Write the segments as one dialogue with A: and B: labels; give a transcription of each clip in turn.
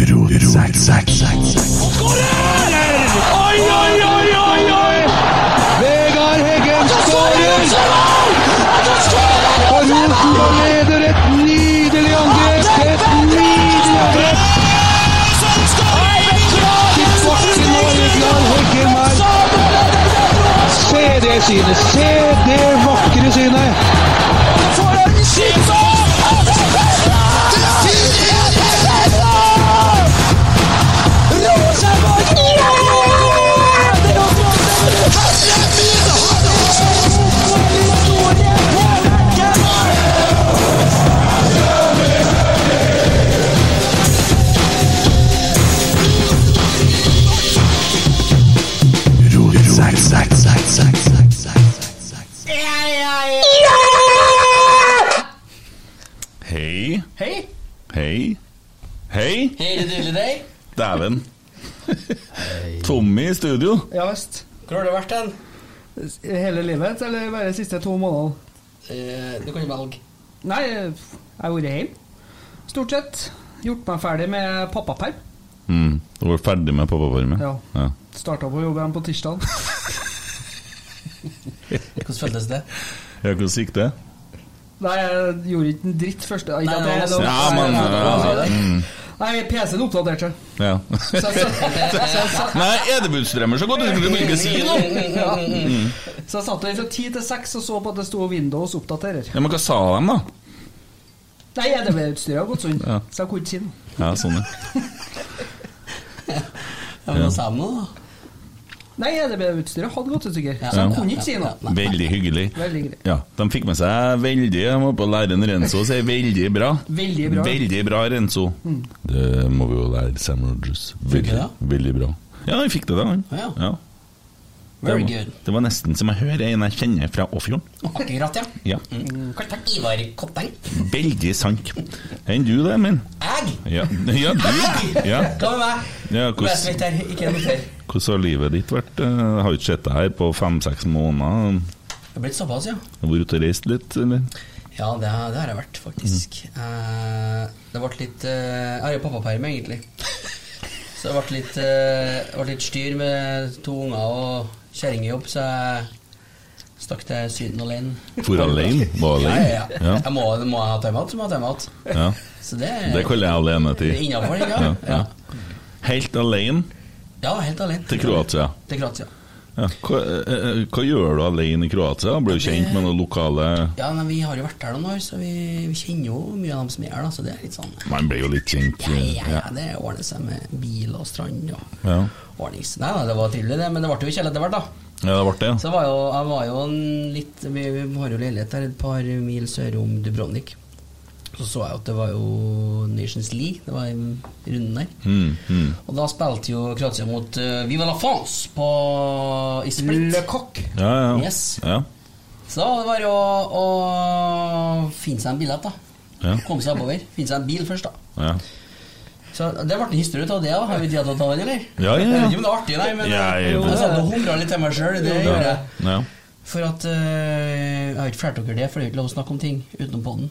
A: Zack, Zack, Zack, Zack.
B: Skårer! Oi, oi, oi, oi, oi!
A: Vegard Heggen skårer! Og Rosenborg leder et nydelig angrep! Et nydelig angrep! Vakker Norgland Heggemark. Se det synet! Se det vakre synet! Zack, Zack, Zack, Zack, Zack, Zack, Zack.
C: Hei.
D: Hei!
C: Hei. Hei.
D: Hele dille deg.
C: Dæven. Tommy i studio.
E: Ja visst.
D: Hvor har du vært hen?
E: Hele livet, eller bare de siste to månedene?
D: Eh, du kan velge.
E: Nei, jeg har vært hjemme. Stort sett. Gjort meg ferdig med pappaperm.
C: Mm. Du var ferdig med pappapermen?
E: Ja. Starta på jobb igjen på tirsdag.
D: Hvordan føltes det?
C: Ja, Hvordan gikk det?
E: Nei, jeg gjorde ikke en dritt første Ikke at
D: Nei, altså.
E: jeg-
D: nei, nei,
C: Ja, men ja, mm.
E: Nei, PC-en oppdaterte seg.
C: ja.
E: Så jeg satt- så jeg satt-
C: Nei, edebudstrømmer så godt du skulle ikke si noe!
D: Mm,
E: så jeg satt der fra ti til seks og så på at det sto Windows oppdaterer.
C: Ja, Men hva sa de, da?
E: Nei, EDB-utstyret har gått sånn,
C: Ja.
E: så jeg kunne ikke si noe.
C: Ja, sånn, ja.
D: Ja, men hva sa de nå, da?
E: Nei, EDB-utstyret hadde gått i stykker,
D: Ja.
E: så jeg
C: Ja.
E: kunne ikke si noe.
D: Nei.
C: Veldig hyggelig.
E: Veldig greit.
C: Ja, De fikk med seg veldig Jeg må på lære en Renzo å si veldig bra.
E: Veldig bra.
C: Veldig bra, Renzo. Det må vi jo lære Sam Rogers.
D: Mm. Fikk
C: Veldig,
D: jeg det?
C: veldig bra. Ja, jeg fikk det, da. han.
D: Ja.
C: Det,
D: Very
C: var,
D: good.
C: det var nesten som jeg hører en jeg kjenner fra Åfjorden.
D: Akkurat, ja.
C: Ja.
D: Kartang Ivar Kotteng.
C: Veldig sant. Enn du, det, min.
D: Jeg!
C: Ja, ja du. Ja.
D: Hva med meg?
C: Ja, hvordan-
D: Bare så vidt her, ikke noter.
C: Hvordan har livet ditt vært? eh? Jeg har ikke sett deg her på fem-seks måneder.
D: Det har blitt såpass, ja.
C: Har vært ute og reist litt, eller?
D: Ja, det, har- det har jeg vært, faktisk.
C: Mm.
D: Eh, det ble litt eh, Jeg har jo pappaperm, egentlig. Så det ble litt, eh, det ble litt styr med to unger og kjerring i jobb, så jeg stakk til Syden alene.
C: For alene? Var
D: Ja,
C: alene?
D: ja, ja. Jeg må, må jeg ha timeout, så må jeg ha timeout.
C: ja.
D: Så det,
C: Det kaller jeg
D: det
C: alenetid.
D: er innafor, ja.
C: Ja,
D: ja.
C: ja. Helt alene
D: Ja, helt alene.
C: til Kroatia.
D: Til Kroatia.
C: Ja. Hva, eh, eh, hva gjør du alene i Kroatia? Blir du kjent med noen lokale
D: Ja, nei, Vi har jo vært der noen år, så vi, vi kjenner jo mye av dem som er her. da, Så det er litt sånn
C: Man blir jo litt kjent.
D: Ja, ja, ja,
C: Ja.
D: det ordner seg med bil og strand og
C: Ja.
D: ordnings. Nei, nei, det var trivelig, det, men det ble jo kjedelig etter hvert, da.
C: ja, det ble det.
D: Så jeg var jo, jeg var jo en litt vi, vi har jo leilighet der et par mil sør om Dubrovnik. Så så jeg jo at det var jo Nations League, det var i runden der.
C: Mm, mm.
D: Og da spilte jo Kroatia mot eh, Viva la France på, i Split.
E: Le Coq.
C: Ja, ja.
D: Yes.
C: ja.
D: Så da var det jo å, å finne seg en billett, da.
C: Ja.
D: Komme seg oppover. Finne seg en bil først, da.
C: ja.
D: Så Det ble en historie ut av det. da Har vi tid til å ta den, eller?
C: Ja, ja, ja.
D: Jeg vet ikke om det er artig, nei, men eh,
C: Ja, jeg-
D: jeg satt og humra litt til meg sjøl. Det
C: ja.
D: gjorde jeg.
C: ja.
D: For at eh, Jeg har ikke fortalt dere det, for det er jo ikke lov å snakke om ting utenom podden.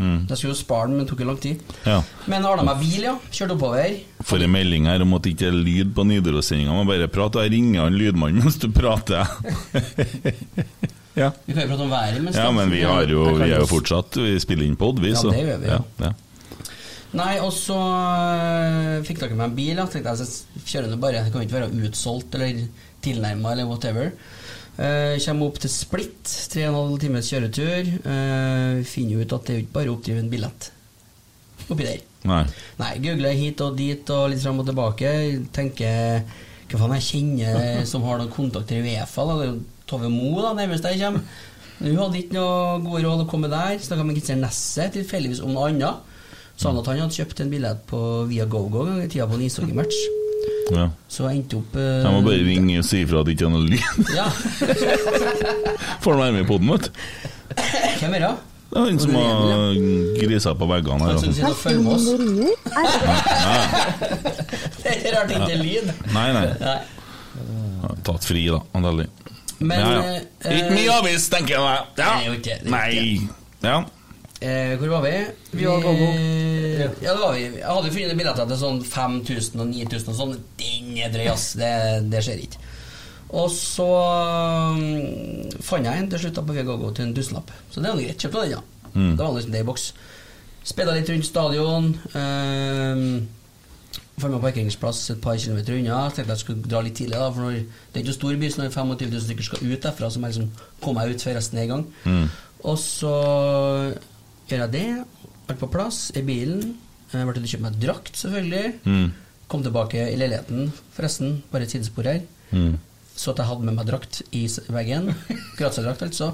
C: Mm.
D: Jeg skulle jo spare den, men det tok jo lang tid.
C: ja.
D: Men ordna meg hvil, ja. Kjørte oppover.
C: For en melding her om at det ikke er lyd på Nidaros-sendinga. Man bare prater. Jeg ringer han lydmannen mens du prater. ja.
D: Vi kan jo prate om været mens
C: ja, men vi, har jo, vi er jo fortsatt Vi spiller inn pod, vi,
D: Ja,
C: så
D: det gjør vi, ja.
C: ja.
D: Nei, og så eh, fikk dere meg en bil. Jeg tenkte jeg så kjører nå bare. Det kan jo ikke være utsolgt eller tilnærma eller whatever. Uh, Kommer opp til Split, 3,5 times kjøretur. Eh, finner jo ut at det er jo ikke bare å oppdrive en billett oppi der.
C: Nei.
D: Nei, googler hit og dit og litt fram og tilbake. Tenker hva faen jeg kjenner som har noen kontakter i Uefa. Da. Det er jo Tove Mo da, nærmest jeg kommer. Men Hun hadde ikke noe gode råd å komme der. Snakka med Christian Nesset tilfeldigvis om noe annet. Sa han at han hadde kjøpt en billett på via GoGo en gang i tida på en ishockeymatch.
C: Ja.
D: Så jeg endte opp eh,
C: Jeg må bare ringe og si ifra at det ikke er noe lyd.
D: Ja,
C: Får han være med i poden, vet du.
D: hvem er det?
C: Det er han som har grisa på veggene her.
D: Han som
C: altså.
D: sitter og følger med oss.
C: Ja.
D: Det er rart ikke er lyd.
C: Nei, nei.
D: Nei.
C: Jeg har Tatt fri, da. Antallig.
D: Men,
C: ja, ja.
D: eh,
C: Ikke mye avis, tenker jeg. Ja.
D: det er jo ikke- det er jo
C: Nei. Ja.
D: Eh, hvor var vi? Eh,
E: Vi var go-go.
D: Ja, det var vi. Jeg hadde jo funnet billetter til sånn 5000 og 9000 og sånn. Den er drøy, ass. Det, det skjer ikke. Og så mm, fant jeg en til slutt da på VGGO til en tusenlapp. Så det er jo greit. Kjøpte den, ja.
C: Mm.
D: Det var liksom det i boks. Speida litt rundt stadion. Eh, Fant meg parkeringsplass et par kilometer unna. Tenkte jeg skulle dra litt tidlig, da, for når, det er ikke noe stor by, så når 25 000 stykker skal ut derfra, så må jeg liksom komme meg ut før resten er i gang. Og så gjør jeg det. Alt på plass i bilen. Eh, Jeg ble til å kjøpe meg drakt, selvfølgelig.
C: Mm.
D: Kom tilbake i leiligheten, forresten. Bare et sidespor her.
C: Mm.
D: Så at jeg hadde med meg drakt i s- veggen. Gratia-drakt, altså.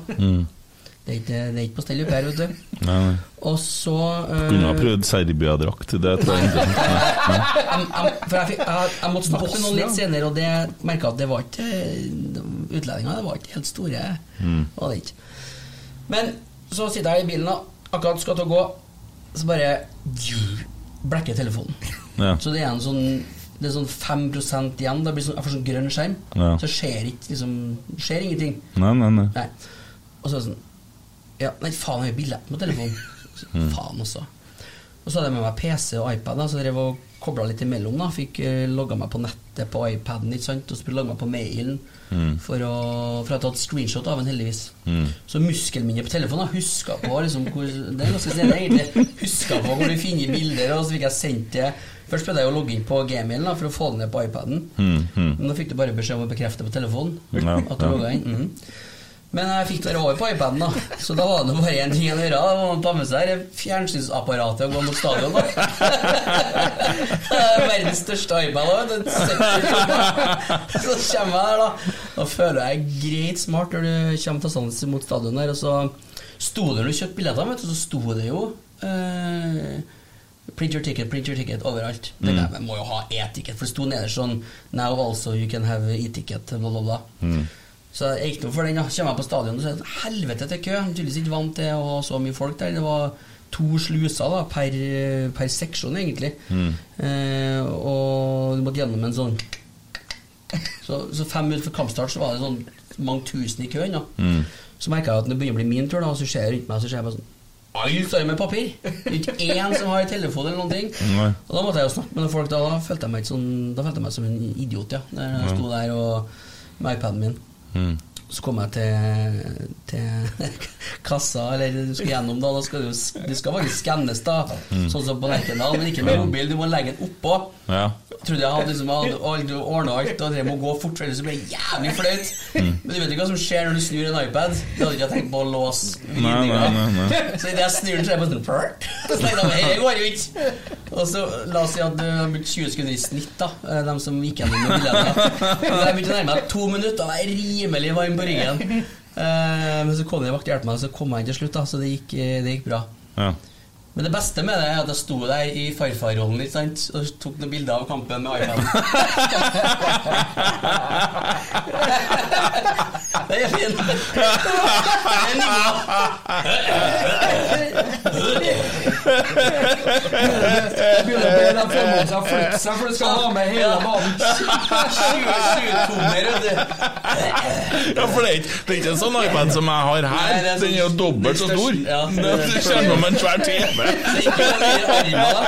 D: Det er ikke, det er ikke på stell oppe her, vet du.
C: Nei, nei.
D: Og så eh,
C: Kunne ha prøvd Serbia-drakt. Det tror jeg ikke.
D: jeg, jeg, for jeg, fikk, jeg, jeg måtte snakke med noen
E: Bosnia.
D: litt senere, og det merka at det var ikke Utlendinger det var ikke helt store.
C: Mm.
D: Var det ikke. Men så sitter jeg i bilen, da. Akkurat skal til å gå, så bare blekker telefonen.
C: Ja.
D: Så det er en sånn Det er sånn 5 igjen. Da blir sånn, jeg får sånn grønn skjerm.
C: Ja.
D: Så skjer ikke liksom Skjer ingenting.
C: Nei, nei, nei.
D: Nei. Og så er det sånn Ja, nei, faen, jeg har jo billett på telefonen. Så, Faen også. Og så hadde jeg med meg PC og iPad, da, så jeg drev og kobla litt imellom. da Fikk eh, logga meg på nettet på iPaden ikke sant? og skulle logge meg på mailen. For, å, for jeg hadde tatt screenshot av den, heldigvis. Så muskelen min på telefonen har huska på liksom, hvor, Det er ganske snedig, egentlig. Huska på hvor du finner bilder, og så fikk jeg sendt det. Først prøvde jeg å logge inn på gmailen da, for å få det ned på iPaden.
C: Mm, mm.
D: Men da fikk du bare beskjed om å bekrefte på telefonen.
C: Ja,
D: at du
C: ja.
D: logget inn. Mhm. Men jeg fikk det bare over på iPaden, da. Så da var det nå bare én ting å gjøre. Da må man ta med seg det fjernsynsapparatet og gå mot stadion, da. Verdens største iPad. Da. vet du. 70 kroner. Så kommer jeg der, da. Da føler jeg meg greit smart når du kommer tassende mot stadion der. Og så sto det når du kjøpte billetter, vet du, så sto det jo eh, Print your ticket, print your ticket overalt. Det der, men må jo ha e-ticket, for det sto nederst sånn Now also you can have e-ticket, bla, bla, bla. Så jeg gikk nå for den. da Kommer jeg på stadion, så er det helvete til kø. Jeg er Tydeligvis ikke vant til å ha så mye folk der. Det var to sluser da per, per seksjon, egentlig. Eh, og du måtte gjennom en sånn så, så fem minutter før kampstart så var det sånn mange tusen i køen. da Så merka jeg at når det begynner å bli min tur, da, og så ser jeg rundt meg så ser jeg bare sånn Alle står med papir! Det er Ikke én som har telefon eller noen ting.
C: Nei.
D: Og da måtte jeg jo snakke med noen folk. Da, da, følte, jeg meg ikke sånn, da følte jeg meg som en idiot, ja. Når jeg sto der og, med iPaden min.
C: Mm.
D: Så kom jeg til, til kassa, eller du skal gjennom, da. da skal du, s- det skal faktisk skannes, da.
C: Mm.
D: Sånn som på Lerkendal, men ikke med mobil. Du må legge den oppå.
C: Ja.
D: Trodde jeg hadde liksom hadde aldri ordna alt og drev med å gå fort, for ellers ble det jævlig flaut.
C: Mm.
D: Men du vet ikke hva som skjer når du snur en iPad. Du hadde ikke tenkt på å låse
C: Nei, nei, nei,
D: vinninga.
C: nei.
D: Så idet jeg snur den, så er jeg bare sånn «Prrrt». Så tenkte jeg, «Nei, det går jo ikke. Og så la oss si at du har brukt 20 sekunder i snitt, da, eh, dem som gikk gjennom med billetter. Så jeg begynte å nærme meg to minutter, og jeg er rimelig varm på ryggen. Eh, Men så kom det en vakt og hjalp meg, og så kom jeg inn til slutt, da, så det gikk, eh, det gikk bra.
C: Ja.
D: Men det beste med det er at jeg sto der i farfarrollen litt, sant? og tok noen bilder av kampen med iPaden. det er fint. Det er nivå.
E: Begynner å be dem formålet seg å flytte seg, for du skal ha med hele banen.
D: 27-tommer, vet du.
C: Ja, for det er, ikke, det er ikke en sånn iPad som jeg har her.
D: Nei, det er sånn-
C: den er jo dobbelt så stor.
D: Ja.
C: Det det kommer om en svær TV.
D: Så ikke noe mer armer, da.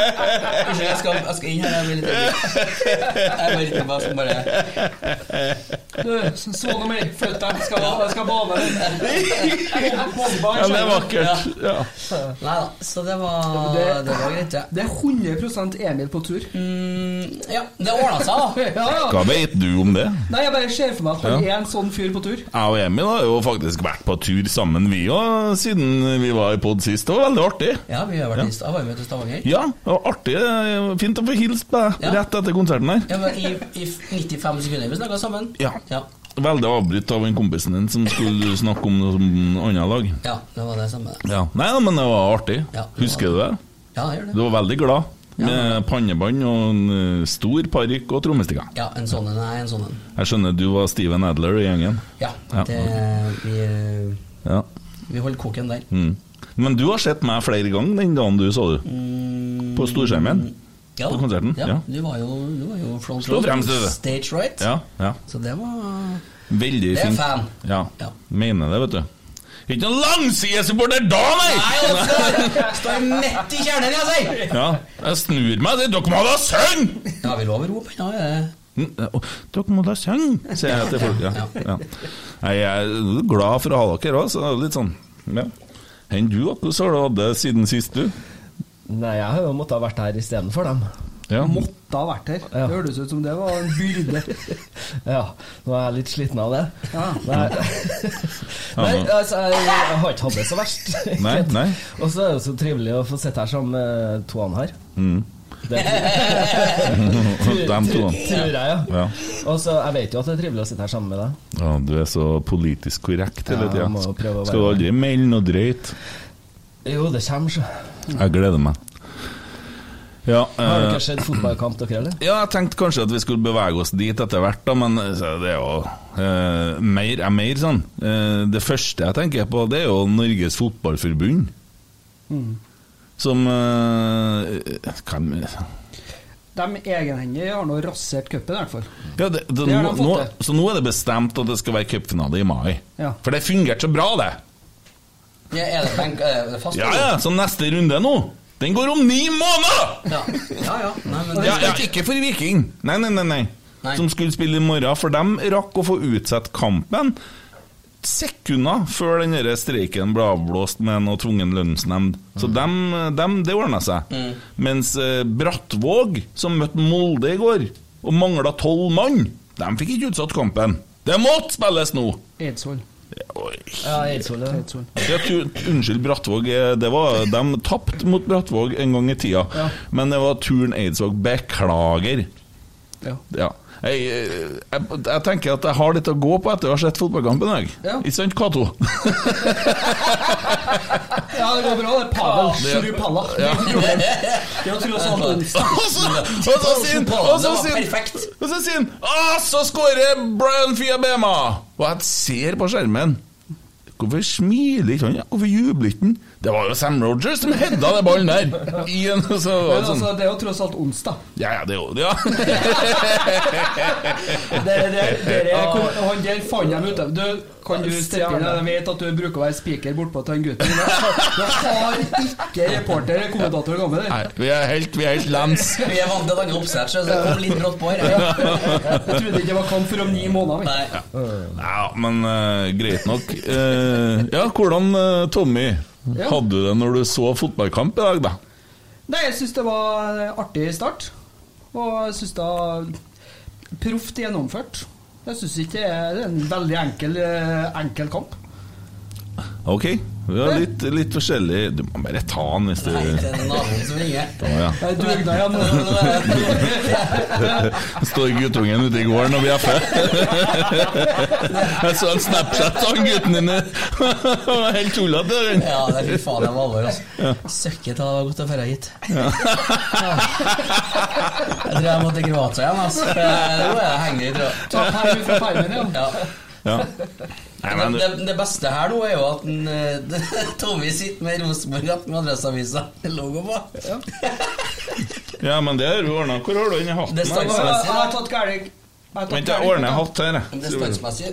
D: Unnskyld, jeg skal, jeg skal inn her. Jeg blir litt ødelagt. Jeg bare ikke bare, bare
E: Du, så noe mer. Flytt deg. Skal, jeg skal bane
C: Ja, det
D: sånn,
C: er
E: deg.
C: vakkert. Ja.
D: Nei da. Så det var,
E: Ja, men det-
D: det var greit, det.
E: Det er 100 Emil på tur.
D: Mm, ja, det ordna seg, da.
E: Ja, ja.
C: Hva vet du om det?
E: Nei, jeg bare ser for meg at han er en sånn fyr på tur.
C: Jeg og Emil har jo faktisk vært på tur sammen, vi òg, siden vi var i pod sist. Det var veldig artig.
D: Ja, vi har vært i Stavanger. Var vi til Stavanger?
C: Ja, det var artig. Fint å få hilst på deg
D: Ja.
C: rett etter konserten her.
D: Ja, men i, I 95 sekunder vi snakka sammen.
C: Ja.
D: ja.
C: Veldig avbrutt av en kompisen din som skulle snakke om noe som annet lag.
D: Ja, det var det samme.
C: Ja. Nei, men det var artig.
D: Ja, det
C: Husker du det?
D: Ja, jeg gjør
C: Du
D: det.
C: var veldig glad. Med pannebånd og en eh, stor parykk og trommestikker.
D: Ja, en sånn en. Nei, en sånn en.
C: Jeg skjønner du var Steven Adler i gjengen.
D: Ja.
C: Ja.
D: Det, vi,
C: Ja.
D: vi holder koken der.
C: Mm. Men du har sett meg flere ganger den dagen du så du. På storskjermen.
D: Mm, Ja, da.
C: På konserten, ja.
D: Du var jo, du var jo front
C: Stå
D: row.
C: fremst, du.
D: Stage right.
C: Ja, ja.
D: Så det var
C: Veldig
D: Det er
C: fint.
D: fan.
C: Ja.
D: Ja.
C: Mener det, vet du. Ikke noen langsidesupporter da, nei!
D: Nei, Oskar! Står midt i kjernen, jeg sier!
C: Ja, jeg snur meg. sier, Dere må da synge!
D: Ja, vi lover rop ennå, er det?
C: Mm, å, Dere må da synge, sier jeg til folk. Ja. Ja. Nei, Jeg er glad for å ha dere òg, så det er litt sånn ja. Enn du, hvordan har du hatt det siden sist, du?
F: Nei, jeg har jo måttet ha vært her istedenfor dem.
C: Ja.
E: Måtte ha vært her.
F: Ja.
E: Det hørtes ut som det var en byrde.
F: Ja, nå er jeg litt sliten av det.
E: Ja.
F: Nei, nei altså, jeg, jeg har ikke hatt det så verst.
C: Nei, nei.
F: Og så er det jo så trivelig å få sitte her sammen med to han her. Det
C: Dem to.
F: tror jeg, ja.
C: Ja.
F: Og så, Jeg vet jo at det er trivelig å sitte her sammen med deg.
C: ja, du er så politisk korrekt hele
F: Ja,
C: tida.
F: må jo prøve å
C: Skal du
F: være-
C: aldri melde noe drøyt?
F: Jo, det kommer, så.
C: Jeg gleder meg. Ja,
F: Har
C: eh,
F: dere sett fotballkamp, dere, eller?
C: Ja, jeg tenkte kanskje at vi skulle bevege oss dit etter hvert, da, men så det er jo eh, mer er mer sånn. Eh, det første jeg tenker på, det er jo Norges Fotballforbund.
E: Mm.
C: Som eh, hvem,
E: De egenhendige har nå rasert cupen, i hvert fall.
C: ja, det, det,
E: Det har
C: nå,
E: de fått
C: nå,
E: til.
C: Så nå er det bestemt at det skal være cupfinale i mai.
E: Ja.
C: For det fungerte så bra, det!
D: Ja, er det benk? Er det fast?
C: Ja, ja, Så neste runde nå, den går om ni måneder!
D: Ja, ja. ja. Nei, men
C: Ja, ja, ikke for Viking. Nei, nei, nei, nei.
D: Nei.
C: Som skulle spille i morgen. For dem rakk å få utsatt kampen sekunder før den der streiken ble avblåst med noe tvungen lønnsnemnd. Så dem, dem, det ordna seg. Mens eh, Brattvåg, som møtte Molde i går og mangla tolv mann, dem fikk ikke utsatt kampen. Det måtte spilles nå!
E: Eidsvoll.
C: Oi.
F: Ja, Eidsvoll. ja.
E: Eidsvoll.
C: Jeg tror, unnskyld, Brattvåg. eh, Det var, de tapte mot Brattvåg en gang i tida. Men det var turen Eidsvåg. Beklager.
E: Ja.
C: Ja. Jeg, eh, jeg, jeg tenker at jeg har litt å gå på etter å ha sett fotballkampen. Jeg.
E: Ja.
C: Ikke sant, Cato?
E: Ja, det går bra. Det er Pavel Sjurupalla. Ja.
D: Jeg tror også han
C: Og så og så sier han og så sier han-
D: Perfekt.
C: Og så sier han «Ah, så skårer Brian Fiabema! Og jeg ser på skjermen Hvorfor smiler ikke han? Hvorfor jubler ikke han? Det var jo Sam Rogers som hedda den ballen der! I en, så,
E: Men
C: sånn,
E: altså, det er jo tross alt onsdag.
C: ja, ja, det er jo ja.
E: Det, det, det, det, han der fant dem ute. Du, kan du steppe inn? Jeg vet at du bruker å være spiker bortpå til han gutten. Du har ikke reporter eller kommentator å gå med der.
C: Nei, vi er helt, vi er helt lens.
D: Vi er vant til lange oppsett, så det kom litt brått på her. Ja.
E: Jeg trodde ikke det var kamp for om ni måneder.
D: Nei.
C: Ja, men eh, greit nok. Eh, ja, hvordan, eh, Tommy,
E: Ja.
C: hadde du det når du så fotballkamp i dag, da?
E: Nei, jeg syns det var en artig start. Og jeg syns det var proft gjennomført. Jeg syns ikke det er en veldig enkel, eh, enkel kamp.
C: Ok, vi er litt, litt forskjellig. Du må bare ta den hvis du
D: Nei, det er naboen som ringer.
C: Å, ja.
E: Jeg dugde igjen. nå.
C: Står guttungen ute i gården og bjeffer? Jeg så en Snapchat av han gutten din. Han var Helt tullete. den.
D: Ja, det er fy faen, det var alvor, altså. Søkket av godt å dra hit. Ja. Jeg tror jeg må til Kroatia igjen, altså. for Nå er jeg henger i
E: Ta
D: tråd.
E: perm fra permen, ja.
D: Ja.
C: Ja. Nei,
D: Det,
C: men du,
D: det, det beste her nå er jo at en, eh, Tommy sitter med Rosenborg at med Adresseavisa logo på.
C: ja, men det har du ordna. Hvor har du den i hatten?
D: Det er
E: Jeg
C: her?
E: har- jeg har tatt gærlig. Jeg har tatt
C: Vent, jeg
E: gærlig.
C: ordner hatt her. jeg.
D: Det er standsmessig.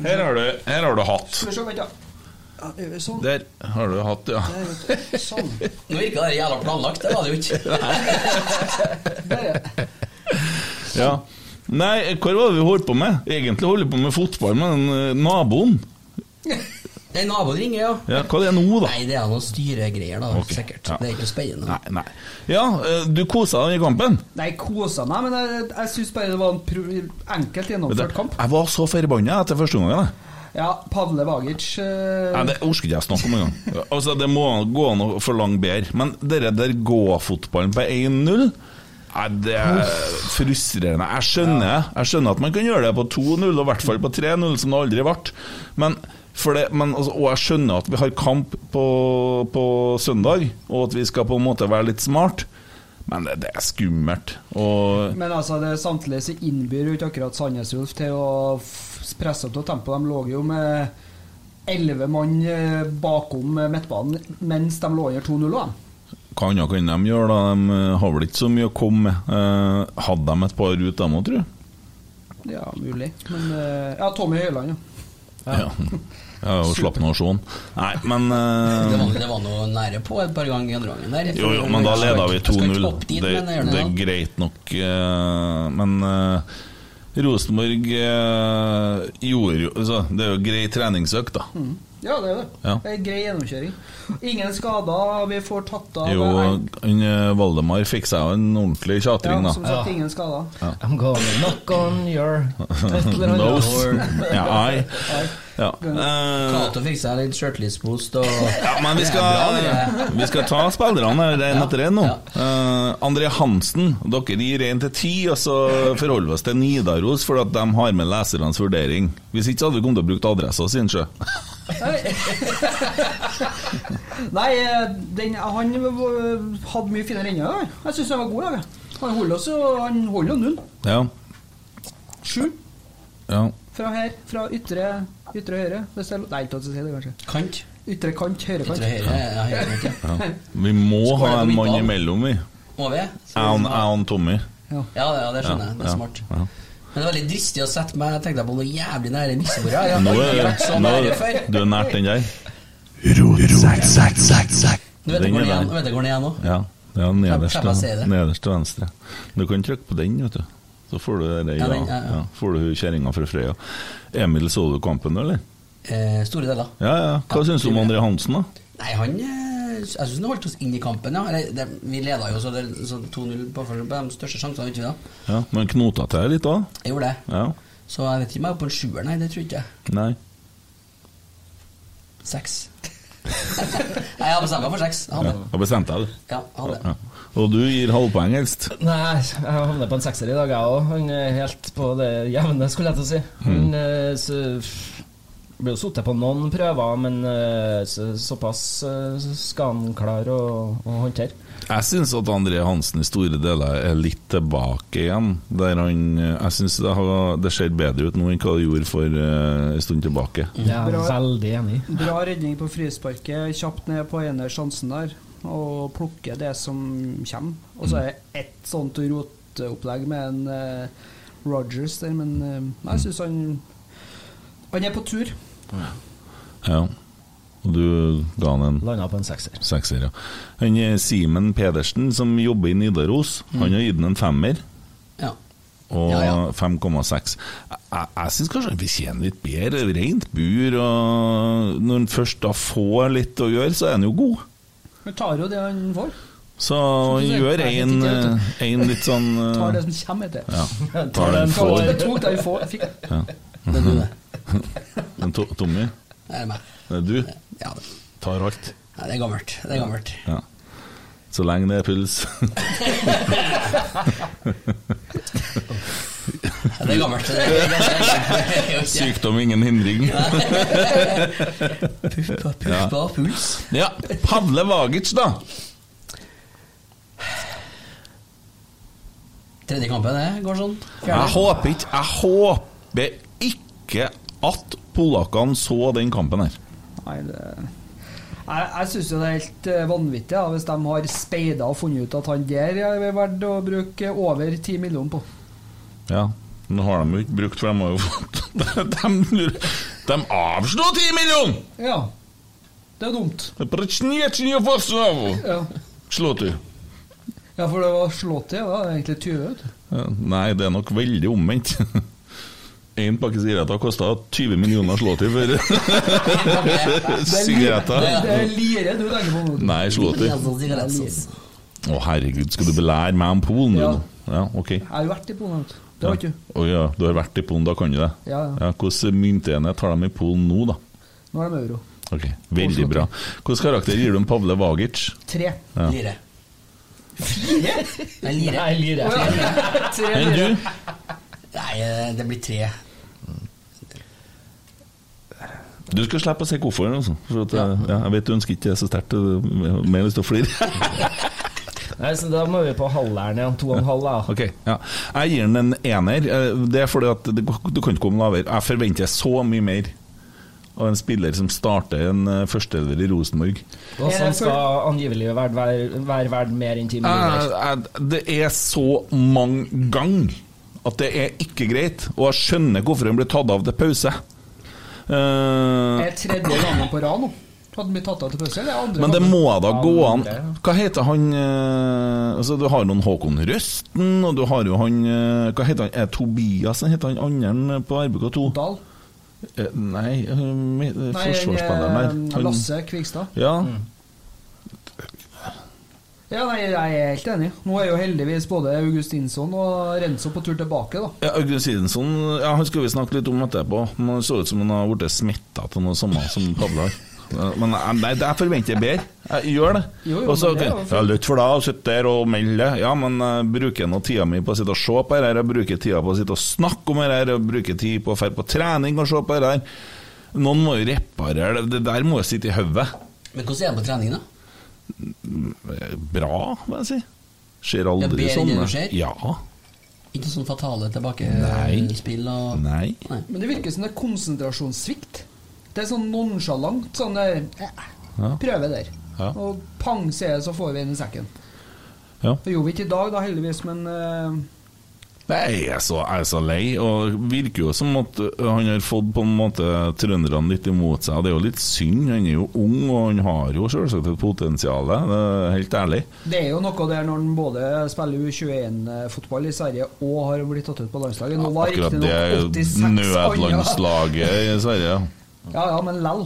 C: Her har du, her har du hatt.
E: Skal vi se, vent da. Ja, gjør vi Sånn.
C: Der har du hatt, ja.
E: Der, vet du. Sånn.
D: Nå virka det jævla planlagt, det var det jo ikke.
E: Der, ja.
C: ja. Nei, hva var det vi holdt på med? Egentlig holder vi på med fotball, men eh, naboen
D: Nei, naboen ringer, ja.
C: ja, Hva er det nå, da?
D: Nei, det er noen styregreier, da.
C: Ok,
D: Sikkert.
C: ja.
D: Det er ikke noe spennende.
C: Nei, nei. Ja, eh, du kosa deg i kampen?
E: Nei, kosa meg, men jeg, jeg syns bare det var en pro enkelt gjennomført kamp.
C: Jeg var så forbanna etter første omgang. jeg.
E: Ja, Pavle Vagic eh,
C: Nei, det orker ikke jeg snakke om engang. Altså, det må gå an å forlange bedre. Men dere der gå-fotballen på 1-0 Nei, det er frustrerende. Jeg skjønner, jeg skjønner at man kan gjøre det på 2-0, og i hvert fall på 3-0, som det aldri ble. Men, for det, men, altså, og jeg skjønner at vi har kamp på, på søndag, og at vi skal på en måte være litt smart. Men det, det er skummelt. Og
E: Men altså, det samtidig så innbyr jo ikke akkurat Sandnes Ulf til å f- presse opp til tempo. De lå jo med elleve mann eh, bakom eh, midtbanen mens de lå under 2-0. da.
C: hva annet kan de gjøre? da? De eh, har vel ikke så mye å komme med. Eh, Hadde de et par ut, dem òg, tror du?
E: Ja, mulig. Men eh, Ja, Tommy Høiland, ja.
C: Ja. Jeg har jo slapp nasjon. Nei, men eh,
D: Det var, det var noe nære på et par ganger i andre gangen der.
C: Jo, jo, men da leda vi
D: Jeg skal ikke
C: 2-0.
D: opp
C: Det,
D: dit, men jeg gjør
C: det er
D: det, da.
C: greit nok. eh, Men eh, Rosenborg eh, gjorde jo altså, Det er jo grei treningsøkt, da.
E: Ja, det er det.
C: Ja.
E: Det er en grei gjennomkjøring. Ingen skader, vi får tatt av
C: Jo,
E: en-
C: han, eh, Valdemar fikk seg jo en ordentlig tjatring,
E: ja,
C: da.
E: Som sagt, ingen skader.
F: I'm gonna knock on your et eller annet.
C: Nose. Ja, ei.
E: Nei.
C: Ja. Eh,
D: Cato fikk seg litt shirtlesspost og
C: Ja, men vi
D: Det er
C: skal,
D: bra,
C: vi skal ta spillerne en
D: Ja,
C: etter en nå.
D: ja.
C: Eh, André Hansen, dere gir én til ti, og så forholder vi oss til Nidaros, for at de har med lesernes vurdering. Hvis ikke så hadde vi kommet til å bruke adressa sin, sjø.
E: Nei, eh, den, han v- hadde mye finere ennå. da. Jeg syns han var god. Jeg. Han holder oss jo han holder jo null.
C: Ja.
E: Sju
C: ja.
E: fra her, fra ytre, ytre høyre. Hvis det er, lo- nei, ikke lov til å si det, kanskje.
D: kant.
E: Ytre kant, høyre
D: Ytre
E: kant.
D: høyre. Ja, høyre kant, ja.
C: Vi må
D: Skårer
C: ha en
D: på
C: mann
D: midtbanen.
C: imellom, vi.
D: Må vi?
C: Jeg og- jeg og Tommy.
D: Ja, ja, det skjønner jeg. Det
C: Ja,
D: er smart.
C: ja.
D: Men det var litt dristig å sette meg Jeg tenkte på noe jævlig nære missebordet. Jeg
C: Nå
D: har
C: er
D: aldri vært så
C: nå
D: nære
C: er-
D: før.
C: Du er nært den der.
D: Nå vet jeg
C: den
D: hvor den
C: er
D: er
C: der.
D: nå vet jeg hvor den er nå.
C: Ja, det er nederst,
D: Kan jeg bare si det?
C: nederst til venstre. Du kan trykke på den, vet du. Så får du det der, ja,
D: den, ja, ja.
C: ja. Får du hun kjerringa fra Frøya. Emil, så du kampen, eller?
D: Eh, store deler.
C: Ja, ja. Hva syns du om André Hansen, da?
D: Nei, han eh, Jeg syns han holdt oss inn i kampen, ja. Eller, det, vi leda jo så, det- så 2-0 på, på de største sjansene, ikke sant?
C: Ja, Men knota til deg litt da?
D: Jeg gjorde det.
C: Ja.
D: Så jeg vet ikke om jeg er på en sjuer, nei. Det tror jeg ikke.
C: Nei.
D: Seks. nei, jeg har bestemt meg for seks. Jeg
C: Ja.
D: hadde.
C: Da bestemte jeg det.
D: Ja, jeg hadde.
C: Ja. Og du gir halvpoeng, helst.
F: Nei, jeg havner på en sekser i dag, jeg òg. Han er helt på det jevne, skulle jeg til å si.
C: Hmm.
F: Han eh, så, pff, blir jo sittet på noen prøver, men eh, så, såpass eh, skal han klare å, å håndtere.
C: Jeg syns at André Hansen i store deler er litt tilbake igjen. Der han, eh, jeg syns det, har- det ser bedre ut nå enn hva det gjorde for eh, en stund tilbake.
D: Mm.
F: Det er jeg
E: Bra.
F: veldig enig i.
E: Bra redning på frisparket, kjapt ned på ene sjansen der. Og plukke det som kommer. Og så er det ett sånt roteopplegg med en eh, Rogers der, men eh, nei, jeg syns han Han er på tur.
C: Ja. Og du ga han en
F: Landa på en sekser.
C: sekser, ja. Han eh, Simen Pedersen, som jobber i Nidaros, han har gitt den en femmer.
D: Ja.
C: Og
D: Ja, ja.
C: 5,6. Jeg, jeg syns kanskje han fortjener litt bedre. Rent bur. Og når han først da får litt å gjøre, så er han jo god.
E: Han tar jo det han får.
C: Så han
E: du sier,
C: gjør
E: nei, jeg
C: en,
E: fikk det,
C: eh, en litt sånn eh,
E: Tar det som kommer, heter det.
C: ja. Tar den
E: Tar
C: for
E: det- tok det vi får. Fikk
D: Det er du, det.
C: Men to, Tommy,
D: Det er meg.
C: det er du
D: Ja, det.
C: tar alt.
D: Nei, det er gammelt. Det er gammelt.
C: Ja. Så lenge det er puls.
D: Ja, det er gammelt. Det er- det er- det er jo ikke-
C: Sykdom ingen hindring.
D: Puff, puff på puls.
C: Ja, Pavle Vagic, da.
D: Tredje kampen det går sånn.
C: Jeg håper ikke Jeg håper ikke at polakkene så den kampen her.
E: Nei, det Jeg, jeg syns jo det er helt eh, vanvittig ja, hvis de har speida og funnet ut at han der er verdt å bruke over 10 millioner på.
C: Ja, men det har de jo ikke brukt, for de har jo fått De, de avslo 10 millioner!
E: Ja. Det er dumt.
C: Прочнечнее Варшаву!
E: Ja,
C: Slå til.
E: ja for det var slått i, da. Det er egentlig 20. vet du.
C: Ja, Nei, det er nok veldig omvendt. Én pakke sigaretter kosta 20 millioner slå til for
E: Det
C: sigaretter.
E: er lire du tenker på nå.
C: Nei, slå til. Å, herregud, skal du belære meg om Polen, du
E: Ja.
C: nå? Ja, ok.
E: Jeg har jo vært i Polen. vet du. Det har ikke du.
C: Å ja, du har vært i Polen, da kan du det?
E: Ja, ja.
C: Hvordan myntenhet har de i Polen nå, da?
E: Nå er de euro.
C: Ok, Veldig bra. Hvilken karakter gir du en Pavle Vagic?
E: Tre.
D: Lire. Fire? Nei, lire.
F: Nei, lirer.
E: Tre
C: Enn
E: lire.
C: du?
D: Nei, eh, det blir tre.
C: Du skal slippe å se hvorfor. Altså, for at, eh, ja, jeg vet du ønsker ikke det så sterkt. og Jeg har mer lyst til å flire.
F: Nei, så da må vi på halveren igjen. To og en halv, da.
C: Ok, ja. Jeg gir den en ener. eh, Det er fordi at det, du kan ikke komme lavere. Jeg forventer så mye mer av en spiller som starter en eh, førsteelver i Rosenborg.
F: Og sånn skal angivelig være verd, være verd mer enn
E: Ah.
F: ti millioner.
C: Eh, eh, Det er så mange ganger at det er ikke greit, og jeg skjønner hvorfor han blir tatt av til pause. Eh,
E: Er tredje gangen på rad nå. Hadde vi tatt av til pause, eller er andre
C: men det
E: gangen?
C: må da gå an
F: det, ja.
C: Hva heter han eh, altså Du har noen Håkon Røsten, og du har jo han eh, Hva heter han? Er det Tobias? Heter han andre på RBK2?
E: Dahl.
C: Eh, Nei, eh, mi- eh,
E: Nei,
C: forsvarsspilleren
E: eh,
C: der. Han-
E: Lasse Mm. Kvikstad.
C: Ja.
E: Ja, nei, jeg er helt enig. Nå er jo heldigvis både Augustinsson og Renzo på tur tilbake, da.
C: Ja, August Sidensson ja, han skal vi snakke litt om etterpå. Men han så ut som han har blitt smitta av noe samme som Pavle har. Eh, Men eh, nei, jeg forventer bedre. Jeg gjør det.
E: Jo, jo,
C: Og så
E: men det er
C: ok,
E: jo fint.
C: ja, Lytt for deg, sitt der og meld det. Ja, men jeg bruker nå tida mi på å sitte og se på det her, jeg bruker tida på å sitte og snakke om det her, jeg bruker tid på å dra på trening og se på det her. Noen må jo reparere det. Det der må jo sitte i hodet.
D: Men hvordan er det på trening, da?
C: Eh, Bra, vil jeg si. Skjer
D: Ja,
C: aldri
D: bedre
C: sånn.
D: enn det
C: eh.
D: skjer?
C: Ja.
D: Ikke sånn fatale
C: Nei.
D: tilbakespill og
C: Nei.
D: Nei.
E: Men det virker som det er konsentrasjonssvikt. Det er sånn nonsjalant. Sånn der, eh,
C: Ja.
E: Prøve der.
C: Ja.
E: Og pang, sier jeg, så får vi den i sekken.
C: Ja.
E: Det gjorde vi ikke i dag, da, heldigvis, men eh,
C: Nei, jeg er, så, jeg er så lei, og virker jo som at ø, han har fått på en måte trønderne litt imot seg. Det er jo litt synd, han er jo ung, og han har jo selvsagt et potensial, det er helt ærlig.
E: det er jo noe der når han både spiller U21-fotball i Sverige og har blitt tatt ut på landslaget. Nå var
C: Akkurat det er
E: riktignok 86 andre.
C: nødlandslaget i Sverige.
E: Ja, ja, men lell.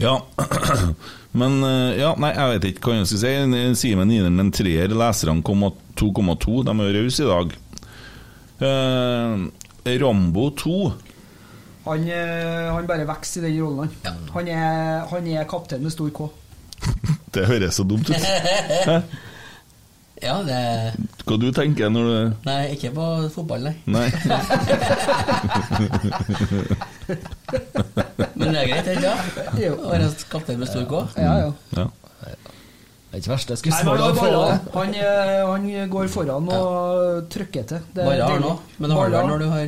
C: Ja, men ø, ja, nei, jeg vet ikke hva jeg skal si. Simen Ineren, en treer, leserne kom at 2,2, de er jo rause i dag. Eh, Rambo 2.
E: Han, eh, han bare vokser i den rollen, han. Han er, han er kaptein med stor K.
C: Det høres så dumt ut.
D: Ja, det
C: Hva du tenker når du
D: Nei, ikke på fotball, nei.
C: Nei.
D: Men det er greit, ikke sant?
E: Jo.
D: Være kaptein med stor K.
E: Ja, ja.
C: Ja.
F: Det er ikke verst, det
E: Nei, men
F: skussmålet
E: det
F: å
E: er
F: få
E: bare-
F: det.
E: han, eh, han går foran og trykker til. Det er
D: Bare har
E: deilig.
D: nå. Men har du
E: Bare-
D: vel når du har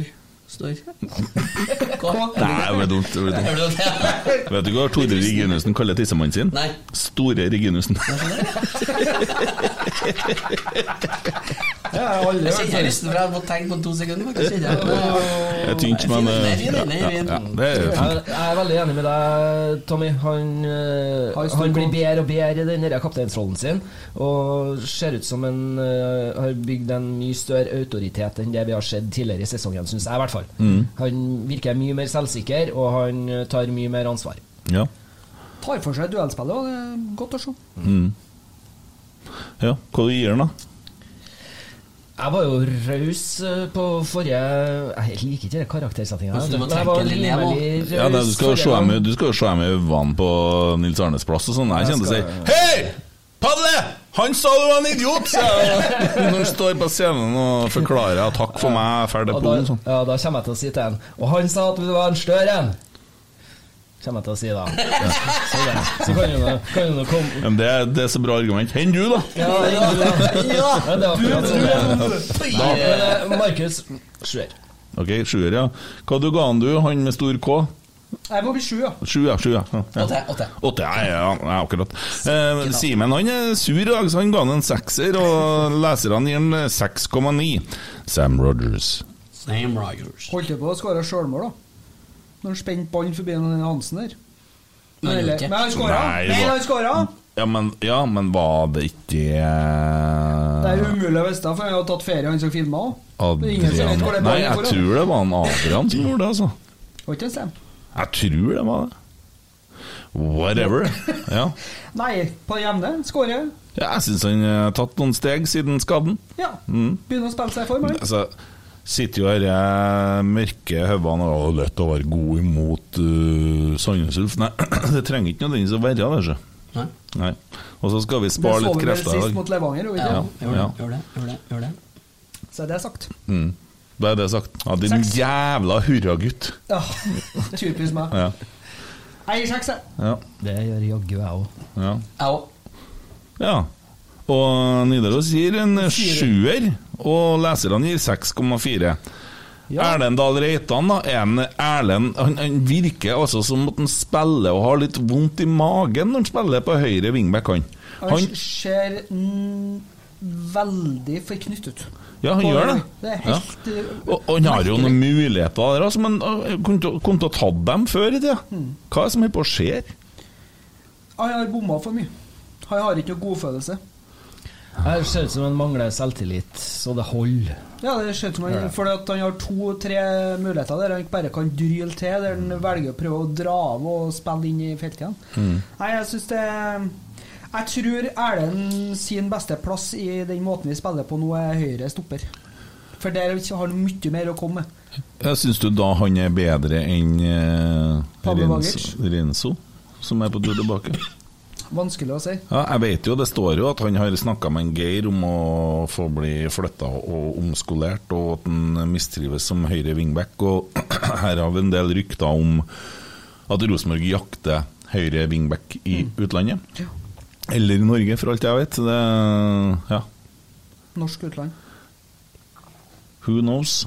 D: står K?
C: Nei, det blir dumt. Det blir dumt.
D: Er du det?
C: Vet du hva Tore Reginussen kaller tissemannen sin?
D: Nei.
C: Store Reginussen.
E: Ja, jeg har aldri
D: Jeg
E: hørt
D: kjenner
E: det.
D: lysten for jeg måtte tenke på den to sekunder. faktisk, kjenner jeg.
C: Det er tynt, men eh, ja, ja, ja, Det er jo fint.
F: Jeg, jeg er veldig enig med deg, Tommy. Han, eh,
E: Har stor
F: han blir
E: kont-
F: bedre og bedre i den der kapteinsrollen sin. Og ser ut som en eh, har bygd en mye større autoritet enn det vi har sett tidligere i sesongen, syns jeg i hvert fall. Han virker mye mer selvsikker, og han eh, tar mye mer ansvar.
C: Ja.
E: Tar for seg duellspillet, og det er godt å se.
C: ja. Hva du gir den, da?
F: Jeg var jo raus eh, på forrige Jeg liker ikke den karaktersettinga.
D: Altså, du må
F: jeg var
D: trekke den ned,
F: rimelig raus
C: Ja, nei, du skal jo
F: forrige
C: se
F: gang.
C: dem i- du skal jo se dem i øynene på Nils Arnes plass og sånn. Jeg kjente å si Hei! Padle! Han sa du var en idiot! sa jeg. Når han står på scenen og forklarer at 'takk for meg, ferdig
F: Og
C: på' og
F: da,
C: sånn.
F: ja, da kommer jeg til å si til en Og han sa at du var en større en! Kommer jeg til å si da. Så, det, så kan jo nå- kan jo nå komme
C: Men det, det er så bra argument. Enn du, da!
F: ja, ja, ja, ja, det er akkurat sånn det er.
D: Da-
F: Men, eh, Markus Schwer.
C: Ok, sjuer, ja. Hva du ga han du, han med stor K?
E: Jeg må bli sju, ja.
C: Sju, ja. Sju, ja. ja. ja.
D: Åtte, åtte.
C: Åtte, ja, ja, ja akkurat. Eh, Simen han er sur i dag, så han ga han en sekser, og leserne gir han 6,9. Sam Rogers.
D: Sam Rogers.
E: Holdt jo på å skåre sjølmål, da. Når han spente ballen forbi den Hansen der.
D: Men han
E: Eller-
D: gjorde
E: Men
D: ikke.
E: han skåra!
C: Nei, det
E: Men
C: var-
E: han skåra!
C: Ja, men, ja, men var det ikke eh,
E: Det er umulig å vite, for han har tatt ferie, han som filma òg. Det er ingen som
C: Adrian
E: vet hvor det er
C: Nei,
E: ballen
C: jeg
E: foran.
C: tror det var en Adrian som gjorde det, altså.
E: Var ikke det Sam?
C: Jeg tror det var det. Whatever. Ja,
E: Nei, på det jevne. Skårer.
C: ja jeg syns han har tatt noen steg siden skaden.
E: Ja.
C: Mm.
E: Begynner å spille seg i form, han.
C: Altså, sitter jo her eh, mørke høvene og «Å, lett å være god imot uh, Sandnes Ulf. Nei, det trenger ikke nødvendigvis å være det. Ikke?
D: Nei.
C: Nei. Og så skal vi
E: Det
C: spare
E: så
C: litt
E: vi vel
C: krefter
E: sist
C: i
E: mot
C: dag.
E: Levanger, gjorde vi
D: Ja,
E: ikke?
C: Ja, ja.
D: gjorde det, gjorde det, gjorde det, gjorde det.
E: Så det er sagt.
C: Mm. Da er det sagt. Ja, din
E: Seks.
C: jævla hurragutt.
E: Ja, Typisk meg.
C: Ja.
E: Jeg gir seks, jeg.
C: Ja.
F: Det gjør jaggu jeg òg.
C: Ja.
D: Jeg òg.
C: ja. Og Nidaros gir en sjuer, og leserne gir 6,4. Erlend Dahl Reitan, da. er En Erlend han, han virker altså som at han spiller og har litt vondt i magen når han spiller på høyre wingback. Han.
E: Han
C: Han,
E: ser mm, veldig forknytt ut.
C: Ja, han
E: på-
C: gjør det.
E: Det er helt
C: Ja.
E: eh,
C: Og, og han har jo noen muligheter der, altså, men øh, kunne til å- kunne til å tatt dem før i tida.
E: Hmm.
C: Hva er det som holder på å skje?
E: Han har bomma for mye. Han har ikke noe godfølelse.
F: Her ser ut som han mangler selvtillit, så det holder.
E: Ja, det ser ut som han Fordi at han har to-tre muligheter der han ikke bare kan dryle til, der han velger å prøve å dra av og spille inn i feltet igjen. Nei, jeg syns det Jeg tror Erlend sin beste plass i den måten vi spiller på nå, er høyre stopper. For der har han mye mer å komme med.
C: Syns du da han er bedre enn eh,
E: Pablo
C: Renzo, Renzo, som er på tur tilbake?
E: Vanskelig å si.
C: Ja, jeg vet jo, det står jo at han har snakka med en Geir om å få bli flytta og omskolert, og at han mistrives som høyre wingback. Og her har vi en del rykter om at Rosenborg jakter høyre wingback i
F: Mm.
C: utlandet. Eller i Norge, for alt jeg vet. Det, ja,
E: Norsk utland.
C: who knows?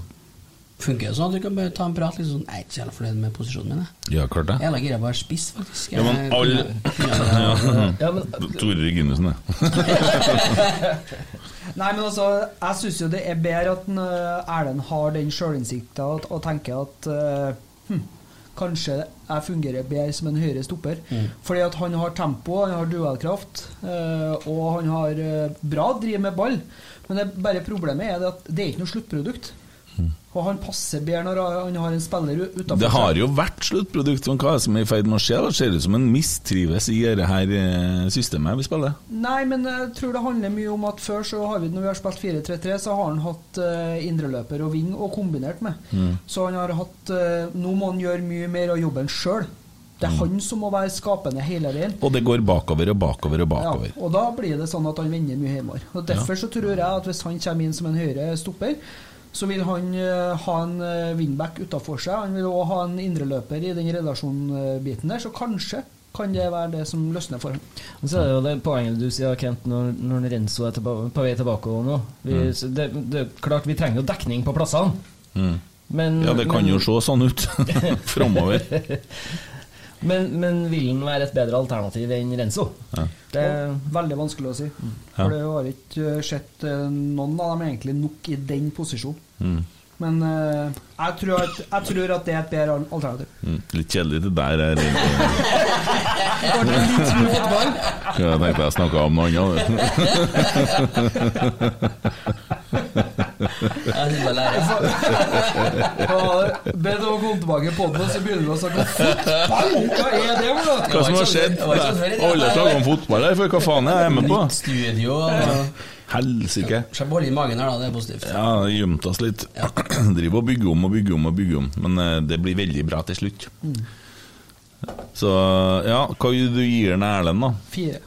D: Funker det sånn at du kan bare ta en prat? Liksom sånn, jeg er ikke så jævla fornøyd med posisjonen min. jeg.
C: Ja, klart
D: Jeg er jævla gira på å være spiss, faktisk.
C: Ja, men
D: Jeg
C: alle-
D: kunne- kunne-
F: Ja, men
C: Tore Reginussen, det.
E: Nei, men altså, jeg syns jo det er bedre at en, eh, Erlend har den sjølinnsikta og, og tenker at eh, hm, kanskje jeg fungerer bedre som en høyre stopper.
C: Mm.
E: Fordi at han har tempo, han har duellkraft, eh, og han har eh, bra driv med ball. Men det er bare problemet er det at det er ikke noe sluttprodukt. Og han passer bedre når han har en spiller utafor
C: Mm. Det har jo vært sluttprodukt. men Hva er det som er i ferd med å skje? Det ser ut som han mistrives i det her eh, systemet vi spiller.
E: Nei, men jeg tror det handler mye om at før, så har vi, når vi har spilt 4-3-3, så har han hatt eh, indreløper og ving og kombinert med. Så han har hatt eh, Nå må han gjøre mye mer av jobben sjøl. Det er han som må være skapende hele veien.
C: Og det går bakover og bakover og
E: Ja,
C: bakover.
E: og da blir det sånn at han vender mye hjemover. Og Derfor så tror jeg at hvis han kommer inn som en høyre stopper, så vil han eh, ha en eh, wingback utafor seg. Han vil òg ha en indreløper i den relasjonsbiten der, så kanskje kan det være det som løsner for ham.
F: Men Så er det jo det poenget du sier, Kent, når, når Renzo er tilba på vei tilbake og nå. Vi,
C: Mm.
F: så det, det er klart vi trenger jo dekning på plassene. Men,
C: Mm. Ja, det kan
F: men,
C: jo se sånn ut framover.
F: Men, men vil han være et bedre alternativ enn Renzo? Det,
E: Eh, Veldig vanskelig å si.
C: Mm. Ja.
E: For det har ikke eh, sett eh, noen av dem egentlig nok i den posisjonen.
C: Mm.
E: Men eh, jeg, tror at, jeg tror at det er et bedre al- alternativ.
C: Mm, Litt kjedelig det der er rent. Jeg tenkte jeg snakka om noe annet.
D: Jeg sitter bare og lærer.
E: Og Be dem å komme tilbake på den, og så begynner vi å snakke om fotball! Hva er det for noe?
C: Hva som har skjedd? Alle snakker om fotball her, for hva faen er jeg med på?
D: Nytt studio og
C: Helsike.
D: Slapp å holde i magen her, da. Det er positivt.
C: Ja, gjemt oss litt. Driver og bygger om og bygger om og bygger om. Men eh, det blir veldig bra til slutt. Så ja, hva gir du gir den Erlend, da?
E: Fire.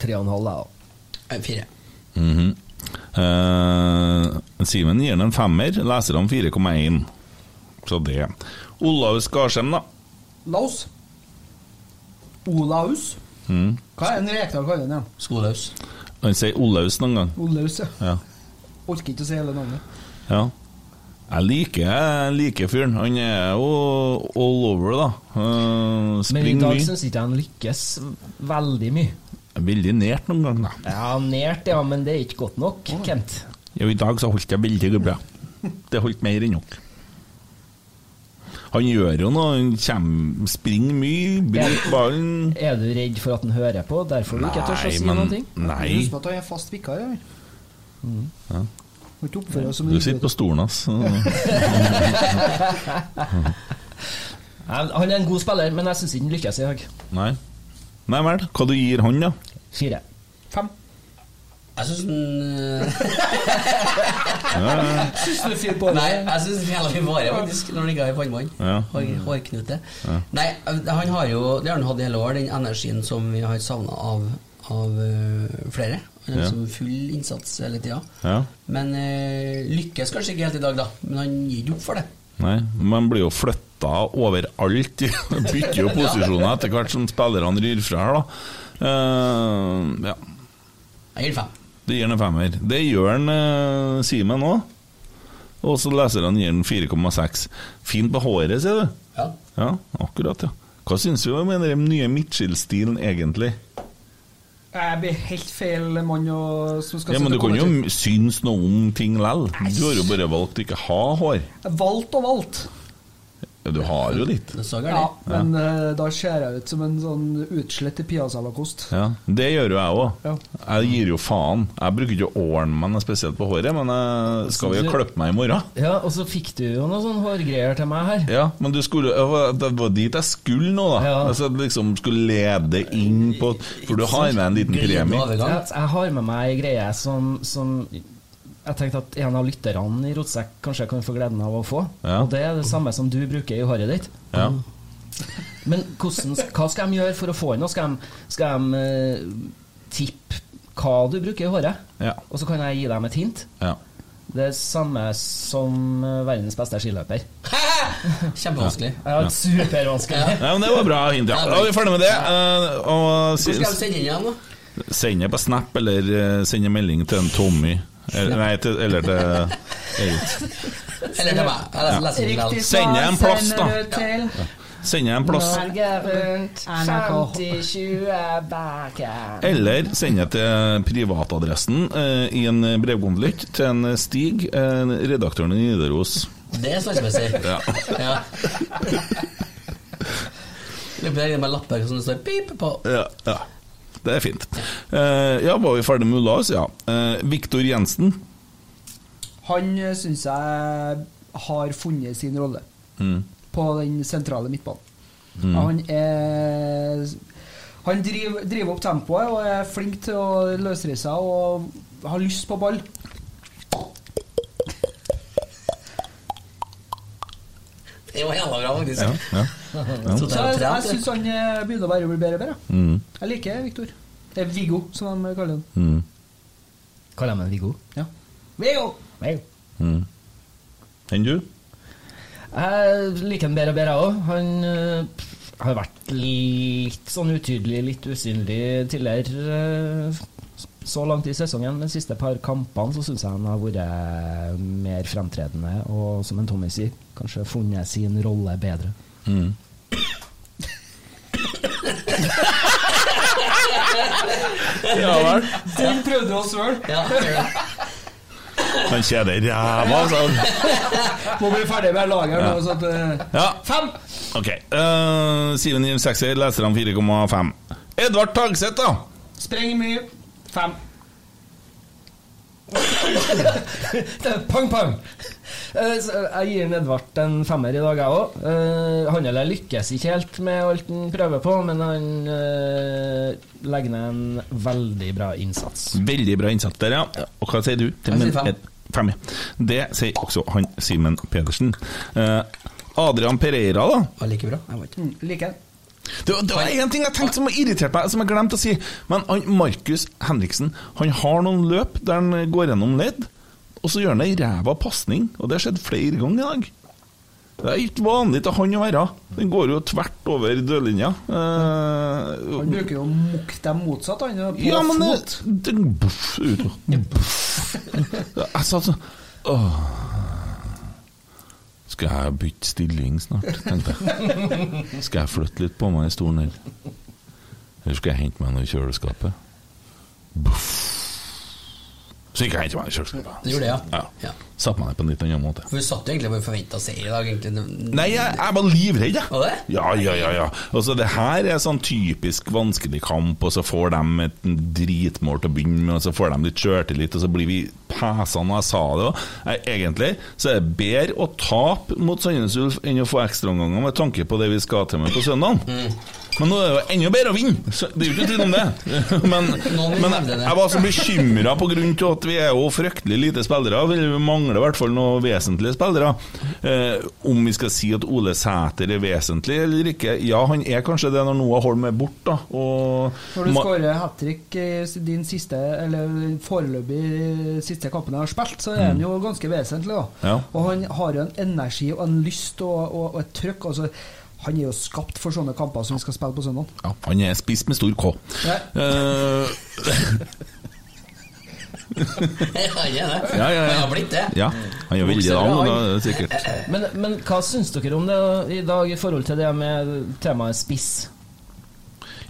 F: tre og en halv, jeg òg.
D: Eh, Fire.
C: Mhm. Eh, Simen gir den en femmer, leserne 4,1. Så det. Olav Skarsheim, da.
E: Laos. Olaus.
C: Mm.
E: Hva er en Rekdal kaller den igjen?
D: Skoløs.
C: Han sier Olaus noen gang.
E: Olaus, ja.
C: Ja.
E: Orker ikke å si hele navnet.
C: ja. Jeg liker, jeg liker fyren. Han er jo all over, da. Eh,
F: Men i
C: Springer
F: dag
C: mye.
F: syns ikke jeg han lykkes veldig mye.
C: Veldig nært noen gang, da.
F: Ja, nært, ja, men det er ikke godt nok, Kent.
C: Jo, i dag så holdt jeg veldig bra. Det holdt mer enn nok. Han gjør jo noe, han kommer, springer mye, bruker ballen
F: Er du redd for at han hører på, derfor du ikke tør å si noen ting?
C: nei.
E: Husk på at han er fast vikar. Ja. Mm. Må ikke oppføre oss som en
C: Du sitter
E: idiot.
C: på stolen hans.
F: Nei, Han er en god spiller, men jeg syns ikke han lykkes i dag.
C: Nei. Nei vel. Hva du gir han, da?
F: Fire.
E: Fem.
D: Jeg syns den eh,
E: Syns du fyr på det?
D: Nei, jeg syns den jævla mye varer, faktisk, når den ligger i pannebånd.
C: Ja.
D: Hår, hårknute. Nei, han har jo Det har han hatt i hele år, den energien som vi har savna av, av eh, flere.
C: Ja.
D: Han er liksom full innsats hele tida.
C: Ja.
D: Men eh, lykkes kanskje ikke helt i dag, da. Men han gir ikke opp for det.
C: Nei, man blir jo flytta overalt. Bytter jo posisjoner etter hvert som spillerne ryr fra her, da. Eh, ja.
D: Jeg gir den fem.
C: Det gir han en femmer. Det gjør han eh, Simen òg. Og så leserne gir han 4,6. Fint på håret, sier du.
D: Ja.
C: Ja, akkurat, ja. Hva syns vi om den nye Mitchell-stilen, egentlig?
E: Jeg blir helt feil mann å- som skal
C: Ja,
E: sitte
C: men du
E: og
C: kan jo
E: kommentere.
C: synes noe om ting lell. Du har jo bare valgt å ikke ha hår.
E: Valgt og valgt.
C: Ja, Du har jo litt.
D: Det så
E: Ja,
D: gærent.
E: men eh, da ser jeg ut som en sånn utslett i piazzalakost.
C: Ja, Det gjør jo jeg òg.
E: Ja.
C: Jeg gir jo faen. Jeg bruker ikke å ordne meg noe spesielt på håret, men jeg skal jo klippe meg i morgen.
F: Ja, og så fikk du jo noen sånne hårgreier til meg her.
C: Ja, men du skulle, det var- det var dit jeg skulle nå, da.
F: Ja.
C: Altså, jeg liksom skulle lede inn på For du har med en liten
D: Glidende
C: premie.
F: Jeg,
D: overgang.
F: jeg har med meg ei greie som, som jeg tenkte at en av lytterne i Rotsekk kanskje kan få gleden av å få.
C: Ja.
F: Og det er det samme som du bruker i håret ditt.
C: Ja.
F: Men hvordan, hva skal de gjøre for å få inn noe? Skal de, skal de eh, tippe hva du bruker i håret?
C: Ja.
F: Og så kan jeg gi dem et hint?
C: ja.
F: Det er samme som eh, verdens beste skiløper.
D: Kjempevanskelig.
F: Ja, supervanskelig.
C: Nei, men Det var bra hint, ja. Da er vi ferdig med det. eh, Og
D: Hvor skal de
C: si-
D: sende inn igjen, da?
C: send det på Snap, eller eh, send en melding til en Tommy. Eller, nei, til, eller til Eirik.
D: Eller til meg. Jeg leser- leser ikke
E: Riktig
D: vel.
C: Send en plass, da.
E: sender du til
C: Send en plass.
E: NRK.
F: 50-20 backen.
C: Eller send det til privatadressen eh, i en brevkonvolutt til en Stig, eh, redaktøren i Nidaros.
D: Det er slagsmessig.
C: Ja.
D: Ja. Løper jeg inn med lapper som det står pip på.
C: Ja, ja. Det er fint. Eh, ja, var vi ferdig med Ulas? Ja. Eh, Viktor Jensen.
E: Han syns jeg har funnet sin rolle
C: Mm.
E: på den sentrale midtbanen. Han er Han driver, driver opp tempoet og er flink til å løsrive seg og har lyst på ball.
D: Det var jævla bra, faktisk.
C: Ja, ja.
D: Så
E: Så
D: der
E: jeg, jeg
D: trent,
E: syns han eh, begynner å bare bli bedre og bedre.
C: Mm.
E: Jeg liker Viktor. Det er Viggo, som de kaller han.
C: Mm.
F: Kaller jeg meg Viggo?
E: Ja. Viggo!
F: Viggo.
C: Mm. Enn du?
F: Jeg liker han bedre og bedre òg. Han øh, pff, har vært litt sånn utydelig, litt usynlig tidligere. øh, Så langt i sesongen, de siste par kampene, så syns jeg han har vært mer fremtredende. Og som en Tommy sier, kanskje funnet sin rolle bedre.
C: Ja vel.
E: Den prøvde du oss sjøl.
D: Ja, gjør det.
C: Han kjeder ræva, altså.
E: Må bli ferdig med laget her nå. Så at, eh,
C: Ja,
E: fem!
C: OK. Uh, Siven gir sekser, leserne 4,5. Edvard Tagseth, da.
E: Spreng mye. Fem.
F: Pang, pang! Eh, så Jeg gir en Edvard en femmer i dag, jeg òg. Han eller lykkes ikke helt med alt han prøver på, men han eh, legger ned en veldig bra innsats.
C: Veldig bra innsats der, ja. Og hva sier du?
D: Jeg sier fem.
C: Et- fem, ja. Det sier også han Simen Pedersen. Eh, Adrian Pereira, da.
D: Var like bra. Jeg vet ikke.
E: Mm, Liker han.
C: Det, det var én ting jeg tenkte som har irritert meg, som jeg glemte å si. Men han, Markus Henriksen han har noen løp der han går gjennom ledd, og så gjør han ei ræva pasning. Og det har skjedd flere ganger i dag. Det er ikke vanlig til han å være. Den går jo tvert over dørlinja. Eh,
E: Han bruker jo å mukke dem motsatt, han. og På
C: ja, men det,
E: fot.
C: det buff, ut, buff. Jeg satt sånn Åh. Skal jeg bytte stilling snart, tenkte jeg. Skal jeg flytte litt på meg i stolen her? Eller skal jeg hente meg noe i kjøleskapet? Buff. Så gikk jeg og hentet meg noe i kjøleskapet.
D: Du gjorde det, ja?
C: Ja.
D: Ja.
C: Satte meg ned på en litt annen måte.
D: For vi satt jo egentlig bare forventa seier i dag, egentlig.
C: Nei, jeg, jeg var livredd, jeg.
D: Var det?
C: Ja, ja, ja, ja. Altså, det her er sånn typisk vanskelig kamp, og så får de et dritmål til å begynne med, og så får de litt sjøltillit, og så blir vi pesende. Jeg sa det òg. Egentlig så er det bedre å tape mot Sandnes Ulf enn å få ekstraomganger, med tanke på det vi skal til med på søndag.
D: Mm.
C: Men nå er det jo enda bedre å vinne, så det er jo ikke tvil om det. Men,
D: Noen vil
C: men
D: hevde det.
C: jeg var så bekymra pga. at vi er jo fryktelig lite spillere. og Vi mangler i hvert fall noen vesentlige spillere. Eh, om vi skal si at Ole Sæter er vesentlig eller ikke Ja, han er kanskje det når Noah Holm er borte, da. Og
E: Når du
C: Ma-
E: skårer hat trick i din siste, eller foreløpig siste kampen jeg har spilt, så er han jo ganske vesentlig, da.
C: Mm. Ja.
E: Og han har jo en energi og en lyst og, og, og et trøkk. Altså, han er jo skapt for sånne kamper som vi skal spille på søndag.
C: ja, han er spiss med stor K.
E: Ja.
C: Eh,
D: Ja, ja, det.
C: Ja, ja, ja.
D: Men jeg har blitt det.
C: ja, han er veldig lang, og da er det sikkert
F: Men, men hva syns dere om det i dag i forhold til det med temaet spiss?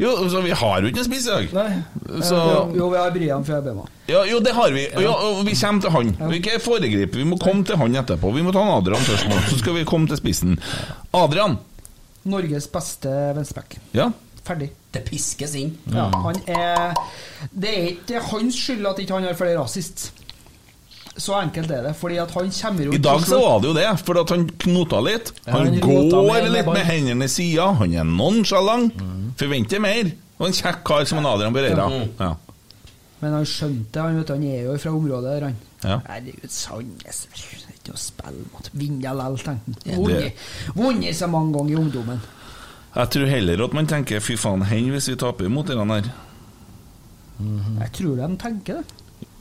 C: Jo, så vi har jo ikke noen spiss i dag.
F: Nei.
C: Så,
E: Eh, Jo, jo, vi har Brian Fjellbema.
C: ja, jo, det har vi. Ja, og vi kommer til han. Vi kan foregripe. Vi må komme til han etterpå. Vi må ta han Adrian først nå, så skal vi komme til spissen. Adrian.
E: Norges beste venstreback.
C: Ja.
E: Ferdig.
D: Det piskes inn.
E: Ja,
C: Mm.
E: han er Det er ikke hans skyld at ikke han har flere assist. Så enkelt er det. Fordi at han kommer jo
C: I
E: ikke
C: dag
E: til
C: så
E: å slå-
C: var det jo det, for at han knota litt. Han
F: han rota med
C: går
F: hendene
C: litt
F: bak.
C: med hendene i sida. Han er nonchalant.
E: Mm.
C: Forventer mer. Og en kjekk kar som en Adrian Bereira. Ja.
E: Men han skjønte det, han, vet, du, han er jo fra området der, han.
C: Ja.
E: Herregud, Sandnes det er Ikke å spille mot. Vinne likevel, tenkte
D: Ja,
E: han. Vunnet- Vunnet så mange ganger i ungdommen.
C: Jeg tror heller at man tenker 'fy faen, hen hvis vi taper mot den her'. Mm.
E: Jeg tror de tenker det.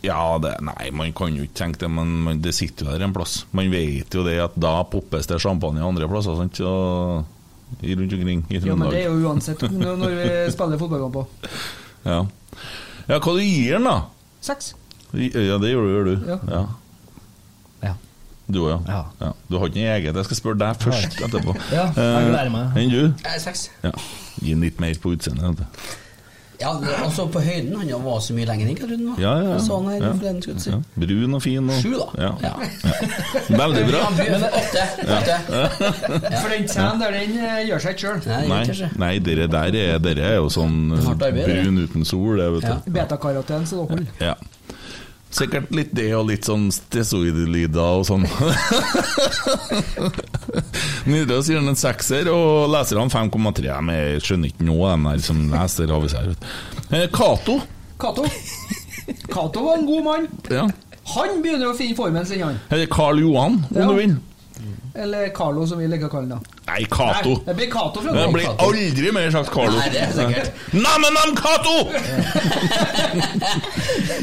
C: Ja, det, nei, man kan jo ikke tenke det, men men det sitter jo der en plass. Man vet jo det at da poppes det champagne andre plasser, sant? Så, i- rundt omkring i
E: Ja, men det er
C: Trøndelag.
E: jo uansett når når vi spiller fotballkamp på.
C: Ja. ja, hva du gir den, da?
E: Seks.
C: I- Ja, det gjør du, gjør du.
E: Ja.
C: Ja.
F: Ja.
C: Du òg, ja.
F: Ja.
C: ja. Du har ikke noe eget? Jeg skal spørre deg først etterpå.
F: Ja, jeg gleder meg.
C: Eh, Enn du?
D: Eh, Seks.
C: Ja. Gi den litt mer på utseendet. vet du.
D: Ja, det- altså på høyden Han var så mye lenger enn hva Rune var.
C: Ja, ja, ja.
D: Jeg Så han her
C: Ja.
D: forleden, skulle jeg si.
C: Ja. Brun og fin. Og,
D: Sju, da.
C: Ja.
D: Ja.
C: Veldig bra.
D: Han byr for åtte. åtte.
E: For den scenen der, den eh, gjør seg ikke sjøl.
D: Nei,
C: Nei,
D: kanskje.
C: nei dere der er, dere er jo sånn eh,
D: Hardt arbeid, det.
C: brun uten sol, det, vet du.
D: Ja.
E: Betakaroten, så det holder.
C: Ja. Sikkert litt det og litt sånn stressoidlyder og sånn. Nidaros gir den en sekser, og leserne 5,3. De er- skjønner ikke noe, de der som leser avis her. vet du. Eh, Cato.
E: Cato. Cato var en god mann.
C: Ja.
E: Han begynner å finne formen sin, han.
C: Eller Karl Johan, om
E: Ja.
C: du vil.
E: Eller Carlo, som vi liker å kalle han. da.
C: Nei,
E: Nei,
C: Cato.
E: det blir Cato fra
C: Det
E: nå.
C: blir aldri mer sagt Carlo.
D: Nei, det er sikkert.
C: Nam-nam, Cato!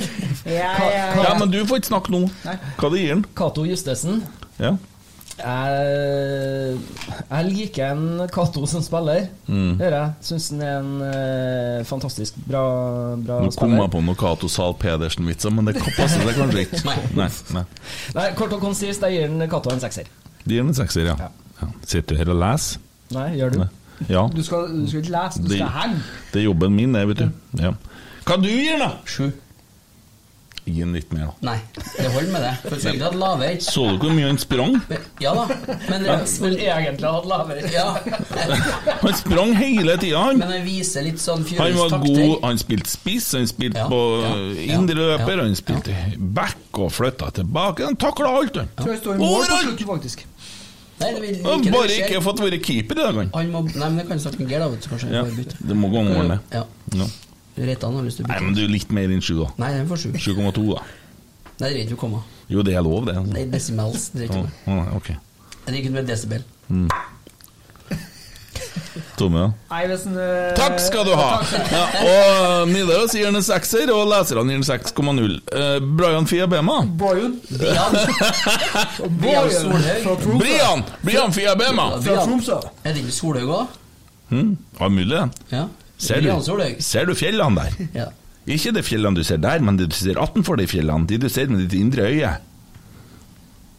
E: Ja, ja,
C: Ja,
E: ja.
C: men du får ikke snakke nå.
E: Nei.
C: Hva det gir han?
F: Cato Justesen.
C: Ja.
F: Jeg, jeg liker en Cato som spiller.
C: Mm.
F: Det gjør jeg. Syns han er en eh, fantastisk bra, bra
C: Nå kom
F: spiller.
C: jeg på noe Cato Zahl Pedersen-vitser, men det passer seg kanskje ikke. Nei, nei.
F: Nei, kort og konsist, jeg gir han Cato en sekser.
C: Det gir den en sekser, ja. ja. Sitter du her og leser?
F: Nei, gjør du?
C: Nei. Ja.
E: Du skal, du skal ikke lese, du
C: Det-
E: skal henge.
C: Det er jobben min, det, vet du. Ja. Hva du gir da?
D: Sju.
C: Gi den litt mer, da.
D: Nei, det holder med det. For selvfølgelig hadde lavere.
C: Så du hvor mye han sprang?
D: Men- Ja da. Men,
F: Men
D: men,
F: egentlig hadde lavere.
D: ja.
C: Han sprang hele tida, han.
D: men han viser litt sånn
C: Han
D: Fjørus
C: var
D: takter.
C: god, han spilte spiss, han spilte
D: Ja,
C: på
D: ja,
C: eh,
D: ja,
C: indre løper,
D: ja,
C: han spilte back og flytta tilbake. Han takla alt, han.
E: Tror jeg står i mål på
C: Overalt!
E: slutten, faktisk.
D: Nei, det vil ikke
C: Han
D: det
C: bare
D: skjer.
C: ikke fått være keeper i dag, han.
D: Han må Nei, men det kan snakke med Geir, da, vet du. så Kanskje
C: Ja,
D: jeg bare bytter.
C: det må gå an å ordne.
D: Ja.
C: Ja.
D: Reitan har lyst til å
C: Nei,
D: bytte.
C: men du er litt mer enn sju, da.
D: Nei, den får sju.
C: 7,2, da.
D: Nei, det er ikke å komme.
C: Jo, det er lov, det.
D: Nei, desimals. Det er
C: Å,
D: ikke noe.
C: å, nei, ok.
D: Det er ikke noe med desibel.
C: Tomme, da?
E: Nei, hvis en, eh,
C: Takk skal du ha! Ja, og Nidaros gir den en sekser, og leserne gir den 6,0. Eh, Brian Fia Bema.
E: Bojan.
D: Brian Brian
E: Bojan
D: Solhaug.
E: fra Tromsø.
C: Brian! Brian Fia Bema!
E: Fra
D: Brian.
E: Tromsø.
D: Er det ikke Solhaug òg?
C: Hm, ja, mulig, det.
D: Ja.
C: Ser
D: Brian
C: du,
D: Solhaug.
C: ser du fjellene der?
D: Ja.
C: Ikke de fjellene du ser der, men det du ser attenfor de fjellene. De du ser med ditt indre øye.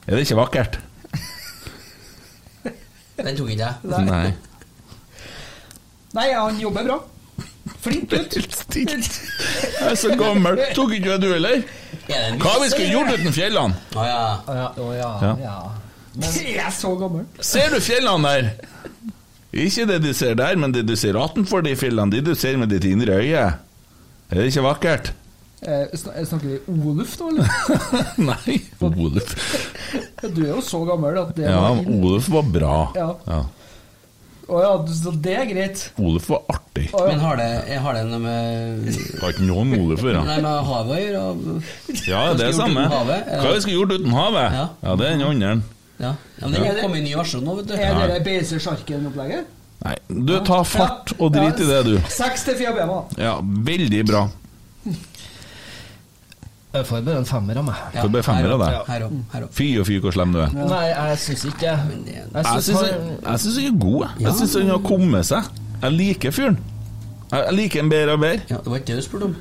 C: Er det ikke vakkert?
D: Den tok ikke jeg.
C: Nei.
E: Nei, han jobber bra. Flink gutt.
C: Jeg er så gammel. Tok ikke du heller?
D: Er det en
C: Hva vi skulle gjort uten fjellene?
D: Å ja.
F: Å ja, å ja,
C: Ja.
F: ja.
E: Jeg er så gammel.
C: Ser du fjellene der? Ikke det du ser der, men det du ser attenfor de fjellene. De du ser med ditt indre øye. Er det ikke vakkert?
E: Eh, sn- snakker vi Oluf nå, eller?
C: Nei. Oluf.
E: Du er jo så gammel at det
C: Ja,
E: var inn.
C: Oluf var bra.
E: Ja.
C: Ja.
E: Å ja, så det er greit.
C: Oluf var artig.
E: Å, ja.
D: Men har det, har det noe med
C: Det var ikke noe med Oluf å gjøre.
D: Nei, med havet å gjøre? og-
C: Ja, det er
D: Hva skulle
C: samme.
D: gjort uten havet?
C: Hva vi skulle gjort uten havet?
D: Ja.
C: Ja, det er den andre.
D: Ja. ja men
E: Ja.
D: Den kom i ny versjon nå, vet du.
E: Er det det Beiser Sjarken-opplegget?
C: Nei, du, ta fart og drit i det, du.
E: Seks til Fia Bema.
C: Ja, veldig bra.
F: Jeg får bare en femmer av meg.
D: Ja,
C: Så det ble femmer av
D: her
C: deg.
D: opp, Her opp, her opp.
C: Fy og fy, hvor slem du er.
F: Nei, jeg syns ikke
D: Men
F: jeg.
D: det-
C: Jeg syns
F: synes
C: han
F: han-
C: jeg syns han er god. jeg. Jeg syns han har kommet seg. Jeg liker fyren. Jeg jeg liker en bedre og bedre.
D: Ja, det var ikke det du spurte om.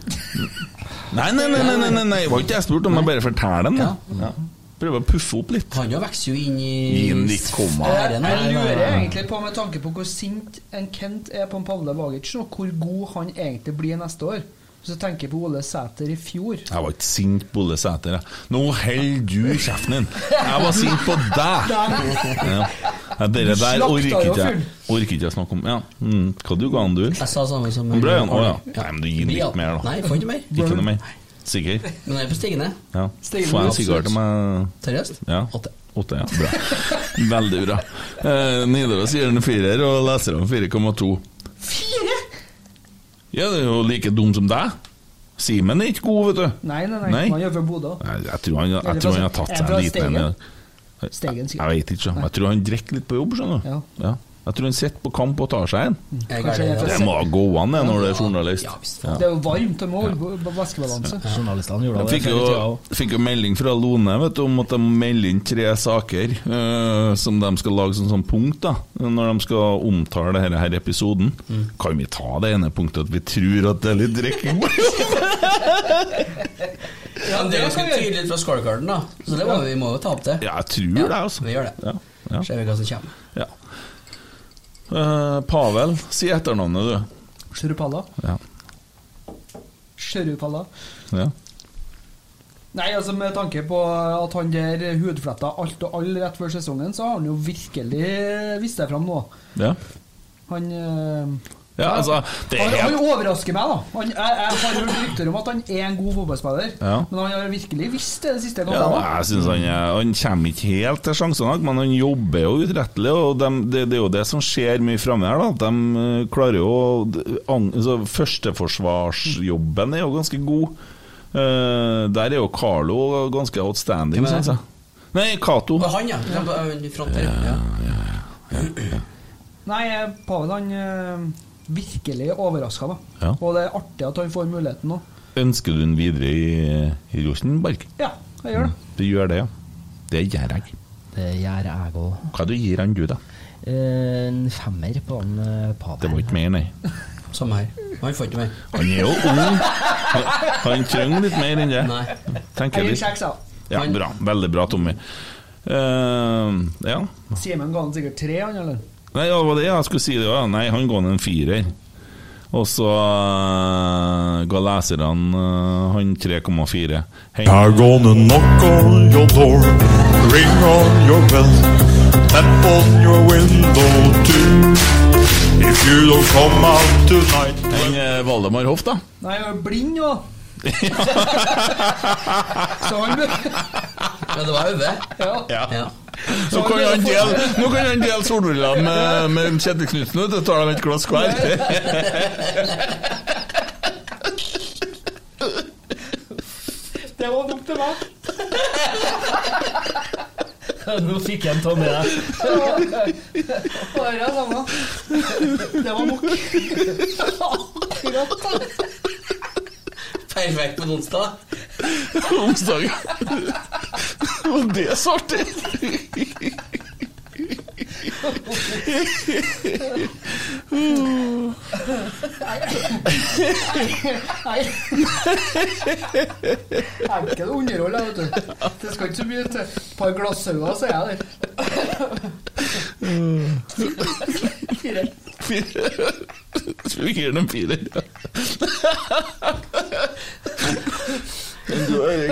C: Nei, nei, nei, nei, nei, nei, nei. det var ikke jeg spurte om, jeg bare forteller den.
D: Ja.
C: Ja. Prøver å puffe opp litt.
D: Han jo vokser jo inn
G: I
D: i
G: nitt komma.
E: Jeg
D: sfæren
E: jeg lurer
D: her.
E: egentlig på, med tanke på hvor sint en Kent er på en Pavle Vagic nå, hvor god han egentlig blir neste år. Så tenker jeg på Ole Sæter i fjor.
C: Jeg var ikke sint på Ole Sæter. jeg. Nå holder du kjeften din! Jeg var sint på deg! Ja. Ja, Dere der
E: slakta
C: orker
E: jo
C: ikke jeg
E: fyren.
C: Orker ikke jeg snakke om. Ja. Mm. Hva du ga han, du?
D: Jeg sa samme som
C: Ble han? Å ja. Nei, men du gir
D: Ja.
C: litt mer, da.
D: Nei, jeg får ikke mer.
C: Ikke noe mer? Sikker?
D: Men jeg er på stigende.
C: Ja.
E: Stilig.
C: Får jeg en sigar til meg?
D: Seriøst?
C: Ja.
D: Åtte.
C: Åtte, ja. Bra. Veldig bra. Eh, Nidaros gir den firer, og leserne 4,2.
E: Fire!
C: Ja, det er jo like dum som deg. Simen er ikke god, vet du.
E: Nei, nei, nei.
C: Nei.
E: Han gjør for Bodø.
C: Nei, Jeg tror han,
E: Eller
C: jeg tror han
E: fra-
C: har tatt
E: er
C: seg
E: fra
C: en liten en.
E: Steigen.
C: ja.
E: Steigen,
C: Jeg
E: sikkert.
C: vet ikke, så. Jeg tror han drikker litt på jobb, skjønner du.
E: Ja. Mm.
C: Ja. Jeg tror han sitter på kamp og tar seg en.
D: Jeg
E: Kanskje
D: er
E: jeg
C: Det
E: får
D: det.
E: se-
C: må gå an det når det er
D: Ja,
C: journalist.
D: visst.
E: Det er jo varmt, han må holde væskebalanse.
F: Journalistene gjorde
C: Jeg
F: det
C: fikk
F: før i tida
C: jo,
F: også.
C: fikk jo melding fra Lone vet du, om at de melder inn tre saker eh, som de skal lage som sånn punkt da, når de skal omtale denne her episoden. Kan vi ta det ene punktet at vi tror at det er litt drikking?
D: Ja, det er ganske
E: kan vi
D: tydelig fra scorecarden, da. Så det må vi må jo ta opp det.
C: ja, jeg tror det, altså.
D: vi gjør det.
C: Ja, ja,
D: Ser vi hva som kommer.
C: ja. Eh, Pavel, si etternavnet, du.
E: Sjurupalla.
C: Ja.
E: Sjurupalla.
C: Ja.
E: Nei, altså med tanke på at han der hudfletta alt og all rett før sesongen, så har han jo virkelig vist seg fram nå.
C: Ja.
E: Han eh,
C: ja, altså Det
E: han,
C: er
E: han
C: helt
E: overrasker meg, da. Han, jeg, jeg har hørt rykter om at han er en god fotballspiller,
C: Ja.
E: men han har virkelig visst det de siste
C: Ja,
E: kampene.
C: jeg synes han, er- han kommer ikke helt til sjansene, men han jobber jo utrettelig. Og dem- det, det er jo det som skjer mye framme her. da, at De eh, klarer jo å- an- altså, Førsteforsvarsjobben er jo ganske god. Eh, der er jo Carlo ganske outstanding,
D: Hvem er det?
C: synes jeg. Nei, Cato.
D: Og han, ja. ja. på- ø, i front her. Ja.
E: Nei, eh, Pavel han eh, virkelig overraska, da.
C: Ja.
E: Og det er artig at han får muligheten nå.
C: Ønsker du den videre i, i Rosenborg?
E: Ja, jeg gjør det.
C: Du gjør det, ja. Det gjør jeg.
F: Det gjør jeg òg.
C: Hva du gir han du, da?
F: En femmer på han eh, Pavel.
C: Det var ikke mer, nei.
D: Samme her. Han får ikke mer.
C: Han er jo ung. Han, han trenger litt mer enn det.
D: Nei.
C: Tenker
E: Jeg
C: litt.
E: gir kjeks, jeg.
C: Ja,
D: Men-
C: bra. Veldig bra, Tommy. Eh, ja.
E: Simen ga han sikkert tre, han, eller?
C: Nei, ja, det var det jeg skulle si. Det, ja. Nei, han ga ned en firer. Og så eh, ga leserne eh, han 3,4. Hei.
H: They're gonna knock on your door, ring on your bell, tap on your window too. If you don't come out tonight,
C: Han eh, Valdemar Hoff, da.
E: Nei, jeg er blind nå. så han bør-
D: Ja, det var Øve.
E: ja.
D: Ja.
C: Nå kan han dele, nå kan han dele solbriller med, med Kjetil Knutsen, vet du. Tar dem et glass hver.
E: Det var nok til meg.
F: Nå fikk jeg en tomme der.
E: Bare det samme. Det var nok.
D: Perfekt på en onsdag.
C: Onsdag. Og det er så artig!
E: Nei. Enkel underhold, jeg, vet du. Det skal ikke så mye til. Et par glassauger, så er jeg der.
C: Fire. Tror vi gir den en firer. Men du, Erik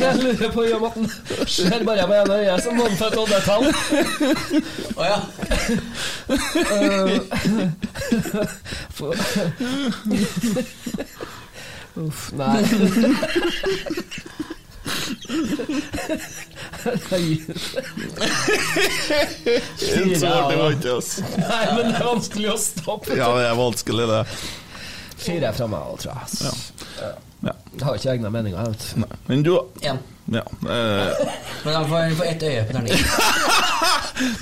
F: Jeg lurer på om at han ser bare på ene øyet som vannfett oddetall.
D: Å ja.
F: Uff, nei.
C: Så artig var ikke oss.
F: Nei, men det er vanskelig å stoppe.
C: Ja, det er vanskelig, det.
F: Fire er fra meg òg, tror jeg.
C: Ja.
F: Jeg har ikke egne meninger. jeg vet
C: Nei. Men du
D: Én.
C: ja. eh,
D: Men han får, han får ett øye på terningen.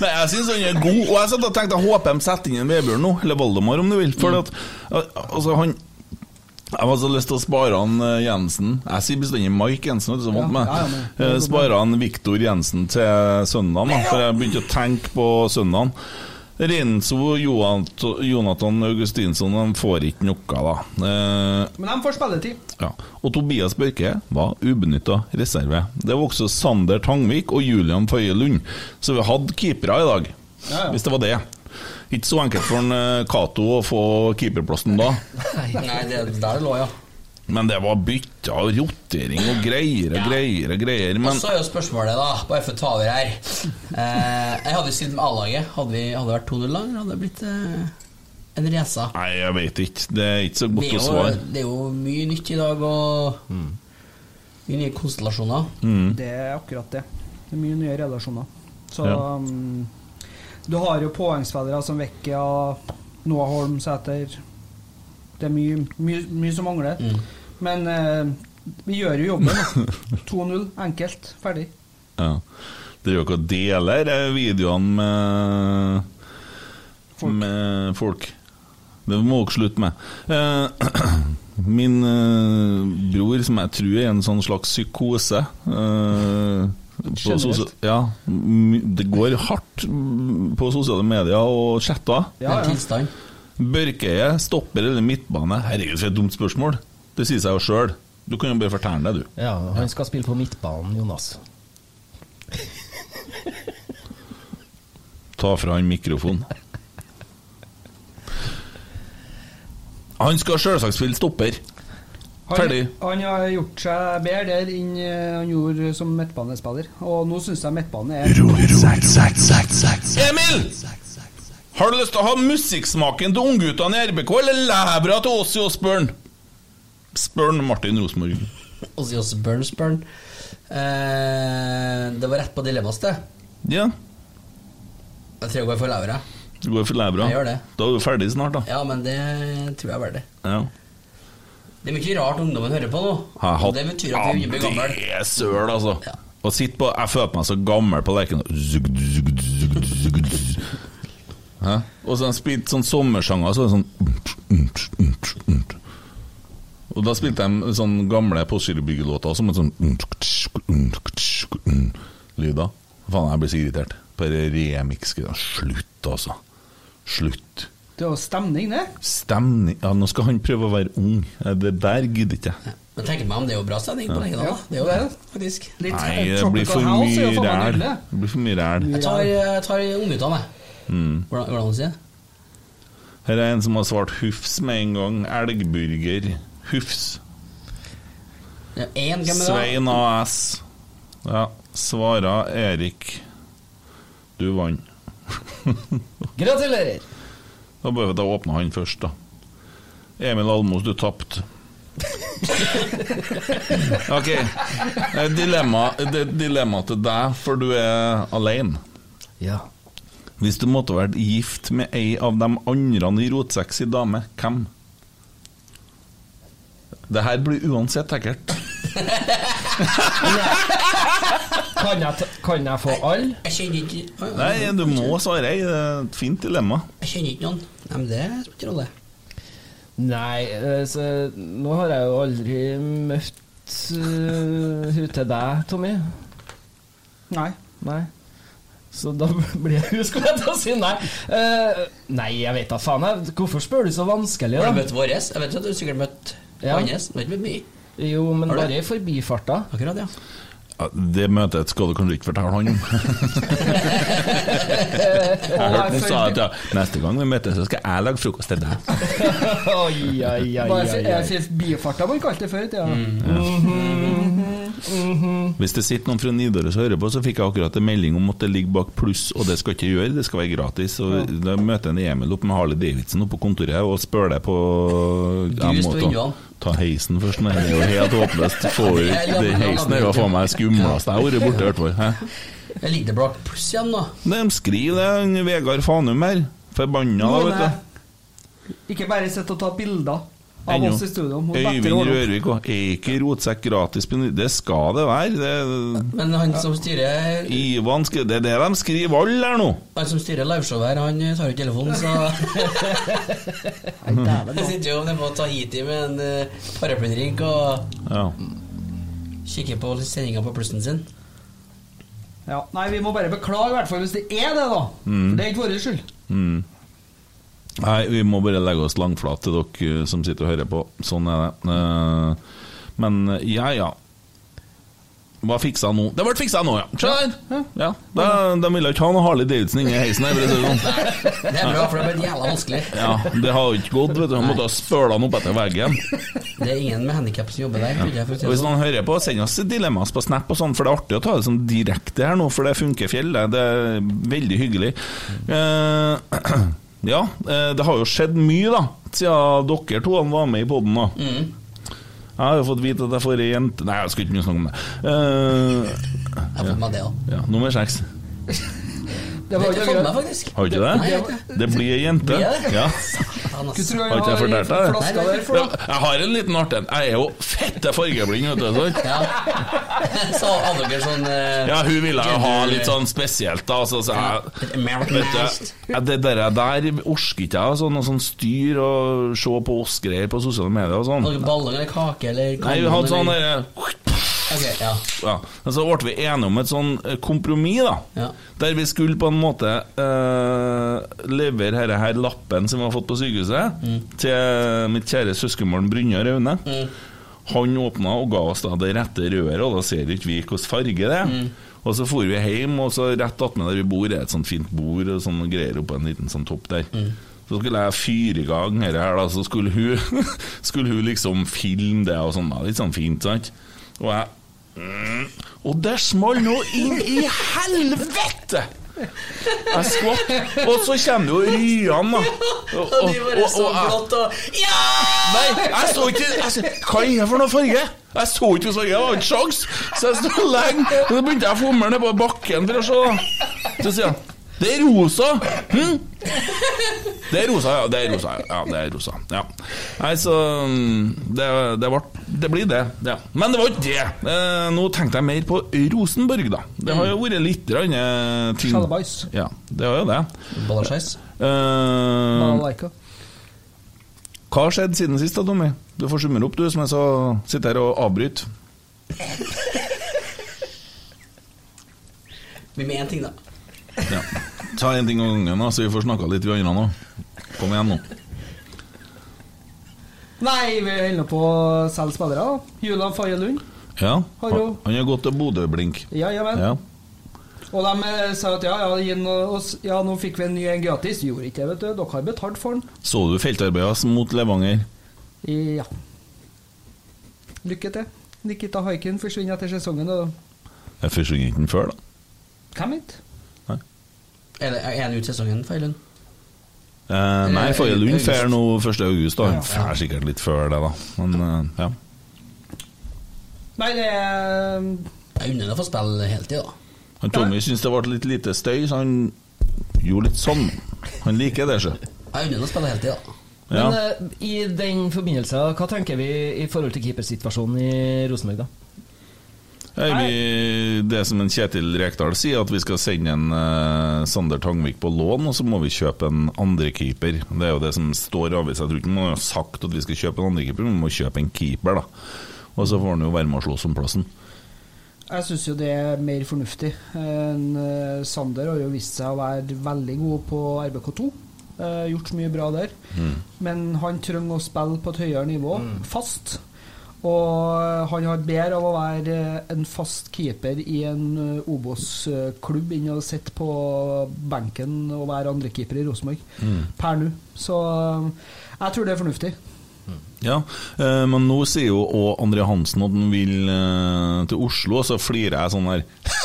C: Nei, jeg syns han er god, og jeg satt og tenkte jeg håper de setter inn en Vebjørn nå, eller Valdemar om du vil, for at al- altså, han jeg har så lyst til å spare han eh, Jensen Jeg sier bestandig Mike Jensen, vet du, som vant meg.
E: ja, men-
C: Eh, Spare han Viktor Jensen til søndagen, da, for jeg begynte å tenke på søndagen. Renzo og Johan- Jonathan Augustinsson de får ikke noe, da. Eh,
E: Men de får spilletid.
C: ja. Og Tobias Børke var ubenytta reserve. Det var også Sander Tangvik og Julian Føye Lund. Så vi hadde keepere i dag, hvis det var det. Ikke så enkelt for en eh, Cato å få keeperplassen da,
D: Nei, det, der lå, ja.
C: men det var bytta og rotering og greier og greier og greier.
D: Og
C: Men
D: så er jo spørsmålet, da, bare for å ta over her eh, Jeg hadde jo stilt med A-laget. Hadde, vi- hadde det vært 2-0 da, eller hadde det blitt eh, en resa?
C: nei, jeg veit ikke. Det er ikke så
D: Det
C: godt
D: er,
C: å
D: jo,
C: svare.
D: det er jo mye nytt i dag, og mye nye konstellasjoner.
C: Mm.
E: Det er akkurat det. Det er mye nye relasjoner. Så
C: Ja.
E: um, du har jo poengspillere som Vekkia, Noah Holm, Sæter Det er mye, mye, mye som mangler. Men eh, vi gjør jo jobben. da. 2-0, enkelt, ferdig.
C: Ja. Det er jo ikke å dele disse videoene med folk. med folk. Det må dere slutte med. Eh, min eh, bror, som jeg tror er en sånn slags psykose eh, på
E: Generelt.
C: sosia- ja, my- det går hardt mm, på sosiale medier og chatter.
D: Det
E: Ja,
D: er en
E: ja.
D: tilstand.
C: Børkeie, stopper eller midtbane? Herregud, for et dumt spørsmål. Det sier seg jo sjøl. Du kan jo bare fortelle det, du.
F: Ja, han skal spille på midtbanen, Jonas.
C: Ta fra han mikrofonen. Han skal selvsagt spille stopper.
E: Han,
C: Ferdig.
E: han har gjort seg bedre der enn eh, han gjorde som midtbanespiller. Og nå syns jeg midtbane er
C: Emil! Har du lyst til å ha musikksmaken til ungguttene i RBK, eller levra til oss i Åsbørn? Spør Martin Rosenborg.
D: Og så også Burns Burn. Eh, det var rett på dilemmas, det.
C: Ja,
D: Jeg tror jeg går for Laura.
C: du går for levra.
D: Jeg gjør det.
C: Da er du ferdig snart, da.
D: Ja, men det tror jeg er verdig.
C: Ja.
D: Det er mye rart ungdommen hører på nå.
C: Har jeg hatt-
D: Og det betyr at vi blir
C: Ja,
D: gammel.
C: Det er søl, altså.
D: Ja.
C: Å sitte på Jeg føler meg så gammel på leken. Zugg, zugg, zugg, zugg, zugg. Hæ? Og så har jeg spilt sånn sommersanger, så er det sånn Og da spilte de sånne gamle Postgirobyggelåter som en sånn lyder. Faen, jeg blir så irritert. Bare remix. Slutt, altså. Slutt.
E: Det er jo stemning, det.
C: Stemning Ja, nå skal han prøve å være ung. Det der gidder ikke jeg.
D: Men tenker meg om det er jo bra stemning på lenge da. da. Det er jo det, faktisk.
E: Litt
C: Nei, det
E: tropical
C: blir for
E: house er
C: mye
E: jo faen meg
C: ræl.
E: nydelig.
C: Det blir for mye ræl.
D: Jeg tar, jeg tar ungguttene, jeg.
C: Mm.
D: Hvordan, hvordan man sier det?
C: Her er en som har svart Hufs med en gang. Elgburger. Hufs.
D: Ja, en, hvem er det?
C: Svein AS. Ja. Svara Erik. Du vant.
F: Gratulerer!
C: Da bare da åpna han først, da. Emil Almos, du tapte. OK. Eh, Dilemma, det er dilemma til deg, for du er alene.
F: Ja.
C: Hvis du måtte vært gift med ei av de andre i rotsexy dame, hvem? Det her blir uansett ekkelt.
F: Kan jeg, ta, kan jeg få alle?
D: Jeg kjenner ikke Oi,
C: Nei, du må svare ei. Det er et fint dilemma.
D: Jeg kjenner ikke noen. Nei, men det spiller ikke rolle.
F: Nei, eh, så, nå har jeg jo aldri møtt eh, hun til deg, Tommy.
E: Nei.
F: Nei. Så da blir jeg hun skulle jeg til å si nei. Eh, nei, jeg vet da faen. jeg. Hvorfor spør du så vanskelig,
D: Har du
F: da?
D: møtt våres? Jeg vet jo at du sikkert møtt
F: Ja.
D: hans. Du har ikke møtt mye.
F: Jo, men
D: Har du?
F: bare i forbifarta.
D: Akkurat, ja.
C: Ja, det møtet skal du kanskje ikke fortelle han om. Jeg hørte han sa at ja, neste gang vi møtes, så skal jeg lage frokost til deg.
F: Oi, oi, oi,
E: Bare
F: oi,
E: for,
F: oi.
E: jeg, bifarta man kalte det før i tida.
C: Hvis det sitter noen fra Nidaros og hører på, så fikk jeg akkurat en melding om at det ligger bak pluss, og det skal ikke gjøre, det skal være gratis. Og da møter en Emil opp med Harley Davidson oppe på kontoret og spør deg på Jeg
D: Grus
C: må
D: på
C: ta,
D: vinduene.
C: ta heisen først, men det er jo helt håpløst. Får jo ikke- det Heisen er jo faen meg skumleste jeg har vært borte, i hvert fall. Hæ?
D: Jeg ligger bak pluss igjen, da.
C: De skriver det, han Vegard Fanum her. Forbanna, da, vet du.
E: Ikke bare sitte og ta bilder av
C: Ennå.
E: oss i studio. må bedre
C: Øyvind
E: ordne opp.
C: Rørvik òg. Er ikke rotsekk gratis? på ny- Det skal det være. Det,
D: Men han som styrer
C: Ivan skri, det er det de skriver alle her nå.
D: Han som styrer liveshowet her, han eh, tar jo ikke telefonen, så Jeg sitter jo nede på Tahiti med en eh, paraplydrink og
C: Ja.
D: kikker på sendinga på plussen sin.
E: Ja. Nei, vi må bare beklage, i hvert fall hvis det er det, da.
C: Mm.
E: Det er ikke vår skyld.
C: Nei, vi må bare legge oss langflat til dere eh, som sitter og hører på. Sånn er det. Eh, Men ja, ja. Hva fiksa nå? Det ble fiksa nå, ja. Se der! Ja. De, de ville ikke ha noe Harley Davidson inni heisen her. for å si det sånn.
D: Det er bra, for det har blitt jævla vanskelig.
C: Ja, det har jo ikke gått, vet du. Han måtte ha spøla den opp etter veggen.
D: Det er ingen med handikap som jobber der. trodde jeg, for å si
C: Og
D: det
C: hvis
D: sånn.
C: noen hører på, send oss dilemmas på Snap og sånn, for det er artig å ta det sånn direkte her nå, for det funker fjellet. Det er veldig hyggelig. Eh, ja, eh, det har jo skjedd mye, da, siden dere to var med i poden nå.
D: Mm.
C: Jeg har jo fått vite at jeg får ei jente Nei, jeg skal ikke mye snakke om det. Eh,
D: Jeg har fått meg det òg.
C: ja, nummer seks.
E: Det var
D: Det
E: ikke
D: fant meg
E: akkurat
D: faktisk.
C: Har du ikke
D: Nei, jeg
C: det?
D: vet ikke.
C: Det blir ei jente.
D: Blir det?
C: Ja.
D: Faen,
E: Hva
D: ass.
E: tror
C: Har ikke jeg
E: jeg
C: fortalt deg det?
E: flaska
D: Nei,
E: der for
C: Ja,
E: noe?
C: Jeg har en liten artig en. Jeg er jo fette fargeblind, vet du. sant?
D: Ja. Så hadde dere sånn eh,
C: Ja, hun ville jo ha litt sånn spesielt, da. Så, så jeg, Vet
D: Americanized.
C: du, ja, det der, der orsker ikke jeg, altså, noe sånn styr og se på oss greier på sosiale medier og sånn.
D: Hadde dere baller eller kake eller
C: Nei, vi hadde sånn der,
D: Ok, ja.
C: ja. Men så ble vi enige om et sånn eh, kompromiss, da.
D: Ja.
C: Der vi skulle på en måte eh, levere herre her lappen som vi har fått på sykehuset, til mitt kjære søskenbarn Brynjar Aune. Han åpna og ga oss da det rette røret, og da ser ikke vi hvilken farge det er. Og så for vi hjem, og så rett attmed der vi bor, er et sånt fint bord og sånne greier oppå en liten sånn topp der. Så skulle jeg fyre i gang dette her, da, så skulle hun, skulle hun liksom filme det og sånn, da. Litt sånn fint, sant. Og jeg og der small nå inn i helvete! Jeg skvatt, og så kommer jo ryene, da. Og, og, og, og jeg, nei, jeg så ikke jeg, så- Hva er det for noe farge? Jeg så ikke så jeg hadde ikke sjans Så jeg sto lenge, og så begynte jeg å fomle ned på bakken for å se. da. Så sier han Det er rosa! Hm? Det er rosa, ja. Det er rosa. Ja, det er rosa. Ja. Nei, så mm, det, det, ble, det blir det. Ja. Men det var ikke det. Eh, nå tenkte jeg mer på Rosenborg, da. Det har jo vært litt grann, eh, ting
E: Sjalabais.
C: Ja, det har jo det.
D: Ballerskeis.
C: Eh,
E: Balalaika.
C: hva har skjedd siden sist, da, Tommy? Du får summere opp, du, som jeg så sitter her og avbryter.
D: Vi med én ting, da.
C: Ja. Ta en ting av gangen, da, så vi får snakka litt, vi andre nå. Kom igjen, nå.
E: Nei, vi holder på å selge spillere, da. Julian Faye Lund.
C: Ja.
E: Hallo.
C: Han han har gått til Bodø, Blink.
E: Ja, ja vel.
C: Ja.
E: Og de eh, sa at ja, ja, gi den oss, ja, nå fikk vi en ny en gratis. Gjorde ikke det, vet du. Dere har betalt for den.
C: Så du feltarbeidet hans mot Levanger?
E: Ja. Lykke til. Nikita Haikin forsvinner etter sesongen. Og
C: Jeg forsvant ikke den før, da.
E: hvem vet?
D: Er det- er han ute i sesongen, Feilund?
C: Eh, nei, forrige Lund
D: August.
C: fer nå 1. august. Da. Hun fer sikkert litt før det, da. Men eh, ja.
E: Nei, det er
D: Det er underlig å få spille heltid, da.
C: Han Tommy syntes det ble litt lite støy, så han gjorde litt sånn. Han liker det, sjø.
D: Det er underlig å spille heltid, da.
C: Ja.
F: Men eh, i den forbindelse, hva tenker vi i forhold til keepersituasjonen i Rosenborg, da?
C: Nei, vi, det som en Kjetil Rekdal sier, at vi skal sende en eh, Sander Tangvik på lån, og så må vi kjøpe en andrekeeper. Det er jo det som står i avisa. Jeg tror ikke man har sagt at vi skal kjøpe en andrekeeper, men vi må kjøpe en keeper, da. Og så får han jo være med og slåss om plassen.
E: Jeg syns jo det er mer fornuftig. En, eh, Sander har jo vist seg å være veldig god på RBK2. Eh, gjort mye bra der. Men han trenger å spille på et høyere nivå, fast. Og eh, han har bedre av å være eh, en fast keeper i en eh, Obos-klubb enn å sitte på benken og være andrekeeper i Rosenborg per nå. Så eh, jeg tror det er fornuftig.
C: Ja, eh, men nå sier jo også André Hansen at han vil eh, til Oslo, og så flirer jeg sånn her.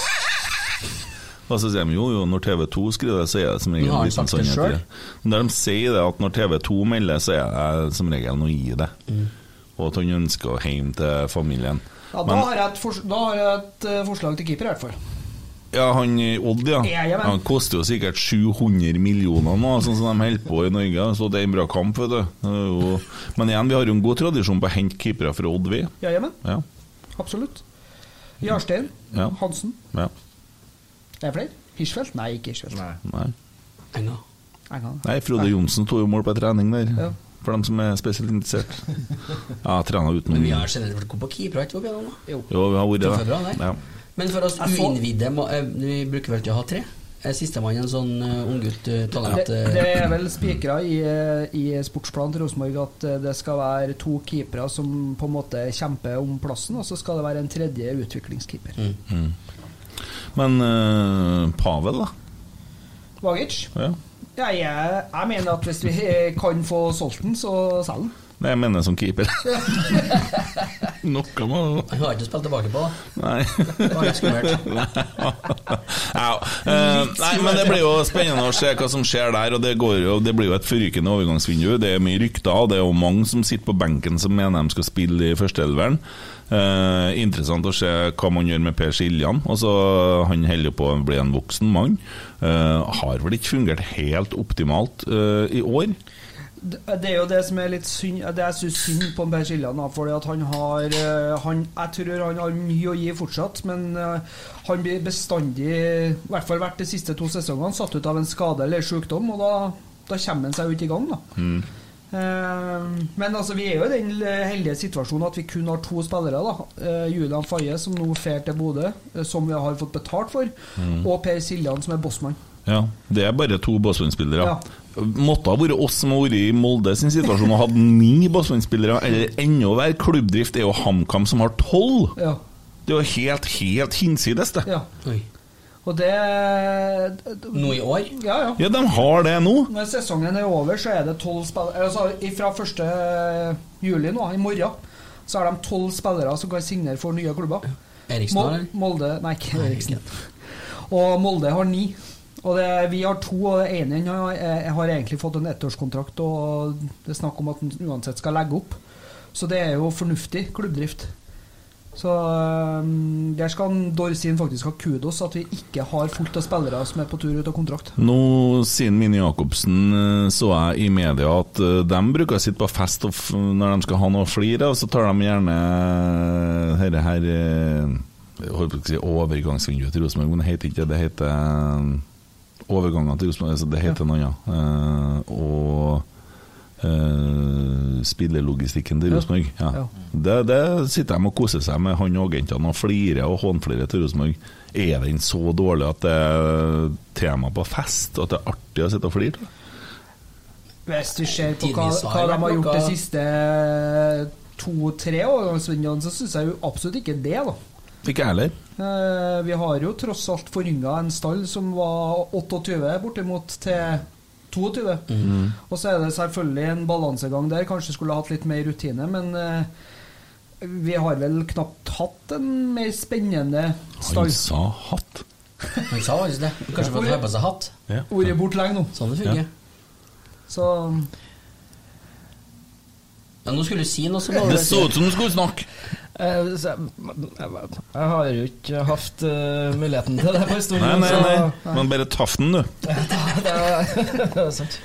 C: Og så sier de jo, jo, når TV 2 skriver det, så er det som regel
D: Men har
C: en
D: han
C: liten
D: sagt det
C: sannhet i det. Men Der de sier det, at når TV 2 melder, så er det som regel noe i det. Og at han ønsker å hjem til familien.
E: Ja, da,
C: Men
E: har jeg et fors- da har jeg et eh, forslag til keeper, i hvert fall.
C: ja, han i Odd, ja.
E: Ja, ja, men-
C: Han koster jo sikkert 700 millioner nå, sånn som de holder på i Norge. Så det er en bra kamp, vet du. Det er jo- Men igjen, vi har jo en god tradisjon på å hente keepere fra Odd, vi.
E: Ja, jamen.
C: Ja.
E: Absolutt. Jarstein.
C: Ja.
E: Hansen.
C: ja.
E: Er det flere? Hirschfeldt? Nei, ikke Hirschfeldt.
C: Nei.
D: Enga.
E: Jeg kan-
C: Nei, Frode Johnsen sto jo mål på trening der.
E: Ja.
C: For dem som er spesielt interessert. Ja, jeg trener
D: Men vi
C: utenom.
D: har generelt vært gode på keeper, har vi ikke vi? opp igjennom, da?
C: Jo, vi har vært
D: Treffer bra,
C: det.
D: nei.
C: Ja.
D: Men for oss
E: Jeg så-
D: uinnvidde må- eh, Vi bruker vel til å ha tre? Er Sistemann en sånn eh, unggutt eh, talent
E: Det,
D: eh,
E: det er vel spikra i, eh, i sportsplanen til Rosenborg at eh, det skal være to keepere som på en måte kjemper om plassen, og så skal det være en tredje utviklingskeeper.
C: Men eh, Pavel, da?
E: Vagic?
C: Ja.
E: Ja, jeg, jeg mener at hvis vi eh, kan få solgt den, så selg den.
C: Nei, jeg mener som keeper. Noe må
D: Han har ikke spilt tilbake på, da.
C: Nei.
D: Det var litt skummelt.
C: Au. Eh, nei, men det blir jo spennende å se hva som skjer der. Og Det, går jo, det blir jo et forrykende overgangsvindu. Det er mye rykter, og det er jo mange som sitter på benken som mener de skal spille i førsteelveren. Uh, interessant å se hva man gjør med Per Siljan. Altså, han holder jo på å bli en voksen mann. Eh, har vel ikke fungert helt optimalt eh, i år.
E: Det det er jo det som er litt synd Det jeg syns synd på Per Siljan, da, fordi at han har eh, han, Jeg tror han har mye å gi fortsatt, men eh, han blir bestandig, i hvert fall vært de siste to sesongene, satt ut av en skade eller sykdom, og da, da kommer han seg jo ikke i gang, da. Eh, men altså, vi er jo i den heldige situasjonen at vi kun har to spillere. da Eh, Julian Faye, som nå fer til Bodø, eh, som vi har fått betalt for, og Per Siljan, som er bossmann.
C: Ja, Det er bare to Båtsfjord-spillere.
E: Ja.
C: Måtte ha vært oss som har vært i Molde sin situasjon og hatt ni Båtsfjord-spillere, eller enda verre. Klubbdrift er jo HamKam som har tolv!
E: Ja,
C: Det er jo helt, helt hinsides, det.
E: ja.
D: Oi.
E: Og det
D: Nå i år?
E: Ja, ja.
C: Ja, de har det nå.
E: Når sesongen er over, så er det tolv spillere Altså fra 1. juli nå, i morgen, så er de tolv spillere som kan signere for nye klubber.
D: Eriksen
E: Mol
D: har det?
E: Molde Nei, ikke
D: Nei,
E: Eriksen.
D: ikke.
E: Og Molde har ni. Og det, vi har to, og den ene han har, eh, har egentlig fått en ettårskontrakt, og det er snakk om at han uansett skal legge opp. Så det er jo fornuftig klubbdrift. Så eh, der skal han Dorsin faktisk ha kudos, at vi ikke har fullt av spillere som er på tur ut av kontrakt.
C: Nå sier Mini Jacobsen, eh, så jeg i media, at eh, de bruker å sitte på fest og f når de skal ha noe å flire av, så tar de gjerne eh, herre her eh, Jeg holdt på å si overgangsvinduet til Rosenborg, men det heter ikke det. Det heter eh, overganger til Rosenborg, altså det heter noe annet. Eh, Og eh, spillerlogistikken til
E: Ja.
C: Rosenborg. Ja.
E: Ja.
C: Det, det sitter de og koser seg med, han og agentene, og flirer og hånflirer til Rosenborg. Er den så dårlig at det er tema på fest, og at det er artig å sitte og flire? da?
E: Hvis vi ser på hva,
D: Tidvis
E: hva
D: har det
E: de har
D: vært
E: gjort
D: noe-
E: de siste eh, to-tre årene, så syns jeg jo absolutt ikke det, da.
C: Ikke jeg heller.
E: Eh, Vi har jo tross alt forynga en stall som var 28, bortimot til 22. Og så er det selvfølgelig en balansegang der. Kanskje skulle hatt litt mer rutine, men eh, vi har vel knapt hatt en mer spennende
C: Han
E: stall.
C: sa hatt.
D: Han sa faktisk det. Kanskje for å ha på seg hatt.
E: Vært borte lenge nå,
D: Sånn det fungerer.
E: så
D: Ja, nå skulle du si noe, så må du
C: Det så ut som du skulle snakke!
F: Eh, så Jeg, jeg, jeg har jo ikke hatt eh, muligheten til det på en stund.
C: Nei, nei,
F: så-
C: nei. Men bare taff den, du.
F: Det er sant.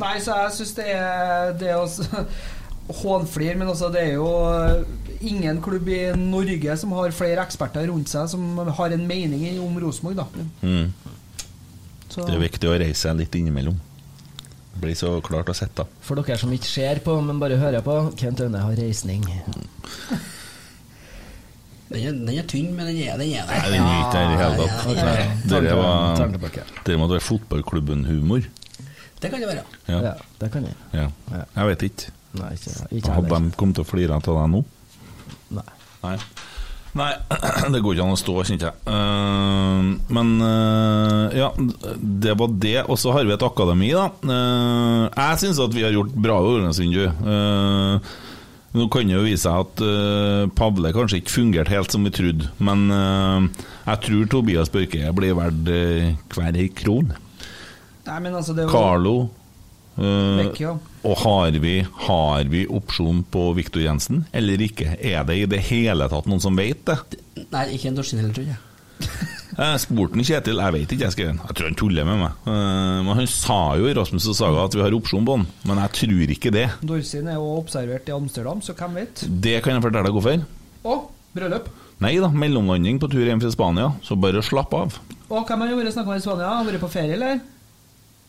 E: Nei, så jeg syns det er Det er også hånflir, men altså det er jo ingen klubb i Norge som har flere eksperter rundt seg som har en mening i- om Rosenborg, da.
C: Mm.
E: Så,
C: Det er viktig å reise seg litt innimellom. Det Blir så klart å sitte.
F: For dere som ikke ser på, men bare hører på, Kent Aune har reisning.
D: Den er, den er tynn, men den er, den er
C: Nei,
D: der.
C: den er ikke der i hele tatt.
F: Ok.
C: Nei, Dere var Dere måtte være fotballklubben-humor.
D: Det kan det være.
C: Ja.
F: Ja, det kan jeg.
C: ja.
F: Ja.
C: Jeg vet ikke.
F: Nei, ikke, ikke
C: Hadde
F: heller.
C: de kommet til å flire av deg nå?
F: Nei.
C: Nei. Nei, det går ikke an å stå, kjente jeg. Eh, men eh, ja, det var det. Og så har vi et akademi, da. Eh, jeg syns at vi har gjort bra i overgangsvindu. Eh, nå kan det jo vise seg at eh, Pavle kanskje ikke fungerte helt som vi trodde, men eh, jeg tror Tobias Børke blir verdt eh, hver ei kron.
E: Nei, men altså det er jo-
C: Carlo eh,
E: Vekk, ja.
C: Og har vi, har vi opsjon på Viktor Jensen, eller ikke? Er det i det hele tatt noen som vet det?
D: Nei, ikke en dorsin heller, tror jeg.
C: Jeg spurte han Kjetil, jeg vet ikke, jeg skrev han. Jeg tror han tuller med meg. Eh, Men han sa jo i Rasmus og Saga at vi har opsjon på han, men jeg tror ikke det.
E: Dorsin er jo observert i Amsterdam, så hvem vet?
C: Det kan jeg fortelle deg hvorfor.
E: Å, bryllup!
C: Nei da, mellomlanding på tur hjem fra Spania, så bare slapp av.
E: Å, hvem har jo vært snakka med i Spania? Har vært på ferie, eller?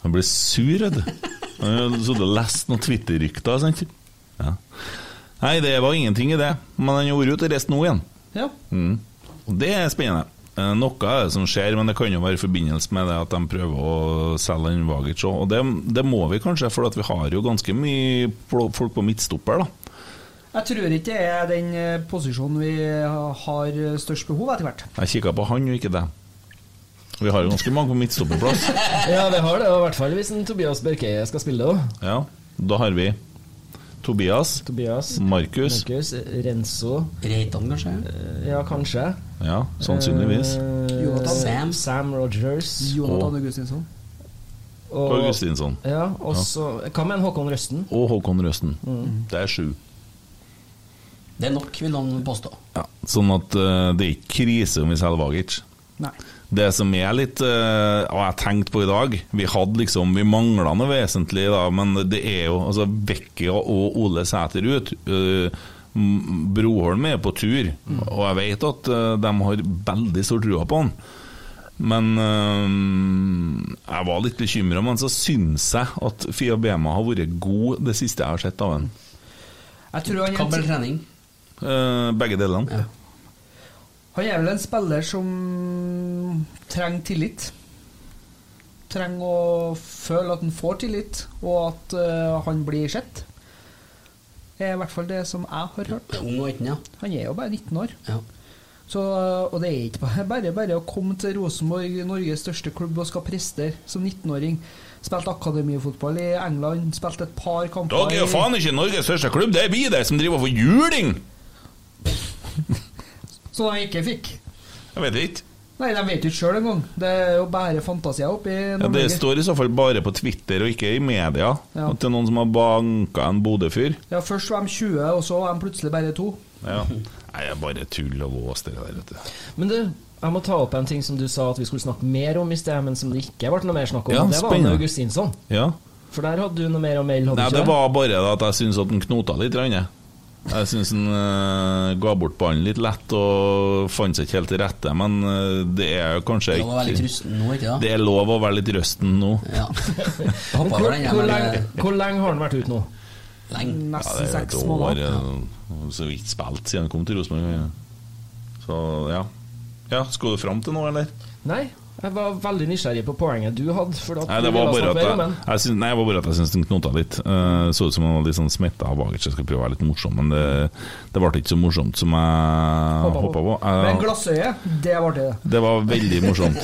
C: Han ble sur, vet du. Han hadde sittet og lest noen Twitter-rykter. sant? Ja. Nei, det var ingenting i det, men han har vært ute og reist nå igjen.
E: Ja.
C: Mm. Og det er spennende. Eh, Noe er det som skjer, men det kan jo være i forbindelse med det at de prøver å selge en Vagic òg. Og det, det må vi kanskje, for at vi har jo ganske mye pl- folk på midtstopper, da.
E: Jeg tror ikke det er den eh, posisjonen vi har størst behov etter hvert.
C: Jeg kikka på han og ikke deg. Vi har jo ganske mange på midtstopperplass.
F: Ja, vi har det, og i hvert fall hvis en Tobias Bjerkeie skal spille det òg.
C: Ja, da har vi Tobias,
F: Tobias,
C: Markus
F: Markus, Renzo eh,
D: Reitan, kanskje?
F: Ja, kanskje.
C: Ja, sannsynligvis.
F: Eh,
E: Jonathan.
F: Sam. Sam Rogers.
E: Jonathan Augustinsson.
C: Og Augustinsson.
F: Ja, og så Hva med en Håkon Røsten?
C: Og Håkon Røsten. Det er sju.
D: Det er nok, vil han påstå.
C: Ja, sånn at eh, det er ikke krise om vi selger Vagic.
E: Nei.
C: Det som er litt eh, Og jeg tenkte på i dag Vi hadde liksom Vi mangla noe vesentlig, da, men det er jo altså Vekkia og Ole Sæter ut. eh, M- Broholm er på tur, og jeg vet at eh, de har veldig stor trua på han. Men eh, jeg var litt bekymra, men så syns jeg at Fia Bema har vært god det siste jeg har sett av han.
E: Jeg tror han er,
D: Kabel
E: en,
D: trening.
C: Eh, begge delene.
D: Ja.
E: han er vel en spiller som trenger tillit. Trenger å føle at han får tillit, og at eh, han blir sett. Det er i hvert fall det som jeg har hørt.
D: Det er Ung og ikke, ja.
E: Han er jo bare 19 år.
D: ja.
E: Så, eh, og det er ikke bare- bare bare å komme til Rosenborg, Norges største klubb, og skal prestere som 19-åring. Spilte akademifotball i England, spilte et par kamper
C: Dere er jo
E: i-
C: faen ikke Norges største klubb, det er vi der som driver og får juling!
E: Som de ikke fikk.
C: Jeg vet ikke.
E: Nei, de vet jo ikke sjøl engang. Det er jo bare fantasier oppi
C: Ja, det
E: Norge.
C: står i så fall bare på Twitter og ikke i media
E: Ja.
C: at det er noen som har banka en Bodø-fyr.
E: Ja, først var de 20, og så var de plutselig bare to.
C: Ja. Nei, det er bare tull og vås, det der, vet du.
F: Men du, jeg må ta opp en ting som du sa at vi skulle snakke mer om i sted, men som det ikke ble noe mer snakk om.
C: Ja,
F: og det var
C: spennende.
F: Anne Augustinsson.
C: Ja.
F: For der hadde du noe mer å melde, hadde
C: Nei,
F: du
C: det
F: ikke
C: var bare det at jeg syns at han knota litt. grann, Jeg, jeg syns han eh, ga bort ballen litt lett og fant seg ikke helt til rette, men eh, det er jo kanskje
D: Han var veldig
C: ikke
D: trusten nå, ikke da?
C: Det er lov å være litt røsten nå.
D: Ja.
F: Men
D: Hoppa
F: Hvor,
D: over den eh,
F: hvor,
D: jævla
F: lenge, hvor lenge har han vært ute nå?
D: lenge.
C: Ja,
E: Nesten
C: det er jo et
E: seks
C: år
E: måneder.
C: eh, så vidt spilt siden han kom til Rosenborg. ja. Så ja. ja. Skal du fram til noe, eller?
F: Nei, jeg var veldig nysgjerrig på poenget du hadde. For at
C: Nei,
F: du
C: det var bare
F: ville snakke
C: at
F: mer
C: jeg,
F: om den.
C: jeg syns- nei, det var bare at jeg syntes den knota litt. Eh, så ut som han var litt sånn smitta av Vagic. Jeg skal prøve å være litt morsom, men det, det ble ikke så morsomt som jeg
E: Håpet
C: håpa på.
E: Men
C: Jeg,
E: glassøye, det var det.
C: det var veldig morsomt.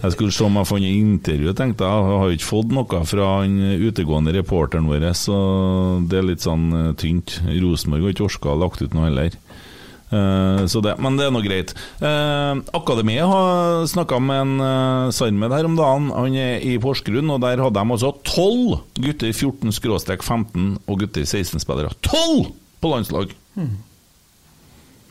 C: Jeg skulle se om jeg fant intervjuet, tenkte jeg. Jeg har jo ikke fått noe fra han utegående reporteren vår, så det er litt sånn eh, tynt. Rosenborg har ikke orka å ha lagt ut noe heller. Eh, så det, men det er nå greit. Eh, Akademiet har snakka med en eh, Sarmed her om dagen. Han er i Porsgrunn, og der hadde de altså tolv gutter 14-15 og gutter 16-spillere. Tolv på landslag!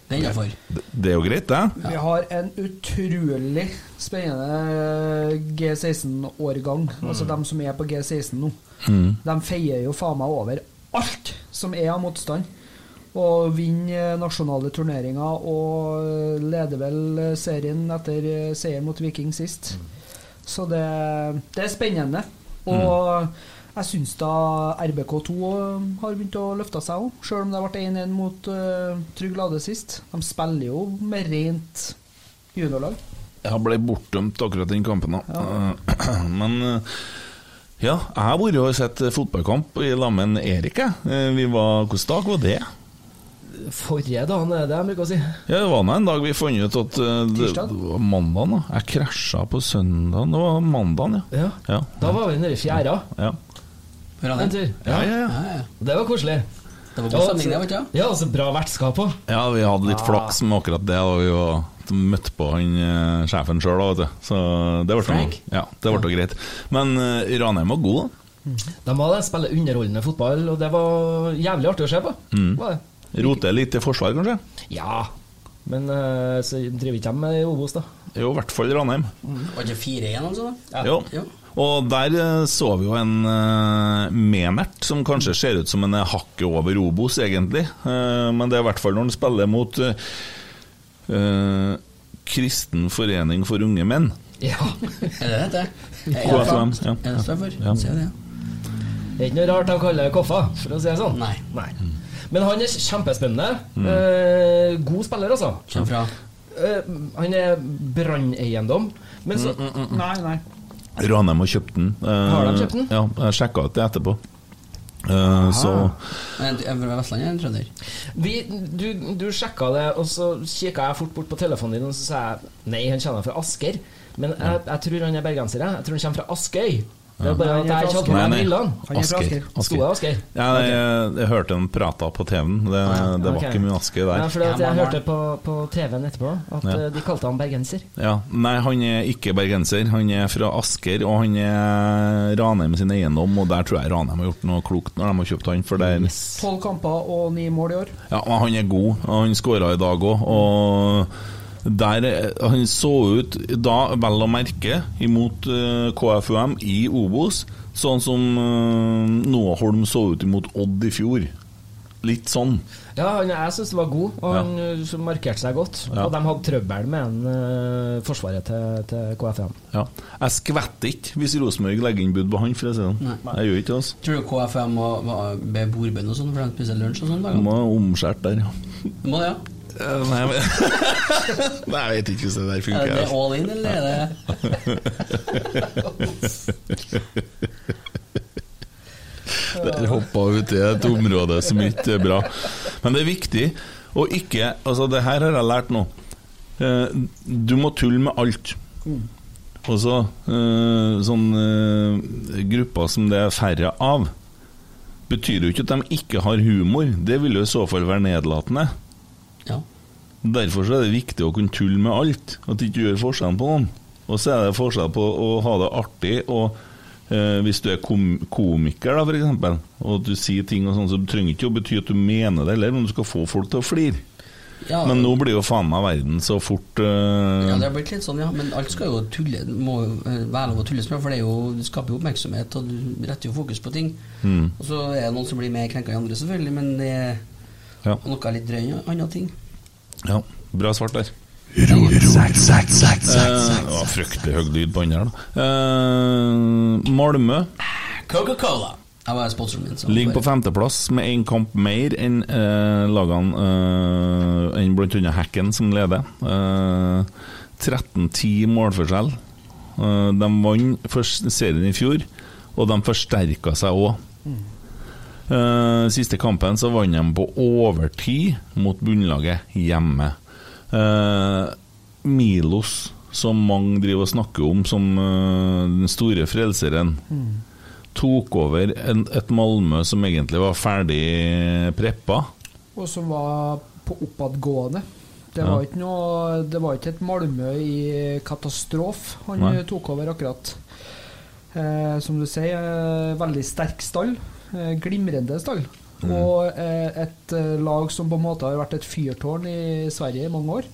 D: Det er innafor.
C: Det, det er jo greit, det.
E: Vi har en utrolig spennende G16-årgang. Altså dem som er på G16 nå. De feier jo faen meg over alt som er av motstand. Og vinner eh, nasjonale turneringer og eh, leder vel serien etter eh, seier mot Viking sist. Så det, det er spennende. Og jeg syns da RBK2 har begynt å løfte seg òg, sjøl om det ble 1-1 mot eh, Trygg Lade sist. De spiller jo med rent juniorlag.
C: Jeg ble bortdømt akkurat den kampen, da. Eh, Men eh, ja, jeg har vært og sett eh, fotballkamp i lag med en Erik. jeg. Eh, Vi var, Hvilken dag var det?
F: Forrige dagen, er det det jeg bruker å si.
C: Ja, Det var nå en dag vi fant ut at eh, det,
E: Tirsdag?
C: det var mandagen. da. Jeg krasja på søndagen. Det var mandagen, ja.
F: Ja.
C: Ja.
F: Da var vi nede i fjæra
C: Ja,
D: Hører
F: en
D: han det?
F: tur.
C: ja, ja. ja.
D: Ja, ja.
F: Det var koselig.
D: Det var god stemning, det, vet du.
F: Ja, altså bra vertskap òg.
C: ja vi hadde litt flaks med akkurat det. Og vi var- møtte på han eh, sjefen sjøl, da, vet du. Så det ble noe.
D: Frank?
C: Ja, det ble noe greit. Men eh, Ranheim var god, da.
F: De hadde spille underholdende fotball, og det var jævlig artig å se på. Var det.
C: Roter litt til forsvar, kanskje?
F: Ja, men eh, så driver ikke de med Obos, da.
C: Jo, i hvert fall Ranheim.
D: Var ikke 4-1, altså? da?
C: Jo.
D: Ja.
C: Og der eh, så vi jo en eh, Memert som kanskje ser ut som en eh, hakket over Obos, egentlig. Eh, men det er i hvert fall når han spiller mot eh, eh, Kristen forening for unge menn.
F: Ja.
D: Er det det heter?
C: KFUM, ja.
D: Er det står for?
C: Ja.
D: Ser det, ja.
F: Det er ikke noe rart de kaller det Koffa, for å si det sånn.
D: Nei.
F: Men han er kjempespennende. Eh, god spiller, altså.
D: Kjem fra
F: eh, Han er branneiendom. Men så
E: Nei, nei.
C: Ranheim har kjøpt den. Eh,
F: Har de kjøpt den?
C: Ja, jeg sjekka ut det etterpå. Eh, så
D: Men jeg er fra Vestlandet, jeg er en trønder.
F: vi, du, du sjekka det, og så kikka jeg fort bort på telefonen din, og så sa jeg nei, han kommer fra Asker. Men jeg, jeg tror han er bergenser, jeg. Jeg tror han kommer fra Askøy. Det er bare
E: Ja.
F: at jeg ikke hadde på meg brillene.
E: Han er fra Asker.
F: Skoa er Asker.
C: Ja, nei, jeg, jeg hørte han prata på TV-en. Det, det var
F: Ok.
C: ikke mye aske der.
F: Nei, fordi at
D: Ja,
F: jeg
D: man
F: hørte på, på TV-en etterpå at
C: Ja.
F: eh, de kalte han bergenser.
C: Ja, Nei, han er ikke bergenser. Han er fra Asker, og han er Ranheim sin eiendom, og der tror jeg Ranheim har gjort noe klokt når de har kjøpt han. For der,
E: Tolv kamper og ni mål i år.
C: ja, men han er god, og han skåra i dag òg, og der er- Han så ut da, vel å merke, imot eh, KFUM i Obos, sånn som eh, Noah Holm så ut imot Odd i fjor. Litt sånn.
F: Ja, han, jeg syns det var god, og han eh, så markerte seg godt.
C: Ja.
F: Og de hadde trøbbel med en, eh, forsvaret til, til KFM.
C: Ja. Jeg skvetter ikke hvis Rosenborg legger inn bud på han, for å si det sånn.
D: Nei.
C: Jeg gjør ikke det. altså.
D: Tror du KFM må må be bordbønn og sånn, for de spiser lunsj og sånn?
C: Du
D: da?
C: må omskjært der, ja.
D: Du må det, ja?
C: Eh, Nei, men Nei, jeg vet ikke hvordan det der
D: Er
C: funker.
D: det
C: altså.
D: all in, eller er det
C: Der hoppa jeg uti et område som ikke er bra. Men det er viktig å ikke Altså, det her har jeg lært nå. Eh, Du må tulle med alt. Og så eh, sånne eh, grupper som det er færre av, betyr jo ikke at de ikke har humor. Det vil jo i så fall være nedlatende.
D: Ja.
C: Derfor så er det viktig å kunne tulle med alt, at du ikke gjør forskjell på noen. Og så er det forskjell på å ha det artig og eh, hvis du er kom komiker, da, for eksempel, og at du sier ting og sånn, så trenger ikke å bety at du mener det heller, men du skal få folk til å flire.
D: ja
C: Men nå blir jo faen meg verden så fort eh,
D: Ja, det har blitt litt sånn, ja. Men alt skal jo tulle, det må jo eh, være lov å tulle med, for det er jo, det skaper jo oppmerksomhet, og du retter jo fokus på ting.
C: Mm.
D: Og så er det noen som blir mer krenka enn andre, selvfølgelig, men det er
C: Ja.
D: noe litt drøy enn andre ting.
C: ja. Bra svart der. Eh, det var fryktelig høy lyd på den her, da. Eh, Malmö
D: Coca-Cola! Jeg var sponsoren min. Så
C: Ligger på femteplass med én kamp mer enn eh, lagene eh, enn bl.a. Hacken, som leder. Eh, 13-10 målforskjell. Eh, de vant for serien i fjor, og de forsterka seg òg. Eh, siste kampen så vant de på overtid mot bunnlaget hjemme. Eh, Milos, som mange driver og snakker om som eh, den store frelseren, tok over en, et Malmö som egentlig var ferdig preppa.
E: og som var på oppadgående. Det var, ikke noe, det var ikke et Malmö i katastrof han
C: Nei.
E: eh, tok over akkurat. Eh, som du sier, eh, veldig sterk stall. Eh, glimrende stall. Og eh, et eh, lag som på en måte har vært et fyrtårn i Sverige i mange år.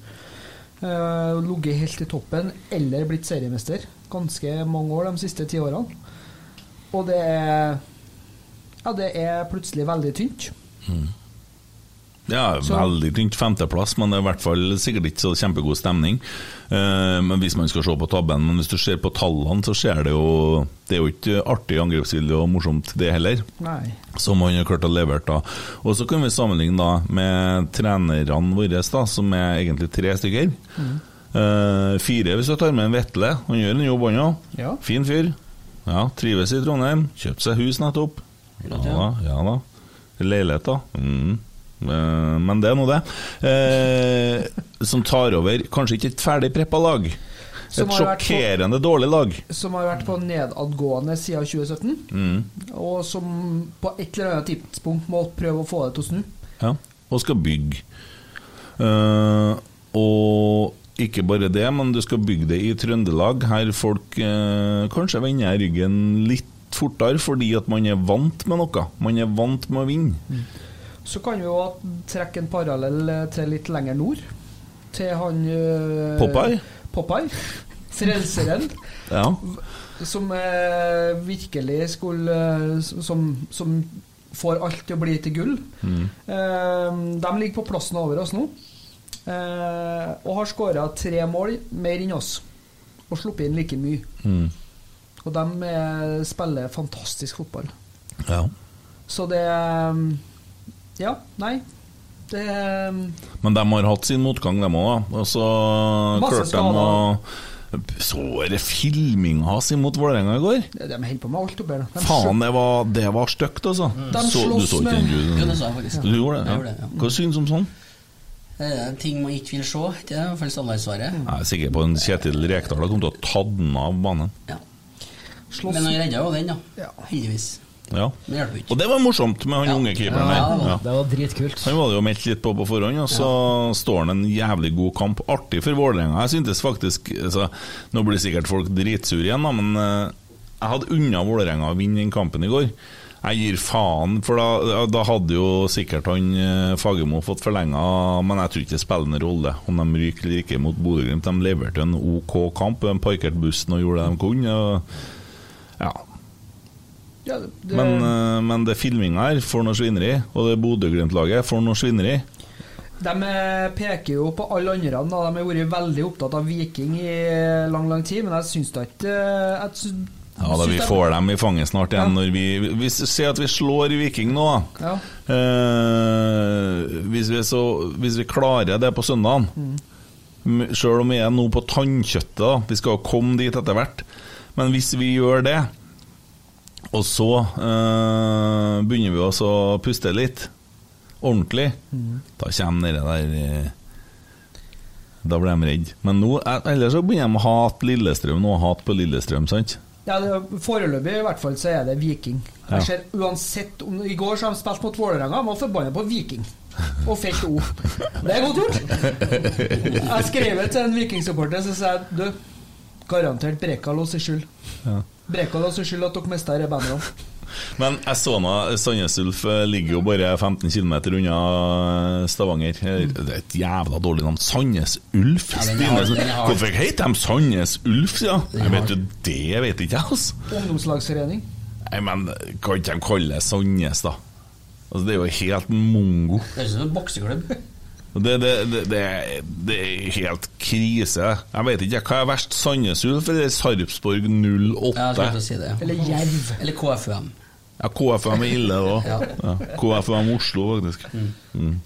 E: Eh, Ligget helt i toppen eller blitt seriemester ganske mange år de siste ti årene. Og det er, ja, det er plutselig veldig tynt.
C: Ja, veldig tynt femteplass, men det er i hvert fall sikkert ikke så kjempegod stemning. Eh, men hvis man skal se på tabben, men hvis du ser på tallene, så ser det jo Det er jo ikke artig angrepsvilje og morsomt, det heller.
E: Nei.
C: Som han har klart å levere da. Og så kan vi sammenligne da med trenerne våre, da, som er egentlig tre stykker.
E: Mm.
C: Eh, fire hvis du tar med en Vetle. Han gjør en jobb, han òg.
E: Ja.
C: Fin fyr. Ja, Trives i Trondheim. Kjøpte seg hus nettopp. Ja da. ja da Leilighet, da. Mm. Eh, men det er nå det. Eh, som tar over kanskje ikke et ferdig preppa lag.
E: Som
C: Et
E: har vært på-
C: sjokkerende dårlig lag.
E: som har vært på nedadgående siden 2017, og som på et eller annet tidspunkt må prøve å få det til å snu.
C: Ja, og skal bygge. Eh, og ikke bare det, men du skal bygge det i Trøndelag, her folk eh, kanskje vender ryggen litt fortere fordi at man er vant med noe. Man er vant med å vinne.
E: Så kan vi jo trekke en parallell eh, til litt lenger nord, til han øh,
C: Popeye?
E: Popeye. Frelseren,
C: Ja.
E: som eh, virkelig skulle eh, Som, som får alt til å bli til gull.
C: Mm.
E: Eh, de ligger på plassen over oss nå, eh, og har skåra tre mål mer enn oss. Og sluppet inn like mye.
C: Mm.
E: Og de eh, spiller fantastisk fotball.
C: ja.
E: Så det eh, Ja, nei. Det er
C: Men de har hatt sin motgang, dem òg. Og så
E: Masse
C: klarte de å Så det filminga si mot Vålerenga i går?
E: De holder på med alt oppi her. nå. De
C: Faen, det var, det var stygt, altså.
E: De
C: Så, du
E: slåss
C: så ikke
E: med-
C: den?
D: Jo, det
C: Du,
D: sa jeg faktisk.
C: du gjorde
D: Jeg gjorde
C: det?
D: det,
C: Ja.
D: ja.
C: Hva syns du om sånn?
D: Det er ting man ikke vil se. ikke Det er i hvert fall standardsvaret.
C: Jeg er sikker på en Kjetil Rekdal har kommet til å ta den av banen.
D: Ja.
E: slåss-
D: Men han redda jo den, da.
E: Ja.
D: Heldigvis.
C: Ja.
D: Men det hjelper ikke.
C: Og det var morsomt med han
D: Ja.
C: unge keeperen
D: Ja, det
C: der.
D: var-
C: Ja.
F: Det var dritkult.
C: Han var det jo meldt litt på på forhånd, og så står han en jævlig god kamp. Artig for Vålerenga. Jeg syntes faktisk altså, Nå blir sikkert folk dritsure igjen, da, men eh, jeg hadde unna Vålerenga å vinne den kampen i går. Jeg gir faen, for da, da hadde jo sikkert han eh, Fagermo fått forlenga, men jeg tror ikke det spiller noen rolle om de ryker eller ikke mot Bodø-Glimt. De leverte en OK kamp, de parkerte bussen og gjorde det de kunne. Og, ja,
E: Ja, det, det-
C: men, eh, men det filminga her får noe svineri, og det Bodø-Glimt-laget får noe svineri.
E: De eh, peker jo på alle andre. Da. De har vært veldig opptatt av Viking i eh, lang lang tid, men jeg syns da ikke eh, jeg syns-
C: Ja, da
E: syns
C: vi
E: de-
C: får dem i fanget snart igjen.
E: Ja.
C: Når vi, hvis vi ser at vi slår Viking nå, da.
E: Ja.
C: Eh, hvis, vi så, hvis vi klarer det på søndagen
E: Mm.
C: m- Selv om vi er nå på tannkjøttet, da. Vi skal jo komme dit etter hvert. Men hvis vi gjør det, og så eh, begynner vi også å puste litt ordentlig,
E: Mm.
C: da kommer det der eh, Da blir de redde. Men nå, eh, ellers så begynner de å hate Lillestrøm nå, hate på Lillestrøm, sant?
E: Ja, det, Foreløpig i hvert fall så er det Viking.
C: Ja.
E: Jeg ser uansett om, I går så har de spilt mot Vålerenga, var forbanna på Viking. Og felt O. Det er godt gjort! Jeg skrev det til en Viking-supporter, så sa jeg du, garantert Brekal og seg skyld. Brekal og seg skyld at dere mista disse bandene.
C: Men jeg så nå Sandnes Ulf eh, ligger jo bare 15 km unna eh, Stavanger. Eh, Det er et jævla dårlig navn. Sandnes Ulf?
D: Mm. Ja, den
C: Stine,
D: er hard, den er hard.
C: hvorfor heter de Sandnes Ulf, ja? Jeg vet jo, det vet ikke jeg, altså.
E: Ungdomslagsforening.
C: Nei, men eh, kan ikke de kalle det Sandnes, da? Altså, det er jo helt mongo.
D: Det er ikke som en bokseklubb.
C: Og Det, det, det, det, er- det er helt krise. Jeg vet ikke hva er verst, Sandnes Ulf eller Sarpsborg
D: Ja, jeg skulle
C: 08?
D: til å si det. ja.
E: Eller Jerv.
D: Eller KFUM.
C: Ja, KFM er ille da
D: Ja.
C: ja. KFM Oslo faktisk mm.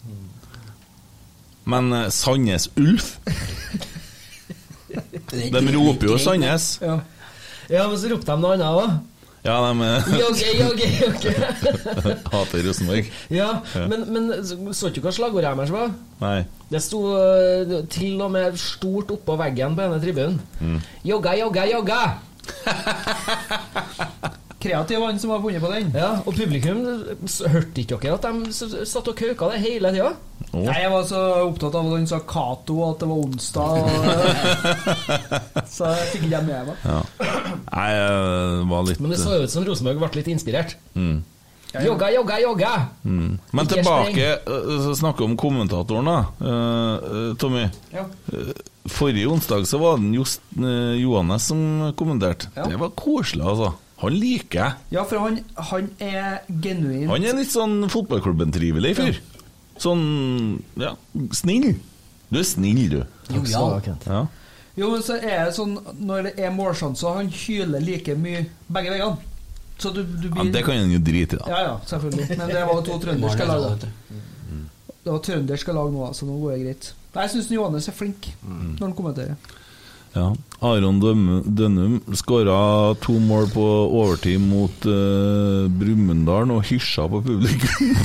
C: Men eh, Sandnes Ulf De roper jo Sandnes
E: Ja.
F: Ja, men så ropte de noe annet òg.
C: Ja, de eh,
F: Jogge, jogge, jogge.
C: hater Rosenborg
F: Ja, men, men så så ikke du hva slagordet deres var?
C: Nei
F: Det sto eh, til og med stort oppå veggen på denne tribunen. Jogga, jogga, jogga!
E: Kreativ han som har funnet på den.
F: Ja, og publikum s- hørte ikke dere at de s- s- satt og kauka det hele tida?
C: Å.
E: Nei, jeg var så opptatt av at han sa Cato, og at det var onsdag. Og, så jeg fikk ikke jeg med meg.
C: Nei, eh, var litt
F: Men det så jo ut som Rosenborg ble litt inspirert. Jogga, jogga, jogga!
C: eh, mm. Men
F: Ikke
C: tilbake, eh, så snakker vi om kommentatoren da Eh, eh, Tommy Eh,
E: Ja.
C: Forrige onsdag så var det Jost, eh, Johannes som kommenterte
E: Ja.
C: Det var koselig altså Han liker jeg
E: Ja, for han, han er genuin.
C: Han er litt sånn fotballklubben-trivelig fyr. Sånn ja, snill. Du er snill, du.
D: Jo, ja.
C: Ja.
E: Jo, men så er det sånn når det er målsjanser, han hyler like mye begge veiene. Så du, du
C: ja
E: blir
C: det kan han jo drite i, da.
E: Ja, ja, selvfølgelig. Men det var to trønderske lag. da. Det var trønderske lag nå, så nå går det greit. Nei, Jeg syns Johannes er flink
C: Mm.
E: når han kommenterer.
C: Ja. Aron Dømme- Dønnum skåra to mål på overtid mot uh, Brumunddal og hysja på publikum.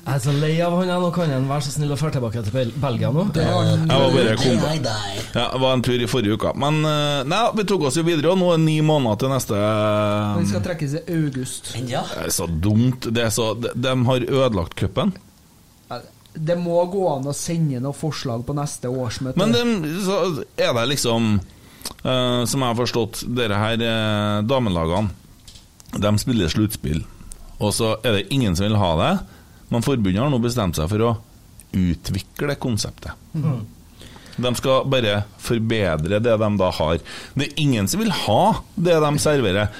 F: Jeg er så lei av han her nå. Kan han være så snill å føre tilbake til Bel- Belgia nå?
C: Jeg var bare kom
D: Nei, nei.
C: ja, det var en tur i forrige uke. Men eh, nei, vi tok oss jo videre, og nå er det ni måneder til neste
E: Han skal trekkes i august.
D: Men ja.
C: Det er så dumt. Det er så, de, de har ødelagt cupen.
E: Ja, Det må gå an å sende noen forslag på neste årsmøte.
C: Men dem- så er det liksom eh, Som jeg har forstått, dere her eh, damelagene De spiller sluttspill. Og så er det ingen som vil ha det. Men forbundet har nå bestemt seg for å utvikle konseptet. De skal bare forbedre det de da har. Det er ingen som vil ha det de serverer,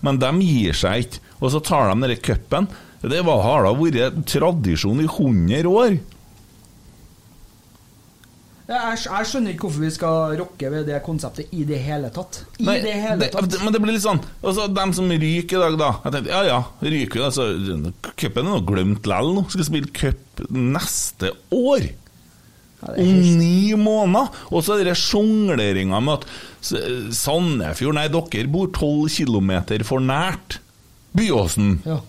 C: men de gir seg ikke. Og så tar de denne cupen. Det var- har da vært tradisjon i 100 år.
E: Jeg, jeg skjønner ikke hvorfor vi skal rokke ved det konseptet i det hele tatt. I
C: Nei,
E: det hele tatt.
C: det- Men det blir litt sånn Altså, dem som ryker i dag, da. Jeg tenkte, ja ja, ryker jo, altså. Cupen er nå glemt lell nå. Skal spille cup neste år. Om ni måneder! Og så er det sjongleringa med at S- Sandefjord Nei, dere bor tolv kilometer for nært Byåsen.
E: Ja.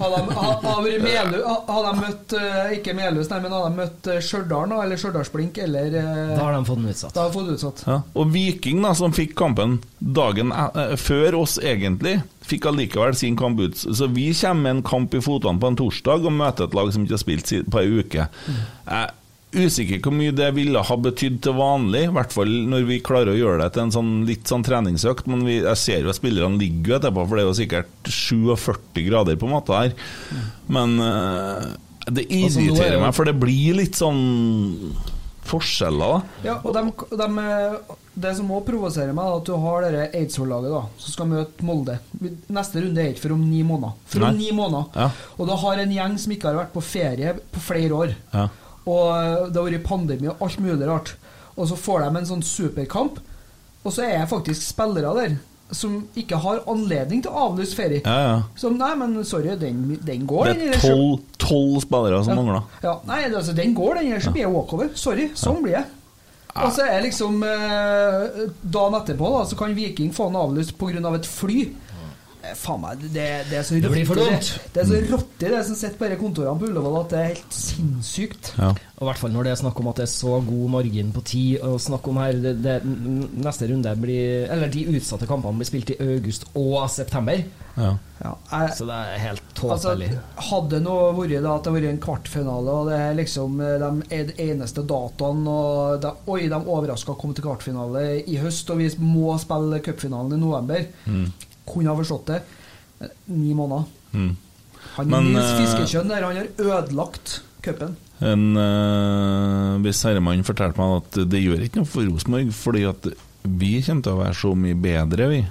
E: Har de, har, har vært Melø- har- har de møtt eh, Ikke Melhus, nei, men har de møtt eh, Stjørdal nå, eller Stjørdalsblink, eller eh,
F: Da har de fått den utsatt.
E: Da har vi fått utsatt.
C: Ja. Og Viking, da, som fikk kampen dagen eh, før oss, egentlig, fikk allikevel sin kamp ut. Så vi kommer med en kamp i fotene på en torsdag og møter et lag som ikke har spilt si- på ei uke. Jeg er usikker hvor mye det ville ha betydd til vanlig, i hvert fall når vi klarer å gjøre det til en sånn, litt sånn treningsøkt. Men vi, jeg ser jo at spillerne ligger jo etterpå, for det er jo sikkert 47 grader på en måte her. Men eh, det
F: Altså, nå er
C: irriterer
F: jo-
C: meg, for det blir litt sånn forskjeller, da.
E: Ja, og dem- dem, eh, Det som òg provoserer meg, er at du har dette Eidsvoll-laget da, som skal møte Molde. Neste runde er ikke for om ni måneder. For om
C: Nei.
E: ni måneder.
C: Ja.
E: Og du har en gjeng som ikke har vært på ferie på flere år.
C: Ja.
E: Og eh, det har vært pandemi og alt mulig rart. Og så får de en sånn superkamp, og så er det faktisk spillere der som ikke har anledning til å avlyse ferie.
C: Ja, ja.
E: Som nei, men sorry, den, den går,
C: Det
E: den.
C: er
E: eller-
C: tolv, tolv spillere som mangler.
E: ja, nei, altså, den går, den. Ellers blir jeg walkover. Sorry, sånn blir jeg. Og så er liksom eh, Dagen etterpå da, så kan Viking få den avlyst pga. Av et fly. Eh, Faen meg, det, det er så rått.
F: blir for dumt.
E: Det er
C: Mm.
E: så rått i det som sitter på disse kontorene på Ullevål, at det er helt sinnssykt.
C: Ja.
F: Og I hvert fall når det er snakk om at det er så god margin på tid å snakke om her. Det, det, n- neste runde blir Eller de utsatte kampene blir spilt i august og september.
C: Ja.
E: Ja, jeg,
F: Så det er helt
E: Altså,
F: tåpelig.
E: hadde det nå vært da at det vært en kvartfinale, og det er liksom eh, de er de eneste dataene og de, Oi, de overraska kom til kvartfinale i høst, og vi må spille cupfinalen i november.
C: Mm.
E: Kunne ha forstått det. Eh, Ni måneder.
C: Mm.
E: Han
C: Men,
E: Nils
C: eh,
E: Fiskekjønn der, han har ødelagt cupen.
C: En eh, viss herremann fortalte meg at det gjør ikke noe for Rosenborg, fordi at vi kommer til å være så mye bedre, vi,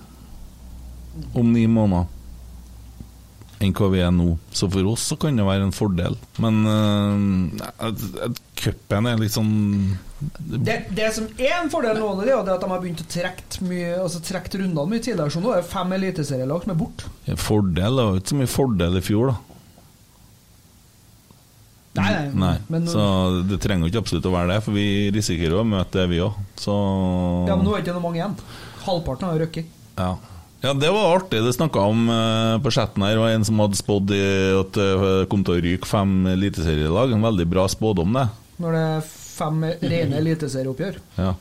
C: om ni måneder, enn hva vi er nå. Så for oss så kan det være en fordel. Men eh, at- at cupen er litt sånn
E: Det, det som er en fordel nå, det er jo det at de har begynt å trekke mye Altså trekt rundene mye tidligere, så nå er det fem eliteserielag som er borte.
C: Fordel det var jo ikke så mye fordel i fjor, da.
E: Nei,
C: Nei.
E: Eh, Men,
C: så det trenger jo ikke absolutt å være det, for vi risikerer jo å møte det, vi òg. Så
E: ja, men nå er det ikke noe mange igjen. Halvparten har røkket.
C: Ja. ja, det var artig. Det snakka om eh, på chatten her, og en som hadde spådd i at det kom til å ryke fem eliteserielag. En veldig bra spådom, det.
E: Når det er fem rene eliteserieoppgjør.
C: Ja.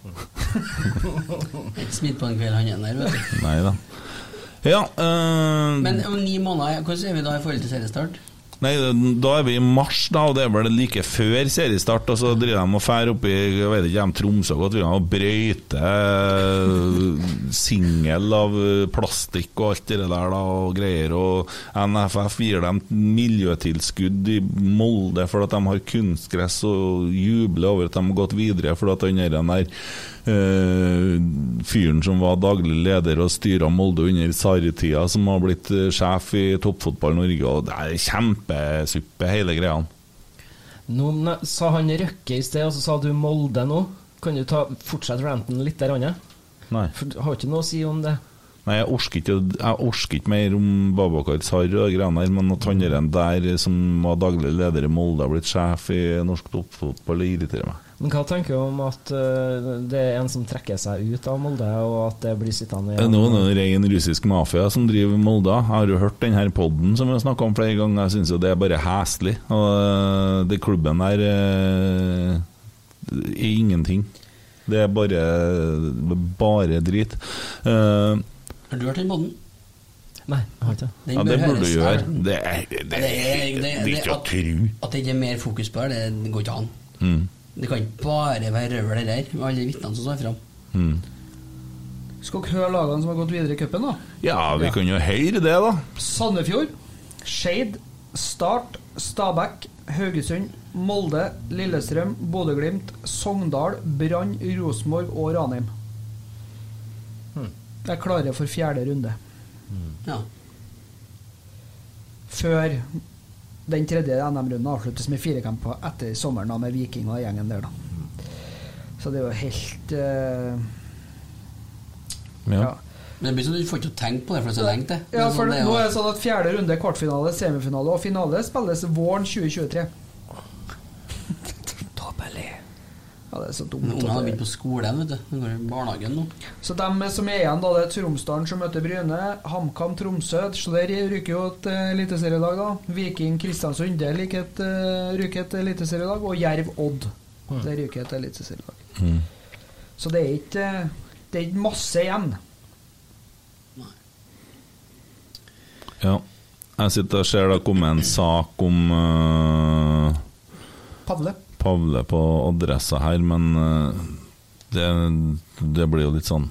D: Smitt på en kveld, han er der, vet du.
C: Nei da. Ja eh,
D: Men om ni måneder, hvordan er vi da i forhold til seriestart?
C: Nei, da er vi i mars, da, og det er vel like før seriestart. Og så driver de og fær oppi jeg vet ikke, om Tromsø godt, driver de og brøyter singel av plastikk og alt det der da, og greier. Og NFF gir dem miljøtilskudd i Molde for at de har kunstgress, og jubler over at de har gått videre fordi at han er den der eh, fyren som var daglig leder og styra Molde under Sarri-tida, som har blitt eh, sjef i toppfotball Norge. og Det er kjempesuppe, hele greia.
F: Nå ne- sa han Røkke i sted, og så sa du Molde nå. Kan du ta, fortsette ranten litt der andre?
C: Nei.
F: For du har ikke noe å si om det.
C: Nei, jeg orker ikke, å- jeg orker ikke mer om Babakar Sarri og de greiene der, men at han er den der som var daglig leder i Molde, har blitt sjef i norsk toppfotball, det irriterer meg.
F: Men hva tenker du om at eh, det er en som trekker seg ut av Molde, og at det blir sittende
C: Det er
F: igjen?
C: noen ren russisk mafia som driver Molde. Jeg har jo hørt denne podden som vi har snakket om flere ganger. Jeg synes jo det er bare heslig. Og øh, det klubben der øh, er ingenting. Det er bare, bare drit. Eh,
D: Har du hørt den podden?
F: Nei, jeg har ikke det.
D: Den
C: ja,
D: bør
C: det burde
D: høres.
C: du gjøre. Det er, det,
D: Ja,
C: er, det,
D: det- det-
C: er ikke å
D: at-
C: tro.
D: At det ikke er mer fokus på det, det går ikke an.
C: Mm.
D: Det kan ikke bare være røvel det der, med alle vitnene som står fram.
C: Mm.
E: Skal dere høre lagene som har gått videre i cupen, da?
C: Ja, vi kan jo høre det, da.
E: Sandefjord, Skeid, Start, Stabæk, Haugesund, Molde, Lillestrøm, Bodø-Glimt, Sogndal, Brann, Rosenborg og Ranheim. De er klare for fjerde runde.
D: Ja.
E: Før den tredje NM-runden avsluttes med firekamper etter sommeren da, med Viking og gjengen der, da. Så det er jo helt eh,
C: Ja.
E: ja.
D: Men det blir sånn at du får ikke tenke på det, for det er så lenge til.
E: Ja,
D: Men
E: for
D: sånn, det er
E: nå
D: jo-
E: er det sånn at fjerde runde, kvartfinale, semifinale og finale spilles våren 2023. Tåpelig. Ja, det er så
D: Men
E: dumt.
D: Ungene har
E: at det-
D: begynt på skolen, vet du. De går i barnehagen nå.
E: Så de som er igjen, da, det er Tromsdalen som møter Bryne, HamKam Tromsø. Så der ryker jo et eh, eliteserielag, da. Viking Kristiansund det ryker et, eh, ryker et eliteserielag. Og Jerv Odd. Det ryker et eliteserielag.
D: Mm.
E: Så det er ikke eh, Det er ikke masse igjen.
C: ja. Jeg sitter og ser det har kommet en sak om eh,
E: Padle.
C: Pavle på adressa her, men eh, det, det blir jo litt sånn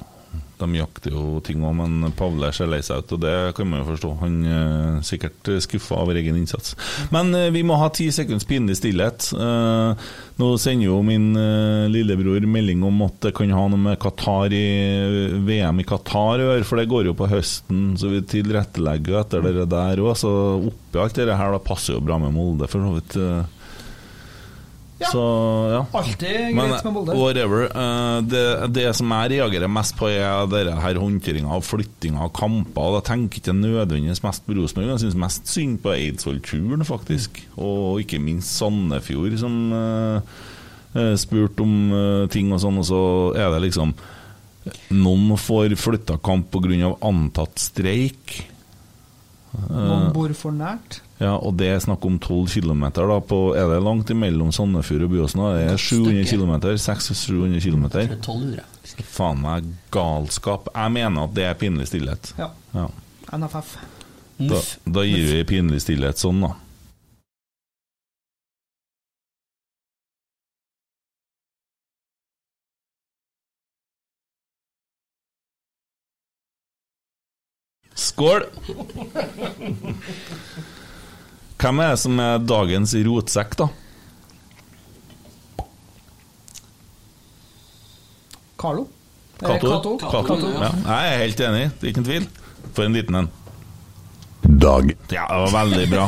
C: De jakter jo ting òg, men Pavle ser lei seg ut, og det kan man jo forstå. Han er sikkert skuffa over egen innsats. Men eh, vi må ha ti sekunds pinlig stillhet. Eh, nå sender jo min eh, lillebror melding om at det kan ha noe med Qatar i VM i Qatar å gjøre, for det går jo på høsten, så vi tilrettelegger jo etter det der òg. Så oppi alt det her, da passer jo bra med Molde, for så vidt. eh.
E: Ja.
C: Så ja.
E: Alltid
C: Men
E: greit med Molde.
C: whatever. eh, det, det som jeg reagerer mest på, er dere her håndteringa av flytting av kamper. og Da tenker jeg ikke nødvendigvis mest på Rosenborg, jeg syns mest synd på Eidsvoll-turen, faktisk. Og ikke minst Sandefjord, som eh, eh, spurte om eh, ting og sånn, og så er det liksom Noen får flytta kamp pga. antatt streik.
E: Noen bor for nært.
C: Ja, og det er snakk om 12 km, da. På, er det langt imellom Sandefjord og Byåsen? da? Det er 700 km? 600-700
D: Det
C: km?
D: er tolv uker.
C: Faen meg galskap. Jeg mener at det er pinlig stillhet.
E: Ja.
C: Ja.
E: NFF.
C: Da, da gir vi pinlig stillhet sånn, da. Skål! Hvem er det som er dagens rotsekk, da?
E: Carlo. Eh,
C: Cato?
E: Cato.
C: Cato. Ja, jeg er helt enig, det er ikke en tvil. For en liten en.
H: Dag.
C: Ja, det var veldig bra.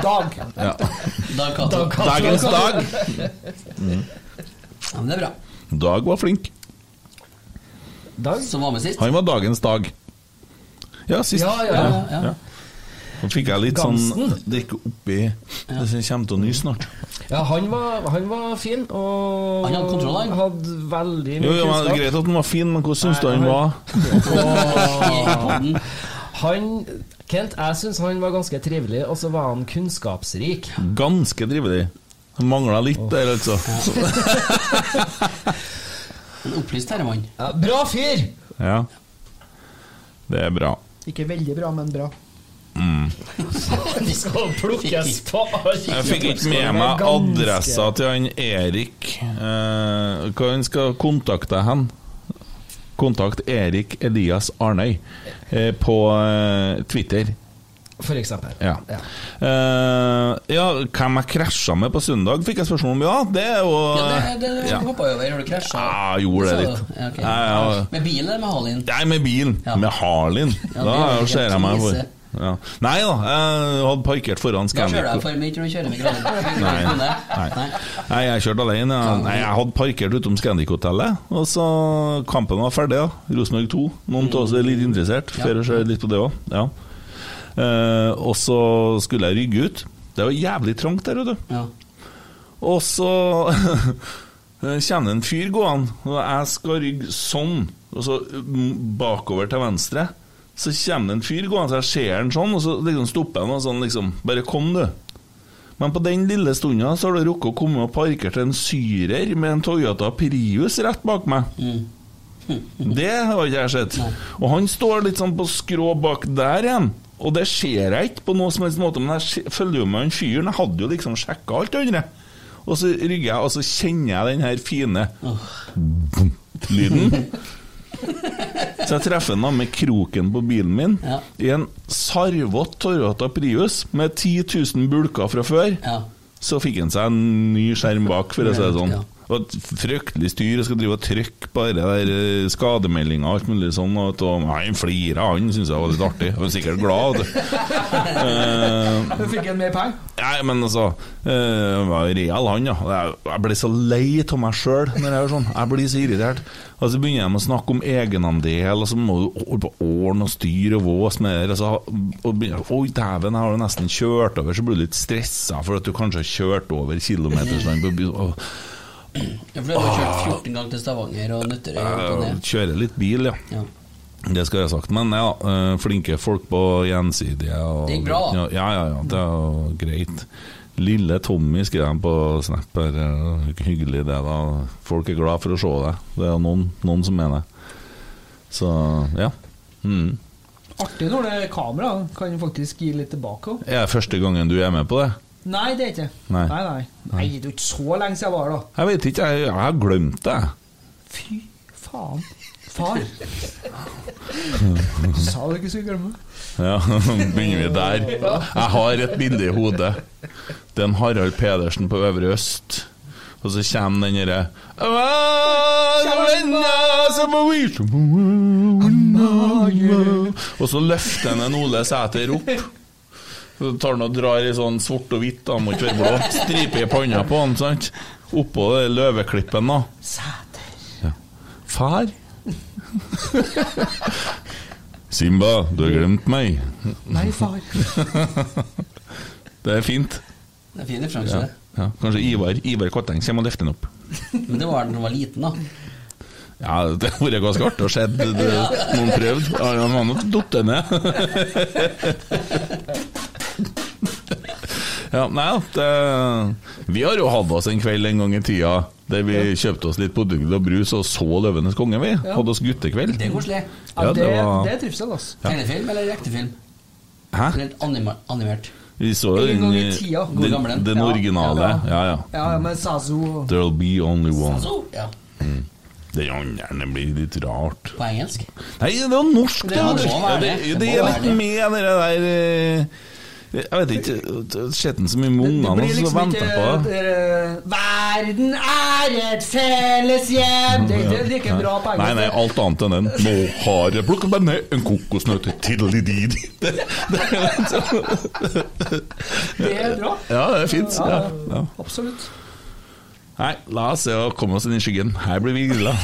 E: Dag.
C: Ja.
D: Dag Cato.
C: Dagens dag.
D: Ja, men det er bra.
C: Dag var flink.
F: Dag?
D: Som var med sist.
C: Han var dagens dag. Ja, sist.
F: Ja, ja, ja.
D: ja.
C: Så fikk jeg litt
F: Gansen.
C: sånn Det er ikke oppi Det som kommer til å ny snart.
F: Ja, han var, han var fin, og
D: Han hadde kontroll, han.
F: Hadde veldig mye
C: Jo, jo, men
F: kunnskap.
C: Greit at den var fin, men hvordan syns du
F: Nei,
C: han
F: han-
C: var?
D: Podden.
F: Han Kent, jeg syns han var ganske trivelig, og så var han kunnskapsrik.
C: Ganske drivelig. Han mangla litt der, altså.
D: En opplyst herremann.
F: Ja, bra fyr!
C: Ja. Det er bra.
E: Ikke veldig bra, men bra.
F: Vi skal plukkes på
C: Jeg fikk ikke med meg adressa til han Erik. Eh, hva han skal kontakte hen? Kontakt Erik Elias Arnøy eh, på eh, Twitter.
F: For eksempel.
C: Ja. Eh, ja, hvem jeg krasja med på søndag, fikk jeg spørsmål om. Ja, det er jo
D: Ja, det, det, det
C: Ja.
D: hoppa jo over. Har du krasja?
C: Ja, jeg gjorde det
D: Så-
C: litt.
D: Ja, ok.
C: Ja, ja.
D: Med bilen eller med Halin?
C: Nei, med bilen.
D: Ja.
C: Med Harlin.
D: Ja,
C: da
D: det er jo
C: ser jeg
D: helt
C: meg for.
D: krise.
C: Ja. Nei da, jeg hadde parkert foran
D: Da kjører jeg
C: Scandic.
D: for mye, tror du kjører med graden.
C: Nei.
D: Nei.
C: Nei. Nei, jeg kjørte alene. ja. Nei, jeg hadde parkert utom Scandic-hotellet, og så kampen var ferdig. da. Rosenborg 2. Noen av oss er litt interessert. Flere ser litt på det òg. Ja. Eh, og så skulle jeg rygge ut. Det var jævlig trangt der, vet du.
D: Ja.
C: Og så kjenner en fyr gående, og jeg skal rygge sånn, og så mm, bakover til venstre. Så kommer det en fyr gående, så jeg ser han sånn, og så liksom stopper han og sånn liksom Bare kom, du. Men på den lille stunda så har du rukket å komme og parkere til en syrer med en Toyota Prius rett bak meg. Det har ikke jeg sett. Og han står litt sånn på skrå bak der igjen. Og det ser jeg ikke på noe som helst måte, men jeg se- følger jo med han fyren. Jeg hadde jo liksom sjekka alt det andre. Og så rygger jeg, og så kjenner jeg den her fine lyden. Så jeg treffer han da med kroken på bilen min
D: Ja.
C: i en sarvete Toyota Prius med 10 000 bulker fra før.
D: Ja.
C: Så fikk han seg en ny skjerm bak, for å si det sånn.
D: Ja.
C: Og et fryktelig styr, jeg skal drive og trykke på det der eh, skademeldinger og alt mulig sånn. Og at, og, nei, han flirer, han syntes jeg var litt artig. Han var sikkert glad. vet du. Eh,
E: Du fikk en mer penger?
C: Nei, men altså eh, Han var real, han, ja. Jeg, jeg blir så lei av meg sjøl når jeg gjør sånn. Jeg blir så irritert. Og så begynner de å snakke om egenandel, og så må du holde på åren og styre og vås med det. Og så og begynner du, Oi, dæven, jeg har jo nesten kjørt over. Så blir du litt stressa for at du kanskje har kjørt over kilometersland på bil. Og,
D: Ja, for du har jo kjørt 14 ganger til Stavanger og Nøtterøy opp og
C: eh,
D: ned.
C: kjører litt bil, ja.
D: Ja.
C: Det skal jeg ha sagt. Men ja, eh, flinke folk på gjensidige. Og,
D: Det gikk bra, da.
C: Ja, ja, ja, det er jo greit. Lille Tommy skrev han på Snap. her. Eh, Hyggelig det, da. Folk er glad for å se deg. Det er noen, noen som er det. Så ja. Mm.
E: Artig når det er kamera. da. Kan jo faktisk gi litt tilbake òg.
C: Er det første gangen du er med på det?
E: Nei, det er ikke det.
C: Nei.
E: Nei, nei. nei, det er jo ikke så lenge siden jeg var her, da.
C: Jeg vet ikke, jeg, jeg har glemt det.
E: Fy faen. Far. Sa du ikke skulle glemme?
C: Ja, Begynner vi der? Jeg har et bilde i hodet. Det er en Harald Pedersen på Øvre Øst. Og så kommer den derre Og så løfter han en Ole Sæter opp. Så tar han og drar i sånn svart og hvitt, da, må ikke være blå. Stripe i panna på han, sant. Oppå det løveklippen, da.
E: Sæter.
C: Far? Simba, du har glemt meg.
E: Nei, far.
C: Det er fint.
D: Det er fin referanse, det.
C: Ja, kanskje Ivar Ivar Kotteng kommer og løfter den opp.
D: Men det var den da han var liten, da.
C: Ja, det har vært ganske artig å se det- det- noen prøvd. Ja, Han har nok datt ned. Ja, nei, da, det, vi har jo hatt oss en kveld en gang i tida der vi kjøpte oss litt produkter og brus og så 'Løvenes konge'. vi Hadde oss guttekveld.
D: Det er koselig.
E: Ja,
C: Ja, det
E: det,
C: var-
E: det er trivsel, altså.
D: Tegnefilm eller ekte film?
C: Hæ?
D: Rent anima- animert.
C: Vi så jo
E: En
C: den,
E: gang i tida.
C: den,
D: God gamle
C: den,
D: den.
C: den
E: Ja,
C: originale.
E: ja,
C: Ja, ja.
E: Ja, ja, men Sazo og
C: There'll be only one.
D: Altså, ja.
C: Den andre den blir litt rart.
D: På engelsk.
C: Nei, det var norsk, det.
D: Det må
C: var norsk.
D: være
C: det,
D: det.
C: det,
D: Det må
C: er
D: være
C: litt med det der eh, Jeg vet ikke Skjetten så mye med ungene og så venter jeg på det.
E: eh, Verden er et felles hjem!
C: Mm.
E: Det er ikke like bra på
C: Nei,
E: engelsk.
C: nei, alt annet enn den. Nå har jeg plukket meg ned en kokosnøtt tiddelididi. Det, det,
E: Det er bra.
C: ja, det er fint. Ja, ja.
E: Absolutt.
C: Nei, la oss se å komme oss inn i skyggen. Her blir vi grilla.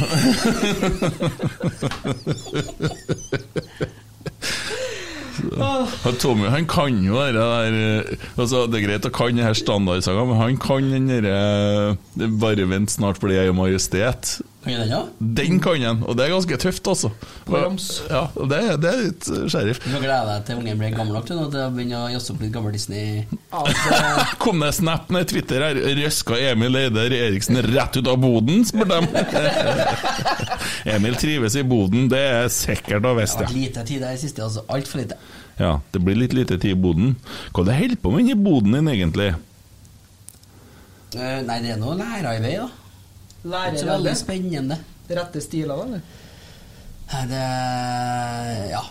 C: Og Tommy han kan jo det der eh, altså, Det er greit å kan det her standardsaga, men han kan den derre 'Bare vent, snart blir jeg majestet'.
D: Kan du den, ja?
C: Den kan han, og det er ganske tøft, altså.
E: Rams.
C: Ja, og det, det er litt eh, sheriff.
D: Du kan glede deg til ungen blir gammel nok til nå, til å begynne å jazze opp litt gammel Disney.
C: Kom det snap ned i Twitter her? Røska Emil Eider Eriksen rett ut av boden, spør dem. Emil trives i boden, det er sikkert og
D: Det
C: visst,
D: har vært
C: ja.
D: lite tid der i siste, altså. Altfor lite.
C: ja. Det blir litt lite tid i boden. Hva er det du holder på med inni boden din, egentlig?
D: Eh, nei, det er noe lærer i vei, da. Det er
E: Lærer
D: ikke så
E: alle
D: veldig spennende.
E: rette stiler, da? eller?
D: Nei, det Ja.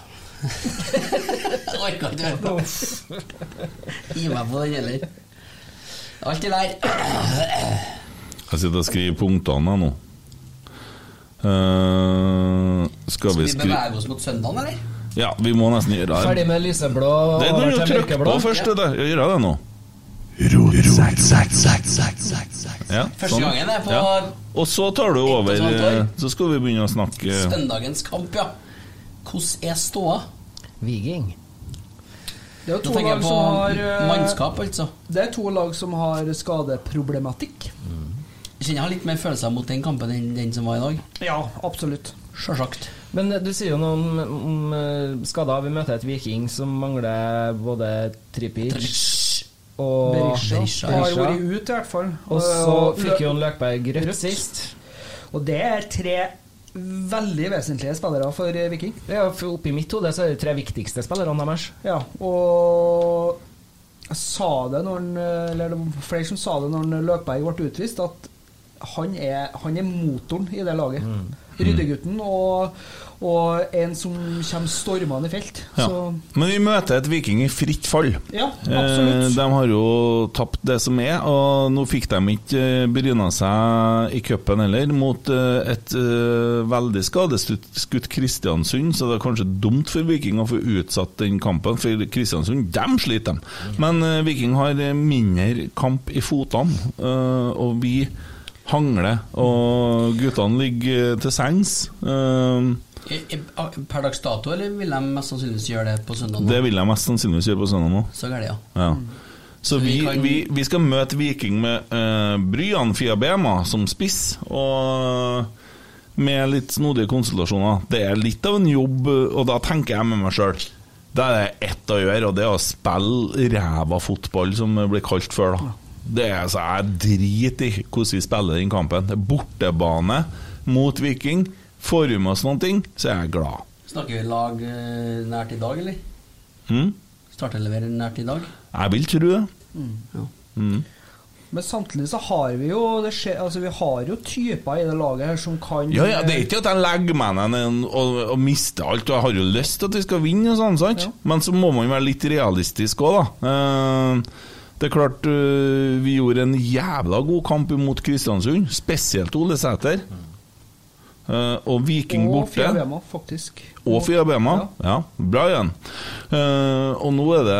D: Jeg orker ikke mer. Gi meg på den heller. Alt det der.
C: Jeg sitter og skriver punktene her nå. Eh, skal
D: Skal
C: vi
D: vi
C: skrive
D: bevege oss mot søndagen, eller?
C: Ja, vi må nesten gjøre det.
F: Ferdig
C: her.
F: med lyseblå
C: Det er noe
F: over
C: å
F: til
C: trykke på
F: mørkeblå.
C: først, det der. Gjør jeg det nå? Ja, sånn.
D: Første gangen det er på-
C: Og så tar du over
D: Ikke sant,
C: eh,
D: Tor?
C: Så skal vi begynne å snakke eh,
D: Søndagens kamp, ja. Hvordan er ståa?
F: Viking.
E: Det er jo to
D: Da tenker
E: lag
D: jeg på
E: som har eh,
D: mannskap, altså.
E: Det er to lag som har skadeproblematikk.
D: Jeg kjenner jeg har litt mer følelser mot den kampen enn den som var i dag.
E: Ja, absolutt.
D: Sjølsagt.
F: Men eh, du sier jo noe om, om eh, skader. Vi møter et Viking som mangler både Tripic og
E: Berisha
D: Berisha.
E: har vært ute, i hvert fall.
F: Og så
E: Og-
F: fikk Jon Løkberg rødt sist.
E: Og det er tre veldig vesentlige spillere for eh, Viking.
F: Ja, for oppi mitt hode så er de tre viktigste spillerne deres.
E: Ja, og eh, jeg sa det når han, eller det var flere som sa det når han Løkberg ble utvist, at han er, han er motoren i det laget. Ryddegutten og, og en som kommer stormende i felt.
C: Ja.
E: Så
C: Men vi møter et Viking i fritt fall.
E: Ja,
C: Eh,
E: absolutt.
C: de har jo tapt det som er, og nå fikk de ikke eh, bryna seg i cupen heller, mot eh, et eh, veldig skadeskutt Kristiansund, så det er kanskje dumt for Viking å få utsatt den kampen, for Kristiansund, dem sliter de. Men eh, Viking har eh, mindre kamp i fotene, eh, og vi hangler, og guttene ligger til sengs. Eh,
D: I- i- Per dags dato, eller vil de mest sannsynligvis gjøre det på søndag? nå?
C: det vil jeg mest sannsynligvis gjøre på søndag nå.
D: Så gærent, ja.
C: Ja. Så vi,
D: vi kan-
C: vi, vi skal møte Viking med uh, Bryan Fiabema som spiss, og med litt snodige konsultasjoner. Det er litt av en jobb, og da tenker jeg med meg sjøl. Det er det ett å gjøre, og det er å spille ræva fotball, som det blir kalt før, da. Det er altså, Jeg driter i hvordan vi spiller den kampen. Det er bortebane mot Viking. Får vi med oss noen ting, så er jeg glad.
D: Snakker vi lag eh, nært i dag, eller?
C: Mm?
D: Starteleverer nært i dag?
C: Jeg vil tro det.
D: Ja.
E: Men samtidig så har vi jo det skje, altså vi har jo typer i det laget her som kan eh,
C: Ja, ja, Det er ikke at jeg legger meg ned og, og mister alt, og jeg har jo lyst til at vi skal vinne, og sånn, sant?
E: Ja.
C: men så må man være litt realistisk òg, da. Eh, det er klart eh, vi gjorde en jævla god kamp imot Kristiansund, spesielt Ole Sæter.
E: Mm.
C: Eh, og Viking
E: Og
C: borte.
E: Fjellhjemma, faktisk.
C: Og Fjellbema.
E: Ja.
C: Ja. bra igjen. Eh, og nå er, det,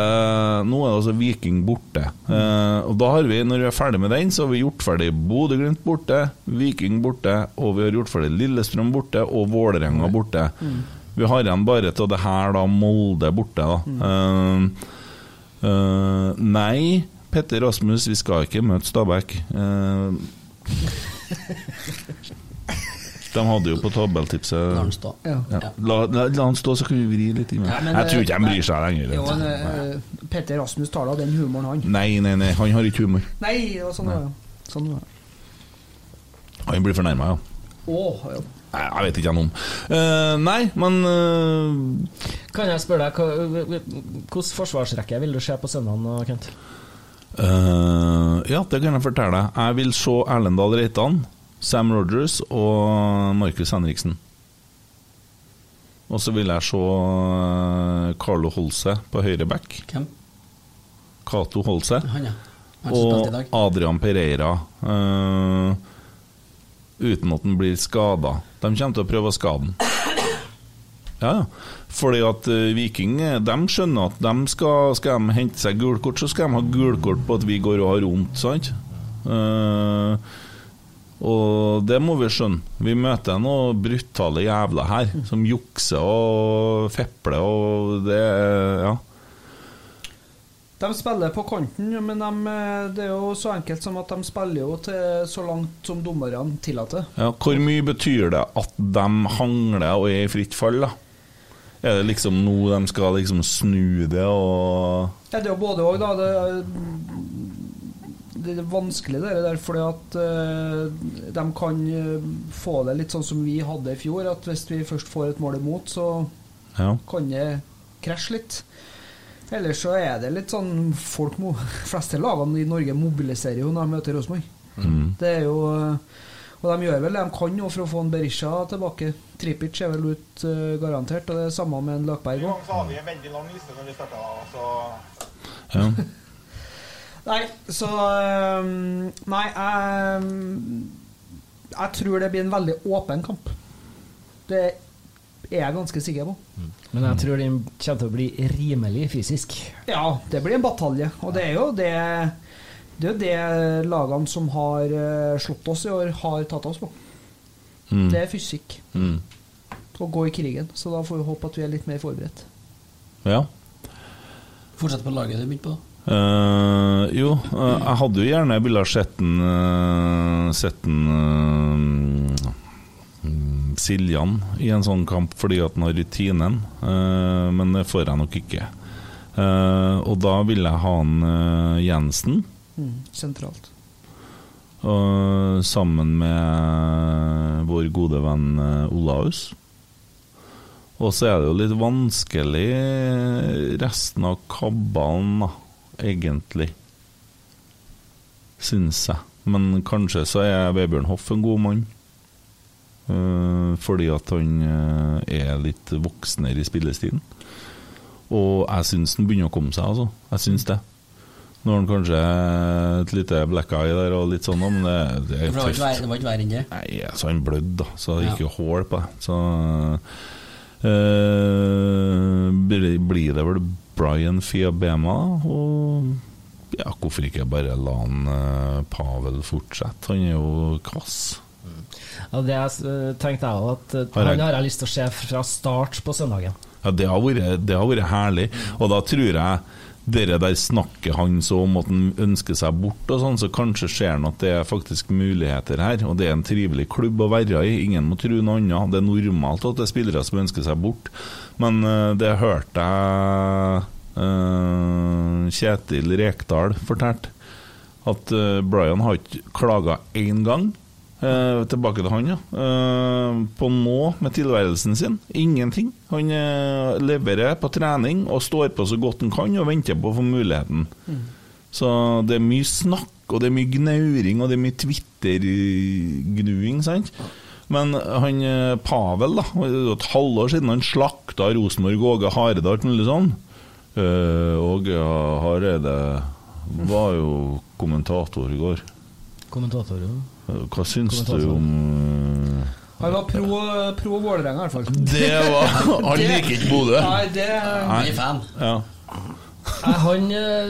C: nå er det altså Viking borte. Eh, og da har vi, når vi er ferdig med den, så har vi gjort ferdig Bodø-Glimt borte, Viking borte, og vi har gjort ferdig Lillestrøm borte, og Vålerenga borte. Vi har igjen bare til det her, da, Molde borte, da. Eh, eh, nei, Petter Rasmus, vi skal ikke møte Stabæk. Eh, de hadde jo på tabelltipset
D: Lar den stå.
E: Ja.
C: ja. La, la, la han stå, så kan vi vri litt i meg.
E: Ja, men,
C: jeg tror
E: eh,
C: ikke han
E: nei.
C: bryr seg lenger.
E: Jo, men, eh, Petter Rasmus tar da den humoren, han.
C: Nei, nei, nei, han har ikke humor.
E: Nei, og sånn var det. Sånn var det.
C: Han blir fornærma, ja.
E: Å, ja.
C: Nei, Jeg vet ikke han om. Eh, nei, men eh,
F: Kan jeg spørre deg, hva- hvilken forsvarsrekke vil du se på søndagen, nå, Kent?
C: eh, Ja, det kan jeg fortelle deg. Jeg vil se Erlendal Reitan, Sam Rogers og Markus Henriksen. Og så vil jeg se eh, Carlo Holse på høyre back.
D: Hvem?
C: Cato Holse.
D: Han, ja. Han som spilte i dag.
C: Og Adrian Pereira. eh, uten at han blir skada. De kommer til å prøve å skade han. Ja, ja. Fordi at eh, Viking eh, de skjønner at de skal, skal de hente seg gult kort, så skal de ha gult kort på at vi går og har vondt, sant? Eh, og det må vi skjønne. Vi møter noen brutale jævler her, som jukser og fepler og det Ja.
E: De spiller på kanten, men de, eh, det er jo så enkelt som at de spiller jo til så langt som dommerne tillater.
C: Ja, hvor mye betyr det at de hangler og er i fritt fall, da? Er det liksom nå de skal liksom snu det og
E: Ja, det er jo både òg, da. Det er, det er vanskelig, det der, fordi at eh, de kan eh, få det litt sånn som vi hadde i fjor. At hvis vi først får et mål imot, så
C: Ja.
E: kan det krasje litt. Ellers så er det litt sånn folk må, fleste lagene i Norge mobiliserer jo når de møter Rosenborg.
C: Mm.
E: Det er jo eh, Og de gjør vel det de kan nå for å få en Berisha tilbake. Tripic er vel ut eh, garantert, og det er samme med en Løkberg òg.
G: Så hadde vi en veldig lang liste når vi starta, så
C: ja.
E: Nei, så eh, Nei, jeg Jeg tror det blir en veldig åpen kamp. Det er jeg ganske sikker på.
F: Men jeg tror den kommer til å bli rimelig fysisk.
E: Ja, det blir en batalje. Og det er jo det Det er jo det lagene som har eh, slått oss i år, har tatt oss på.
C: Mm.
E: Det er fysikk.
C: Mm.
E: Å gå i krigen. Så da får vi håpe at vi er litt mer forberedt.
C: ja.
D: Fortsett på laget du begynte på.
C: Eh, jo, eh, jeg hadde jo gjerne ville ha sett den eh, Sett den eh, mm, Siljan i en sånn kamp fordi at den har rutinen, eh, men det får jeg nok ikke. Eh, og da ville jeg ha han eh, Jensen.
E: Mm, sentralt.
C: Og sammen med vår gode venn eh, Olaus. Og så er det jo litt vanskelig resten av kabalen, da, egentlig. Syns jeg. Men kanskje så er Vebjørn Hoff en god mann. Eh, fordi at han eh, er litt voksnere i spillestilen. Og jeg syns han begynner å komme seg, altså. Jeg syns det. Når han kanskje er et lite black eye der og litt sånn, men det, det er
D: For det var ikke
C: tøft.
D: verre- det var ikke verre enn det.
C: Nei, så han blødde, da. Så det gikk
D: Ja.
C: jo hull på det. Så eh, blir blir det vel Brian Fiabema, da. Og ja, hvorfor ikke bare la han eh, Pavel fortsette? Han er jo kvass.
F: Ja, det jeg, s- tenkte jeg òg, at eh,
C: Har jeg-
F: han har jeg lyst til å se fra start på søndagen.
C: Ja, det har vært, det har vært herlig. Og da tror jeg dere der snakker han så om at han ønsker seg bort og sånn, så kanskje ser han at det er faktisk muligheter her. Og det er en trivelig klubb å være i. Ingen må tro noe annet. Det er normalt at det er spillere som ønsker seg bort. Men eh, det hørte jeg eh, Kjetil Rekdal fortalte. At eh, Brian har ikke klaga én gang. Eh, tilbake til han, ja. Eh, på nå med tilværelsen sin. Ingenting. Han eh, leverer på trening og står på så godt han kan og venter på å få muligheten. Så det er mye snakk, og det er mye gnauring, og det er mye Twitter-gnuing, sant? Men han eh, Pavel, da, det er jo et halvår siden han slakta Rosenborg Åge Hareide og alt mulig sånn. Eh, Åge Hareide var jo kommentator i går.
F: Kommentatorer.
C: Eh, Hva syns
F: Kommentator.
C: du om eh,
E: Han var pro, pro Vålerenga, i hvert fall.
C: Det var Han liker ikke Bodø.
E: Nei, det
D: Jeg er fan.
C: Ja.
F: Nei, Eh, Han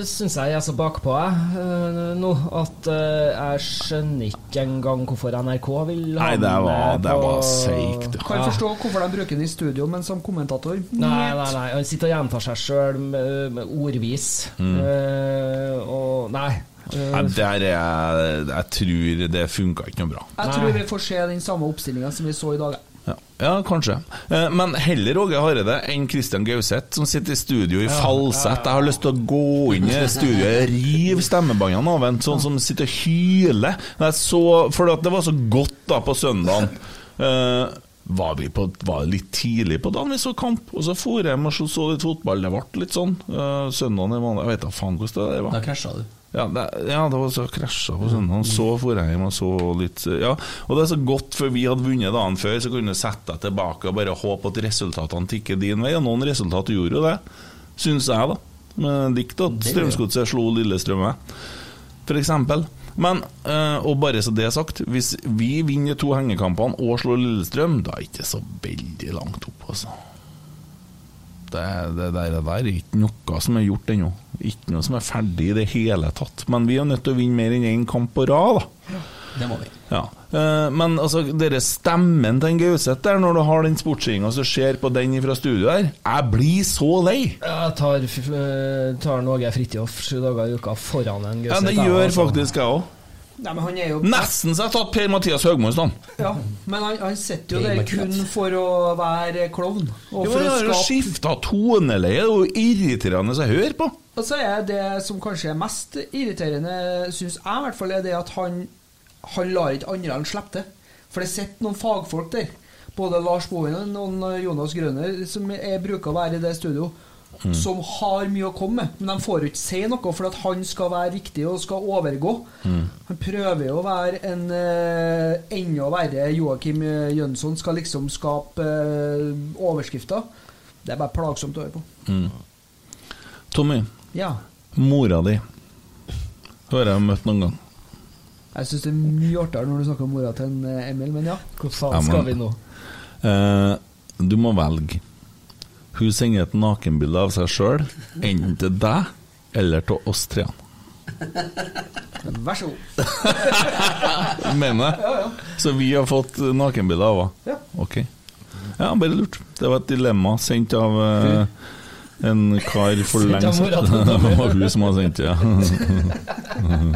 F: syns jeg er så bakpå jeg eh, nå at eh, jeg skjønner ikke engang hvorfor NRK vil ha
C: Nei, det
F: han
C: var,
F: med
C: det
F: på-
C: var seigt.
E: Kan forstå hvorfor de bruker den i studio, men som kommentator
F: Nei, nei, nei. Han sitter og gjentar seg sjøl med, med ordvis.
C: Mm.
F: Eh, og nei. eh,
C: Nei, der er Jeg tror det funka ikke noe bra.
E: Jeg tror vi får se den samme oppstillinga som vi så i dag.
C: Ja, ja kanskje. Eh, Men heller Åge Hareide enn Christian Gauseth, som sitter i studio i falsett. Jeg har lyst til å gå inn i det studioet og rive stemmebåndene av en sånn som sitter og hyler. Men Jeg så, for at det var så godt da på søndagen. Eh, var vi på, var litt tidlig på dagen vi så kamp, og så for jeg hjem og så- så litt fotball. Det ble litt sånn. Eh, Søndagen i måned Jeg vet da faen hvordan det der var.
D: Da krasja du.
C: Ja, det, ja, det var så krasja på søndag. Så for jeg hjem og så litt Ja, og det er så godt, for vi hadde vunnet dagen før, så kunne du sette deg tilbake og bare håpe at resultatene tikker din vei. Og noen resultat gjorde jo det, syns jeg, da. Men likt at Strømsgodset slo Lillestrøm, jeg for eksempel. Men, eh, og bare så det er sagt, hvis vi vinner to hengekampene og slår Lillestrøm, da er det ikke så veldig langt opp, altså. Det, det, der, det der er ikke noe som er gjort ennå. Ikke noe som er ferdig i det hele tatt. Men vi er nødt til å vinne mer enn én kamp på rad, da.
D: Det må vi.
C: Ja. eh, Men altså, dere stemmen til en Gauseth der, når du har den sportsringa som ser på den fra studio der, jeg blir så lei!
F: Jeg tar, f- eh, tar en Åge Fridtjof sju dager i uka foran en
C: Ja,
F: Gauseth.
C: det
F: jeg,
C: gjør
F: altså.
C: faktisk jeg òg.
E: Nei, men han er jo
C: Nesten så jeg har tatt Per-Mathias Høgmo i stand.
E: Ja, men han, han sitter jo der kun for å være klovn. Og
C: Jo,
E: for
C: jeg
E: å
C: har jo
E: skape
C: skifta toneleie, det er jo irriterende å høre på.
E: Og så er det som kanskje er mest irriterende, syns jeg i hvert fall, er det at han, han lar ikke andre enn slippe det. For det sitter noen fagfolk der, både Lars Bohinen og Jonas Grønner, som er bruker å være i det studio, som har mye å komme med. Men de får jo ikke si noe, for at han skal være riktig og skal overgå. Han prøver jo å være en eh, enda verre Joakim eh, Jønsson, skal liksom skape eh, overskrifter. Det er bare plagsomt å høre på.
C: Tommy,
E: Ja.
C: mora di har jeg møtt noen gang.
E: Jeg syns det er mye artigere når du snakker om mora til en eh, Emil, men ja.
F: Hvor
C: Ja,
F: faen
C: men-
F: skal vi nå?
C: Eh, du må velge. Hun sender et nakenbilde av seg sjøl, enten til deg eller til oss tre.
E: Vær så god.
C: Mener jeg. Så vi har fått nakenbilde av henne?
E: Ja.
C: Ok. Ja, bare lurt. Det var et dilemma sendt av eh, en kar for
F: Sendt
C: lenge
F: av mora
C: siden.
F: til Tommy.
C: Det var hun som hadde sendt det, ja.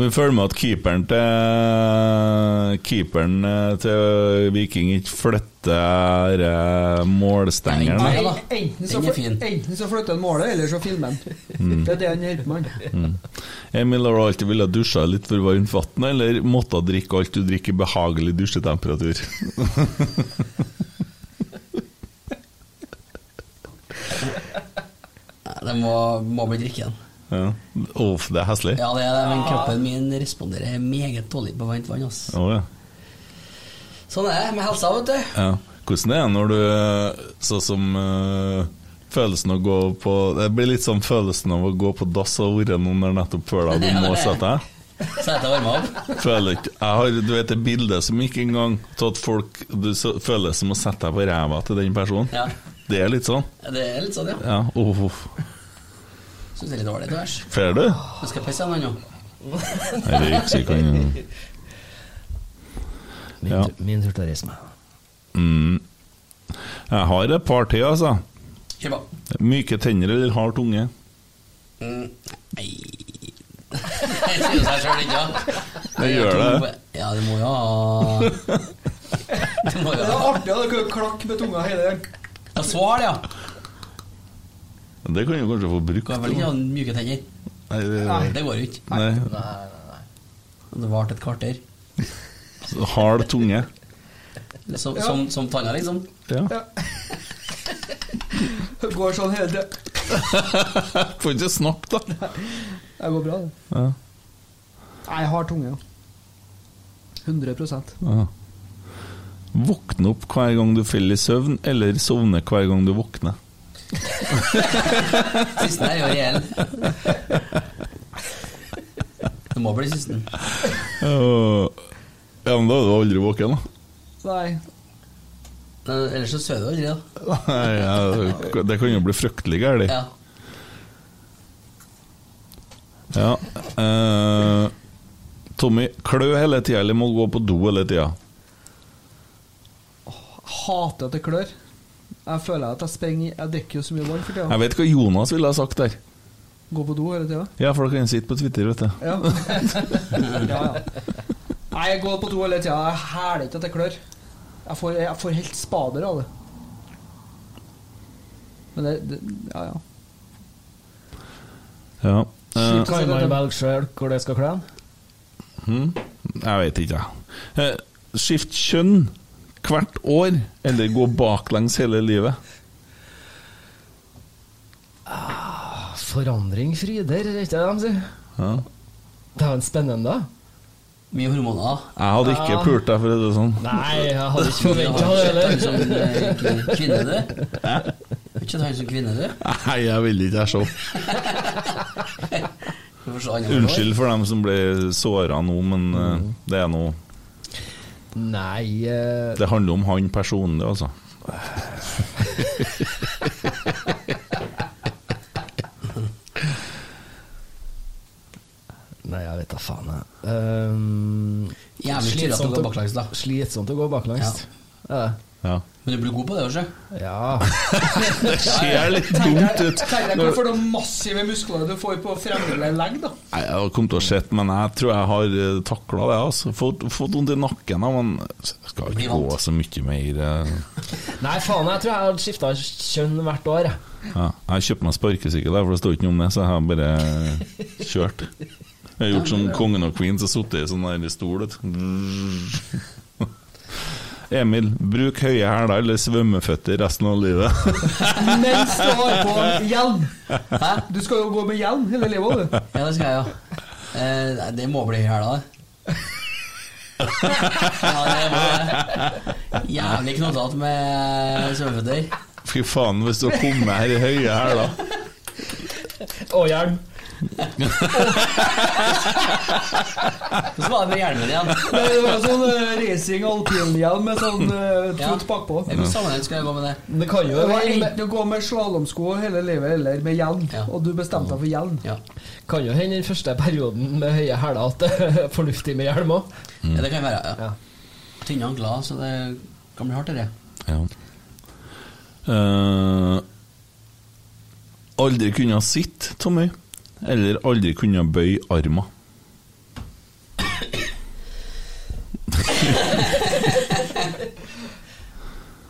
C: Vi følger med at keeperen til Keeperen til Viking ikke flytter eh, målstengeren.
D: Nei,
C: da.
D: Ja da.
E: Enten så,
D: Den er
E: fly-
D: fin.
E: enten så flytter han målet, eller så filmer han.
C: Mm.
E: Det er det han hjelper med. han.
C: Emil, har du alltid villet dusje litt for varmt vann, eller måtte drikke alt du drikker i behagelig dusjetemperatur?
D: Nei, Det må, må bli drikken.
C: Ja. Uff, det er heslig.
D: Ja, det er det, men kroppen min responderer meget dårlig på varmt vann. ass.
C: Å, ja.
D: Sånn er det med helsa, vet du.
C: Ja. Hvordan er det når du Sånn som eh, følelsen å gå på Det blir litt sånn følelsen av å gå på dass og ha vært noen der nettopp før deg, du må sette deg.
D: Så jeg tar varme opp.
C: Føler ikke Jeg har du vet, det bildet som ikke engang til at folk Du så, føler det som å sette deg på ræva til den personen.
D: Ja.
C: Det er litt sånn.
D: Det er litt sånn, ja.
C: Ja. Uff, uff.
D: Syns det er litt dårlig til værs.
C: Fer du?
D: Jeg skal pisse igjen nå.
C: Nei, det gikk ikke an.
F: Min,
C: Ja.
F: tur- min tur til å reise meg.
C: Jeg har et par til, altså.
D: Kjør på.
C: Myke tenner eller hard tunge?
D: Nei Jeg sier seg sjøl ikke, ja.
C: Det gjør det.
D: Ja, det må jo ha Det må jo
E: Det er
D: ha
E: artig at dere klakker med tunga hele tiden.
D: Ja, Svar, ja.
C: Det kan du kanskje få brukt.
D: Kan vel ikke ha myke tenner.
C: Nei, det-
D: Det går jo ikke.
C: Nei.
D: Det varte et kvarter.
C: Hard tunge.
D: Som, som, som tanna, liksom.
C: Ja.
E: Det Går sånn hele tiden.
C: Får ikke snakke, da.
E: Det går bra, det.
C: Ja.
E: Nei, jeg har tunge, ja. 100
C: Ja. Våkne opp hver gang du faller i søvn, eller sovne hver gang du våkner.
D: Sisten her er jo reell. Det må bli sisten.
C: Øh, Ja, men da er du aldri våken, da.
E: Nei.
D: Eh, Ellers så sover du aldri, da.
C: Nei, ja, det kan jo bli fryktelig galt.
D: Ja.
C: Ja. eh, Tommy, klø hele tida eller må gå på do hele tida?
E: Hater at det klør. Jeg føler at jeg sprenger Jeg drikker jo så mye vann for
C: Jeg
E: tida.
C: vet hva Jonas ville ha sagt der.
E: Går på do hele tida.
C: Ja, for dere kan sitte på Twitter, vet du.
E: Ja. ja, ja. Nei, jeg går på do hele tida. Jeg hæler ikke at det klør. Jeg får, jeg får helt spader av det. Men det, det Ja, ja.
C: Ja. eh,
F: Kan man velge sjøl hvor det skal klø?
C: jeg vet ikke, jeg. Eh, Skift kjønn hvert år, eller gå baklengs hele livet?
F: Forandring fryder, er ikke det de sier?
C: Ja.
F: Det er jo en spennende. da.
D: Mye hormoner.
C: Jeg hadde ikke pult deg, for å si det sånn.
F: Nei, jeg hadde ikke
D: Du
F: forventa
D: har
F: det
D: ikke sett han
F: heller.
D: som eh, kvinne- kvinne, du? Har ikke sett han som kvinne, du?
C: Nei, jeg vil ikke jeg så.
D: Du får se andre år.
C: Unnskyld for dem som ble såra nå, men eh, det er noe
F: Nei eh,
C: Det handler om han personlig, altså.
F: Nei, jeg vet da faen, jeg. Ehm,
D: Jævlig tur at du går baklengs, da.
F: slitsomt å gå baklengs. Ja.
C: Ja.
D: Men du blir god på det, ikke?
F: ja.
C: Det ser litt dumt ut.
E: Tenk deg
C: Når-
E: hvorfor de massive musklene du får på fremre legg, da.
C: Nei, Jeg har kommet til å sett, men jeg tror jeg har takla det. altså Fått fått vondt i nakken, da, men jeg skal
D: Blir
C: ikke
D: vant.
C: gå så mye mer. eh.
F: Nei, faen, jeg tror jeg hadde skifta kjønn hvert år. jeg.
C: Ja. Jeg kjøpte meg sparkesykkel, der, for det står ikke noe om det, så jeg har bare kjørt. Jeg har gjort som kongen og queen, så sittet i sånn der stol. vet du. Emil, bruk høye hæler eller svømmeføtter resten av livet.
E: Mens du har på hjelm.
D: Hæ?
E: Du skal jo gå med hjelm hele livet, du.
D: Ja, det skal jeg jo. Eh, nei, det må bli i hæla, det. Ja, det må det. Jævlig knottete med svømmeføtter.
C: Fy faen, hvis du har kommet her i høye hæler
F: Og hjelm.
D: Hvordan var det med hjelmen igjen?
E: Det er jo sånn eh, racing alpinhjelm med sånn eh, fot bakpå.
D: I hvilken sammenheng skal jeg gå med det?
F: Det kan jo
E: Det var
F: hende-
E: enten å gå med slalåmsko hele livet eller med hjelm,
D: Ja.
E: og du bestemte deg for hjelm.
D: Ja,
F: Kan jo hende den første perioden med høye hæler at det er fornuftig med hjelm òg.
D: ja det kan være. Ja.
F: Ja.
D: Tynne ankler, så det kan bli hardt, det.
C: Ja. Eh, aldri kunne sitte, Tommy. Eller aldri kunne bøye armen.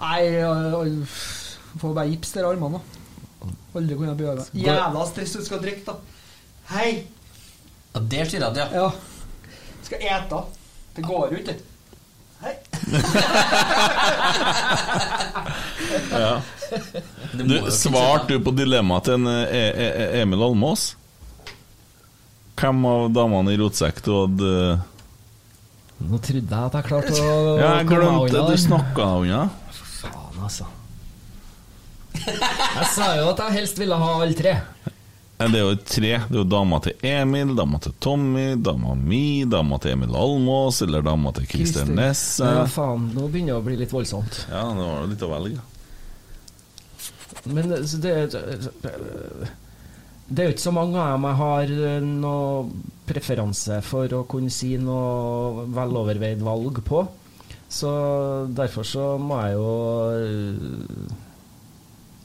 E: Nei, jeg- jeg får bare gips der i armene, da. Aldri kunne jeg bli armen. Jævla stress du skal drikke, da. Hei!
D: Ja, det styrer at, ja.
E: Ja. Skal ete. Det går jo ikke. Hei.
D: Det må
C: Du,
D: jo ikke
C: svarte du på dilemmaet til en, eh, eh, eh, Emil Almås? Hvem av damene i rotsekk du hadde eh,
F: Nå trodde jeg at jeg klarte å
C: Ja, jeg
F: komme meg
C: glemte
F: unna
C: du
F: der.
C: snakka unna.
F: Faen, altså. Jeg sa jo at jeg helst ville ha alle tre.
C: Nei, Det er jo tre. Det er jo dama til Emil, dama til Tommy, dama mi, dama til Emil Almås eller dama til Christer
E: Christer.
C: Ness.
F: Men
C: Ja,
F: faen, nå begynner det å bli litt voldsomt.
C: det var litt å velge.
F: Men eh, så det Det er jo ikke så mange av dem jeg har eh, noe preferanse for å kunne si noe veloverveid valg på. Så derfor så må jeg jo eh,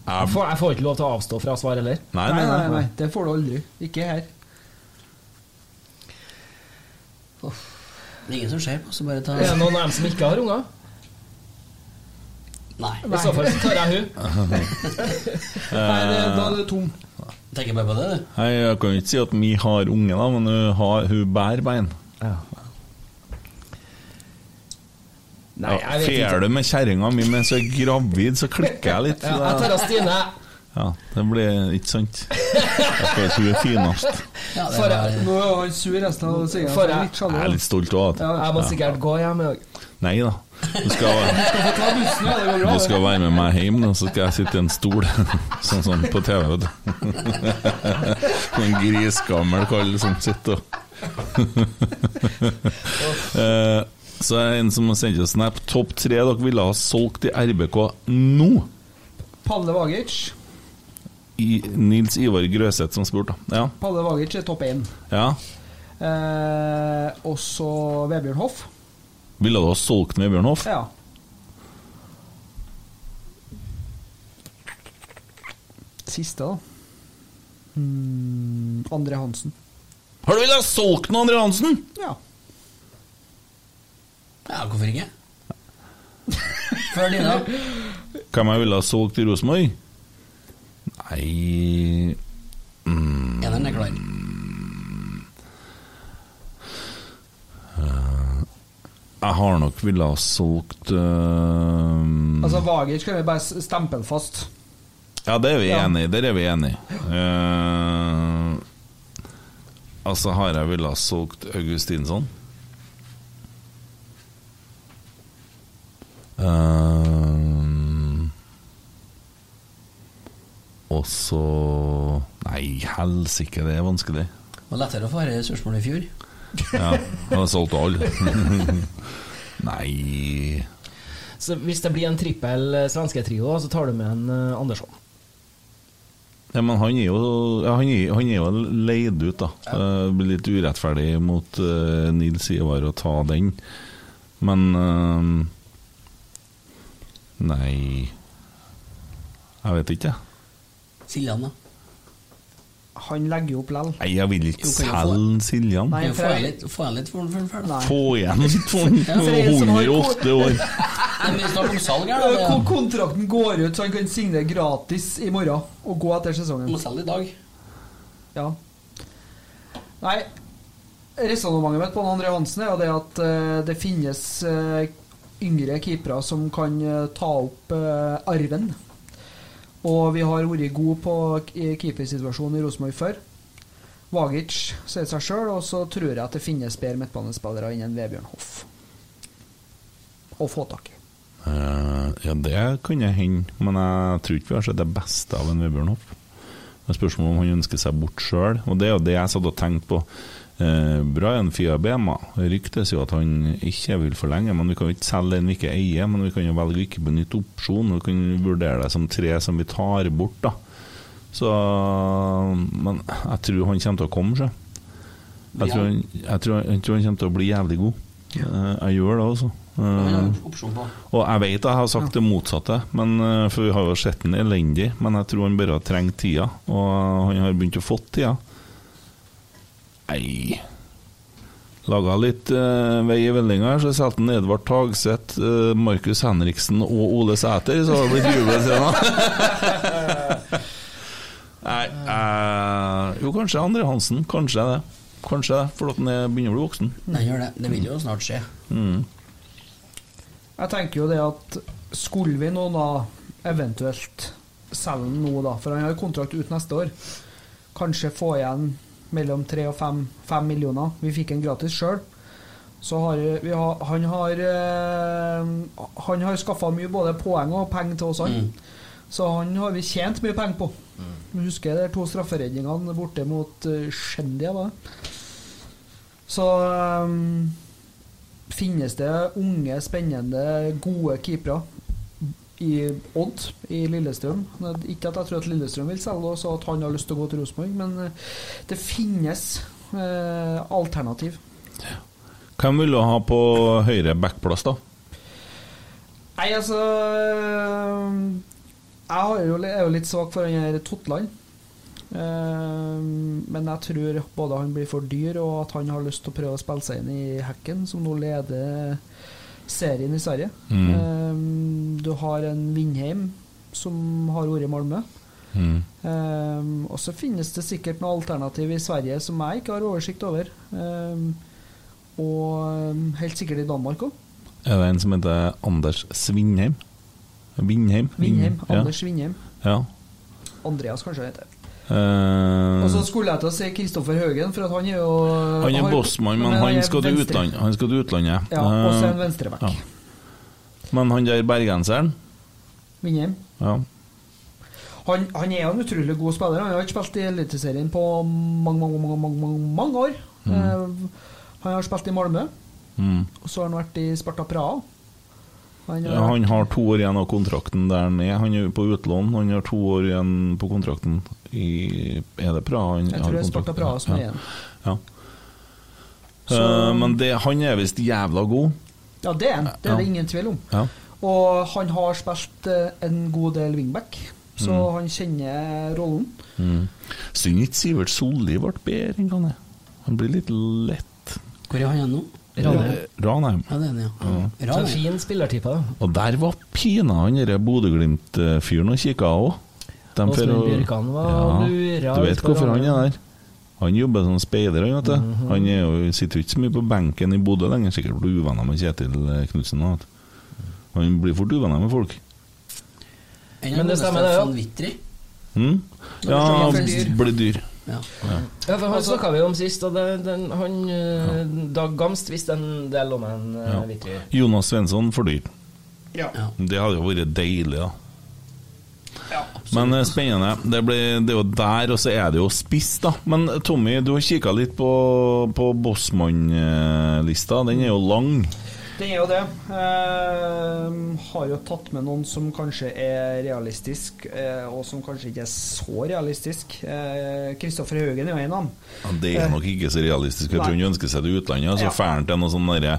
F: Jeg får, jeg får ikke lov til å avstå fra svar heller.
C: Nei,
E: Nei,
C: nei,
E: nei,
C: nei.
E: nei, det får du aldri. Ikke her.
D: Det er ingen som ser på, så bare ta
F: Er det noen av dem som ikke har unger?
D: Nei.
F: I så fall så tar jeg hun.
E: Nei, det, da er du tom.
D: Tenker bare på det, du.
C: Nei, Jeg kan jo ikke si at mi har unge, da, men hun, har, hun bærer bein.
F: Nei, jeg vet ikke.
C: Fer du med kjerringa mi mens hun er gravid, så klikker jeg litt.
F: Ja, jeg tar av Stine.
C: Ja, det blir ikke sant. Jeg tror hun er finest.
D: Ja, det
F: For-
D: er bare...
E: Nå er han sur resten av sendinga. så jeg er
F: For jeg-
E: Litt
C: Jeg er
E: sjalu.
C: litt stolt òg.
F: Jeg må sikkert gå hjem i dag.
C: Nei da. Du skal,
E: Få ta bussen, ja. Det går bra.
C: du skal være med meg hjem, nå, så skal jeg sitte i en stol. Sånn som på TV, vet du. Noen grisgammel kall som sitter og Eh, Så er det en som sendte oss snap. Topp tre dere ville ha solgt i RBK nå?
E: det. Palle Vagic.
C: I Nils Ivar Grøseth som spurte. Ja.
E: Palle Vagic er topp én.
C: ja.
E: Eh, og så Vebjørn Hoff.
C: Ville du ha solgt med Bjørn Hoff?
E: Ja. Siste, da. Hmm, André Hansen.
C: Har du villet ha solgt noe, André Hansen?
E: Ja.
D: Ja, hvorfor ikke? Før dine.
C: Hvem jeg ville ha solgt i Rosenborg? Nei
D: Eneren er klar.
C: Jeg har nok ville ha solgt øh,
E: Altså, Vagic kan vi bare s- stemple den fast.
C: Ja, det er vi
E: Ja.
C: enig i. Der er vi enig. Uh, altså, har jeg ville ha solgt Augustinsson? Uh, og så Nei, helsike, det er vanskelig.
D: Det var lettere å få dette spørsmålet i fjor.
C: Ja, jeg har solgt alle. Nei
F: Så hvis det blir en trippel eh, svensketrio, så tar du med en eh, Andersson.
C: Ja, men han er jo, ja, han er, han er jo leid ut, da. Eh, Det blir litt urettferdig mot eh, Nils Ivar å ta den. Men eh, Nei Jeg vet ikke, jeg.
D: Siljan, da.
E: Han legger jo opp lell.
C: Nei, Jeg vil ikke
D: Jo, kan jeg få-
C: selge Siljan.
E: Nei,
D: Jo, Få
E: Frei-
D: jeg litt, får jeg litt for den før den ferdig?
E: Nei.
C: Få igjen for
E: Frei som har-
C: 108 år!
D: Nei, men vi snakker om salg her,
E: Eh,
D: da.
E: kon-
D: Det-
E: Kontrakten går ut, så han kan signere gratis i morgen og gå etter sesongen.
D: Vi må selge i dag.
E: Ja. Nei, resonnementet mitt på den André Hansen er jo det at eh, det finnes eh, yngre keepere som kan eh, ta opp eh, arven. Og vi har vært gode på k- i keepersituasjonen i Rosenborg før. Vagic sier seg sjøl, og så tror jeg at det finnes bedre midtbanespillere enn Vebjørn Hoff å få tak i.
C: Eh, ja, det kunne hende, men jeg tror ikke vi har sett det beste av en Vebjørn Hoff. Det er spørsmål om han ønsker seg bort sjøl, og det er jo det jeg satt og tenkte på. Eh, Brian Fiabema ryktes jo at han ikke vil forlenge, men vi kan jo ikke selge en vi ikke eier. Men vi kan jo velge å ikke benytte opsjon, vi kan vurdere det som tre som vi tar bort, da. Så Men jeg tror han kommer til å komme seg. Jeg tror han, jeg tror, jeg tror han kommer til å bli jævlig god. Eh, jeg gjør det, altså.
D: Vi
C: Eh,
D: har opsjon på.
C: og jeg vet jeg har sagt det motsatte, men, eh, for vi har jo sett den elendig. Men jeg tror han bare har trengt tida, og han har begynt å få tida. Nei Laga litt eh, vei i vellinga her, så solgte han Edvard Tagseth, eh, Markus Henriksen og Ole Sæter, så har det blitt jubeltrener. Nei eh, Jo, kanskje Andre Hansen. Kanskje det. Kanskje det, for at han er- begynner å bli voksen.
D: Nei, gjør det. Det vil jo snart skje.
E: Jeg tenker jo det at skulle vi nå da eventuelt selge den nå, da, for han har jo kontrakt ut neste år, kanskje få igjen mellom tre og fem, fem millioner. Vi fikk den gratis sjøl. Så har vi, har- han har eh, Han har skaffa mye både poeng og penger til oss, han. Så han har vi tjent mye penger på. Du Husker de to strafferedningene borte mot eh, Shendia, var det? Så eh, finnes det unge, spennende, gode keepere i Odd i Lillestrøm. Ikke at jeg tror at Lillestrøm vil selge, og så at han har lyst til å gå til Rosenborg, men eh, det finnes eh, alternativ.
C: Hvem vil du ha på høyre backplass, da?
E: Nei, altså eh, Jeg har jo, er jo litt svak for han her Totland. Eh, men jeg tror både han blir for dyr, og at han har lyst til å prøve å spille seg inn i Hekken, som nå leder serien i Sverige. Eh, du har en Vindheim som har vært i Malmö. Eh, og så finnes det sikkert noe alternativ i Sverige som jeg ikke har oversikt over. Eh, og eh, helt sikkert i Danmark òg.
C: Er det en som heter Anders Svindheim? Vindheim?
E: Vindheim.
C: Mm, Ja.
E: Anders Vindheim.
C: Ja.
E: Andreas, kanskje han heter.
C: Eh,
E: Og så skulle jeg til å si Kristoffer Haugen, for at han er jo
C: han er
E: har-
C: bossmann, men han
E: er
C: skal til
E: venstre.
C: utlandet. Han skal til utlandet.
E: Ja, også en
C: Eh,
E: venstreback.
C: ja. Men han der bergenseren
E: Vindheim.
C: ja.
E: Han, han er jo en utrolig god spiller. Han har ikke spilt i Eliteserien på mange, mange, mange, mange, mange, mange år. Eh, han har spilt i Malmö,
C: Mm.
E: og så har han vært i Sparta Praha. Han
C: Ja, Han har to år igjen av kontrakten der han er. Han er jo på utlån. Han har to år igjen på kontrakten i Er det Praha han
E: Jeg tror det er Sparta Praha som er igjen.
C: Ja.
E: Så-
C: Eh, men det, han er visst jævla god.
E: Ja, det er han. Det er det
C: Ja.
E: ingen tvil om.
C: Ja.
E: Og han har spilt eh, en god del wingback, så
C: Mm.
E: han kjenner rollen.
C: Synd ikke Sivert Solli ble bedre enn han er. Han blir litt lett.
D: Hvor er han igjen nå?
F: Ranheim.
C: Eh, Ranheim.
D: Ja, det er han, ja.
F: Så en
D: Ranheim.
F: fin spillertype, da.
C: Og der var pina han derre Bodø-Glimt-fyren og kikka òg.
F: Åsmund Bjørkan var lura
C: Du
F: ut
C: vet
F: på
C: hvorfor han
F: Ranheim. Mhm.
C: er der? Han jobber som speider, han vet du. Han er jo, sitter jo ikke så mye på benken i Bodø lenger, sikkert blir uvenner med Kjetil eh, Knutsen. Han blir fort uvenner med folk.
D: En
F: Men det stemmer det, ja.
D: Van Witry.
C: Mm? Ja,
D: Ja, men så er han
C: blir dyr.
D: Ja.
F: Ja, for Han snakka vi om sist, og det, den, han eh, Dag Gamst visste en del om en eh, ja.
C: Ja. Jonas Svensson for dyr.
D: Ja.
C: Det hadde jo vært deilig, da. Men eh, spennende. Det, ble, det er jo der, og så er det jo spiss, da. Men eh, Tommy, du har kikka litt på, på Bossmann-lista. Den er jo lang.
E: Det er jo det. Ehm, har jo tatt med noen som kanskje er realistisk, eh, og som kanskje ikke er så realistisk. Eh, Kristoffer Haugen er jo en av dem.
C: Ja, det er nok ikke så realistisk. Jeg tror han ønsker seg til utlandet, så
E: Ja.
C: drar han til noe sånn derre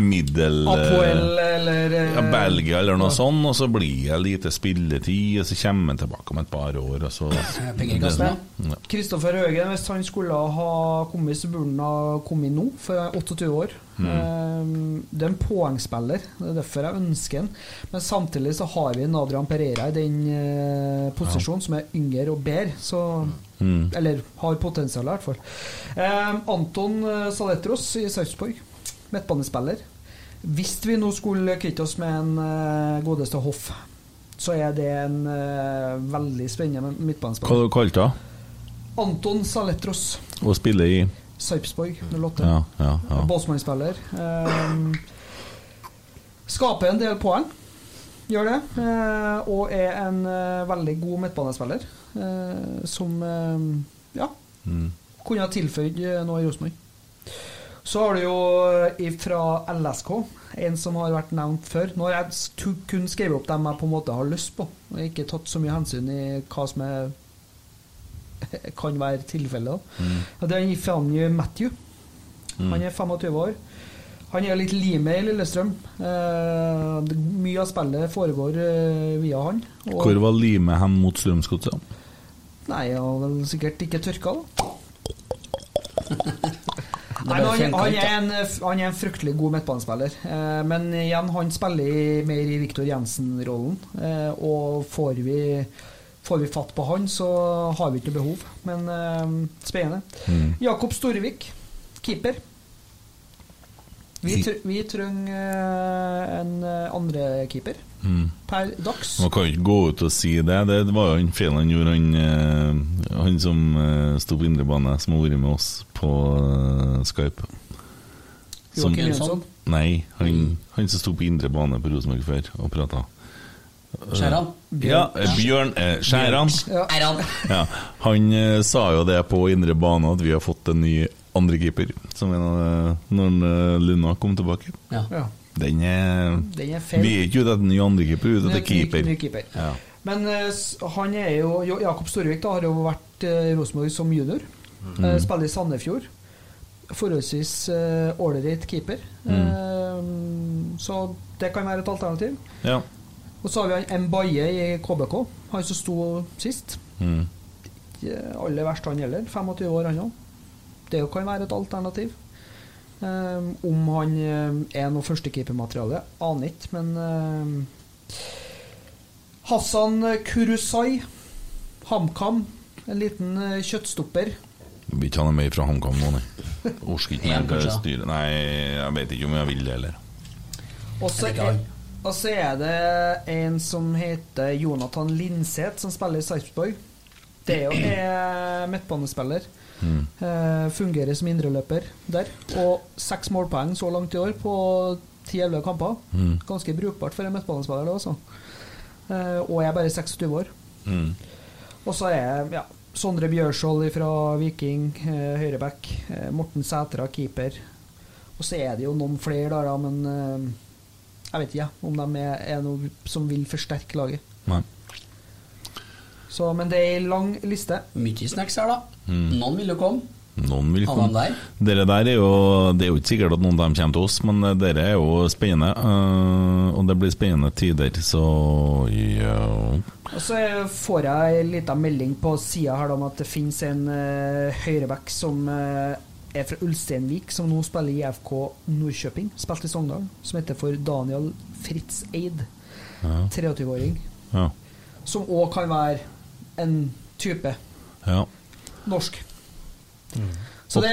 C: middel... eh,
E: Apoel eller eh,
C: Ja, Belgia eller noe sånt, og så blir det lite spilletid, og så kommer han tilbake om et par år, og så
D: Penger i kassen,
C: Ja.
E: Kristoffer Haugen, hvis han skulle ha kommet, så burde han ha kommet nå, for jeg er 28 år. Ehm, det er en poengspiller, det er derfor jeg ønsker han. Men samtidig så har vi en Adrian Pereira i den eh, posisjonen, som er yngre og bedre, så Eller har potensial, i hvert fall. Ehm, Anton eh, Saletros i Sarpsborg, midtbanespiller. Hvis vi nå skulle kvitte oss med en eh, godeste Hoff, så er det en eh, veldig spennende
C: Hva
E: midtbanespiller.
C: du kalte du
E: Anton Saletros,
C: Å spille i
E: Sarpsborg 08.
C: Ja, ja, ja.
E: Båtsmannsspiller. Ehm, skaper en del poeng, gjør det. eh, og er en eh, veldig god midtbanespiller eh, som eh, ja,
C: Mm.
E: kunne ha tilføyd eh, noe i Rosenborg. Så har du jo eh, fra LSK en som har vært nevnt før. Nå har jeg s- tu- kun skrevet opp dem jeg på en måte har lyst på, og ikke tatt så mye hensyn i hva som er kan være tilfellet. da. Og Det er en Fanny Matthew. Han er 25 år. Han er litt limet i Lillestrøm. Eh, det- mye av spillet foregår eh, via han. Og,
C: Hvor var limet hen mot Strømsgodset?
E: Nei, han har vel sikkert ikke tørka, da. Nei, men han,
D: bare
E: han,
D: kjempekaldt,
E: er en, han er en fryktelig god midtbanespiller. Eh, men igjen, han spiller i- mer i Viktor Jensen-rollen. Eh, og får vi, får vi fatt på han, så har vi ikke noe behov. Men eh, spennende.
C: Mm.
E: Jakob Storevik, keeper.
C: Mm.
E: Vi, tr vi trenger eh, en eh, andre keeper
C: Mm.
E: per dags.
C: Man kan jo ikke gå ut og si det. Det var jo han feilen han gjorde, han, eh, han som eh, sto på indrebane, som har vært med oss på eh, Skype. Som-
E: Joakim Jønsson.
C: Nei, han, han som sto på indrebane på Rosenborg før og prata.
D: Skjæran.
C: Ja, eh, Bjørn eh, Skjæran.
D: Æran.
C: Ja, han eh, sa jo det på indre bane at vi har fått en ny andrekeeper, som en av eh, når eh, Luna kom tilbake.
D: Ja.
E: Ja.
C: Den er,
E: Den er feil.
C: Vi er ikke ute etter en ny andrekeeper, vi er ute
E: Ny-
C: etter keeper.
E: ny- ny keeper.
C: Ja.
E: Men eh, s- han er jo Jo- Jakob Storvik da, har jo vært eh, i Rosenborg som junior. Eh, spiller i Sandefjord. Forholdsvis eh, ålreit keeper. Eh, så det kan være et alternativ.
C: Ja.
E: Og så har vi han Mbaye i KBK, han som sto sist.
C: Mm.
E: Ikke eh, aller verst han heller. 25 år, han òg. Det kan være et alternativ. Eh, om han eh, er noe førstekeepermateriale, aner ikke, men eh, Hassan Kurusai, HamKam. En liten eh, kjøttstopper.
C: Vi vil ikke ha noe mer fra HamKam nå, nei. Orker ikke mer
D: En,
C: til
D: kanskje.
C: styret. Nei, jeg vet ikke om jeg vil det heller.
E: Og så
D: Jeg liker
E: er,
D: han.
E: og så er det en som heter Jonathan Linseth, som spiller i Sarpsborg. Det er jo en midtbanespiller. Eh, fungerer som indreløper der. Og seks målpoeng så langt i år på ti-elleve kamper. Ganske brukbart for en midtbanespiller, det også. Eh, og jeg er bare 26 år.
C: Mm.
E: Og så er ja, Sondre Bjørshol fra Viking, eh, høyreback. Eh, Morten Sætra, keeper. Og så er det jo noen flere der, da, men eh, jeg vet ikke ja, om de er, er noe som vil forsterke laget.
C: Nei.
E: Så, men det er ei lang liste.
D: Mye snacks her, da.
C: Hmm.
D: Noen vil jo komme.
C: Noen vil
D: Han
C: komme.
D: der.
C: Dere der er jo Det er jo ikke sikkert at noen av dem kommer til oss, men eh, dere er jo spennende. eh, og det blir spennende tider, så ja.
E: Og så får jeg ei lita melding på sida her da, om at det finnes en uh, høyreback som eh, er fra Ulsteinvik, som nå spiller i IFK Nordkjøping, spilte i Sogndal, som heter for Daniel Fritz Eid. 23-åring.
C: Ja.
E: Som òg kan være en type
C: ja.
E: norsk. Så det,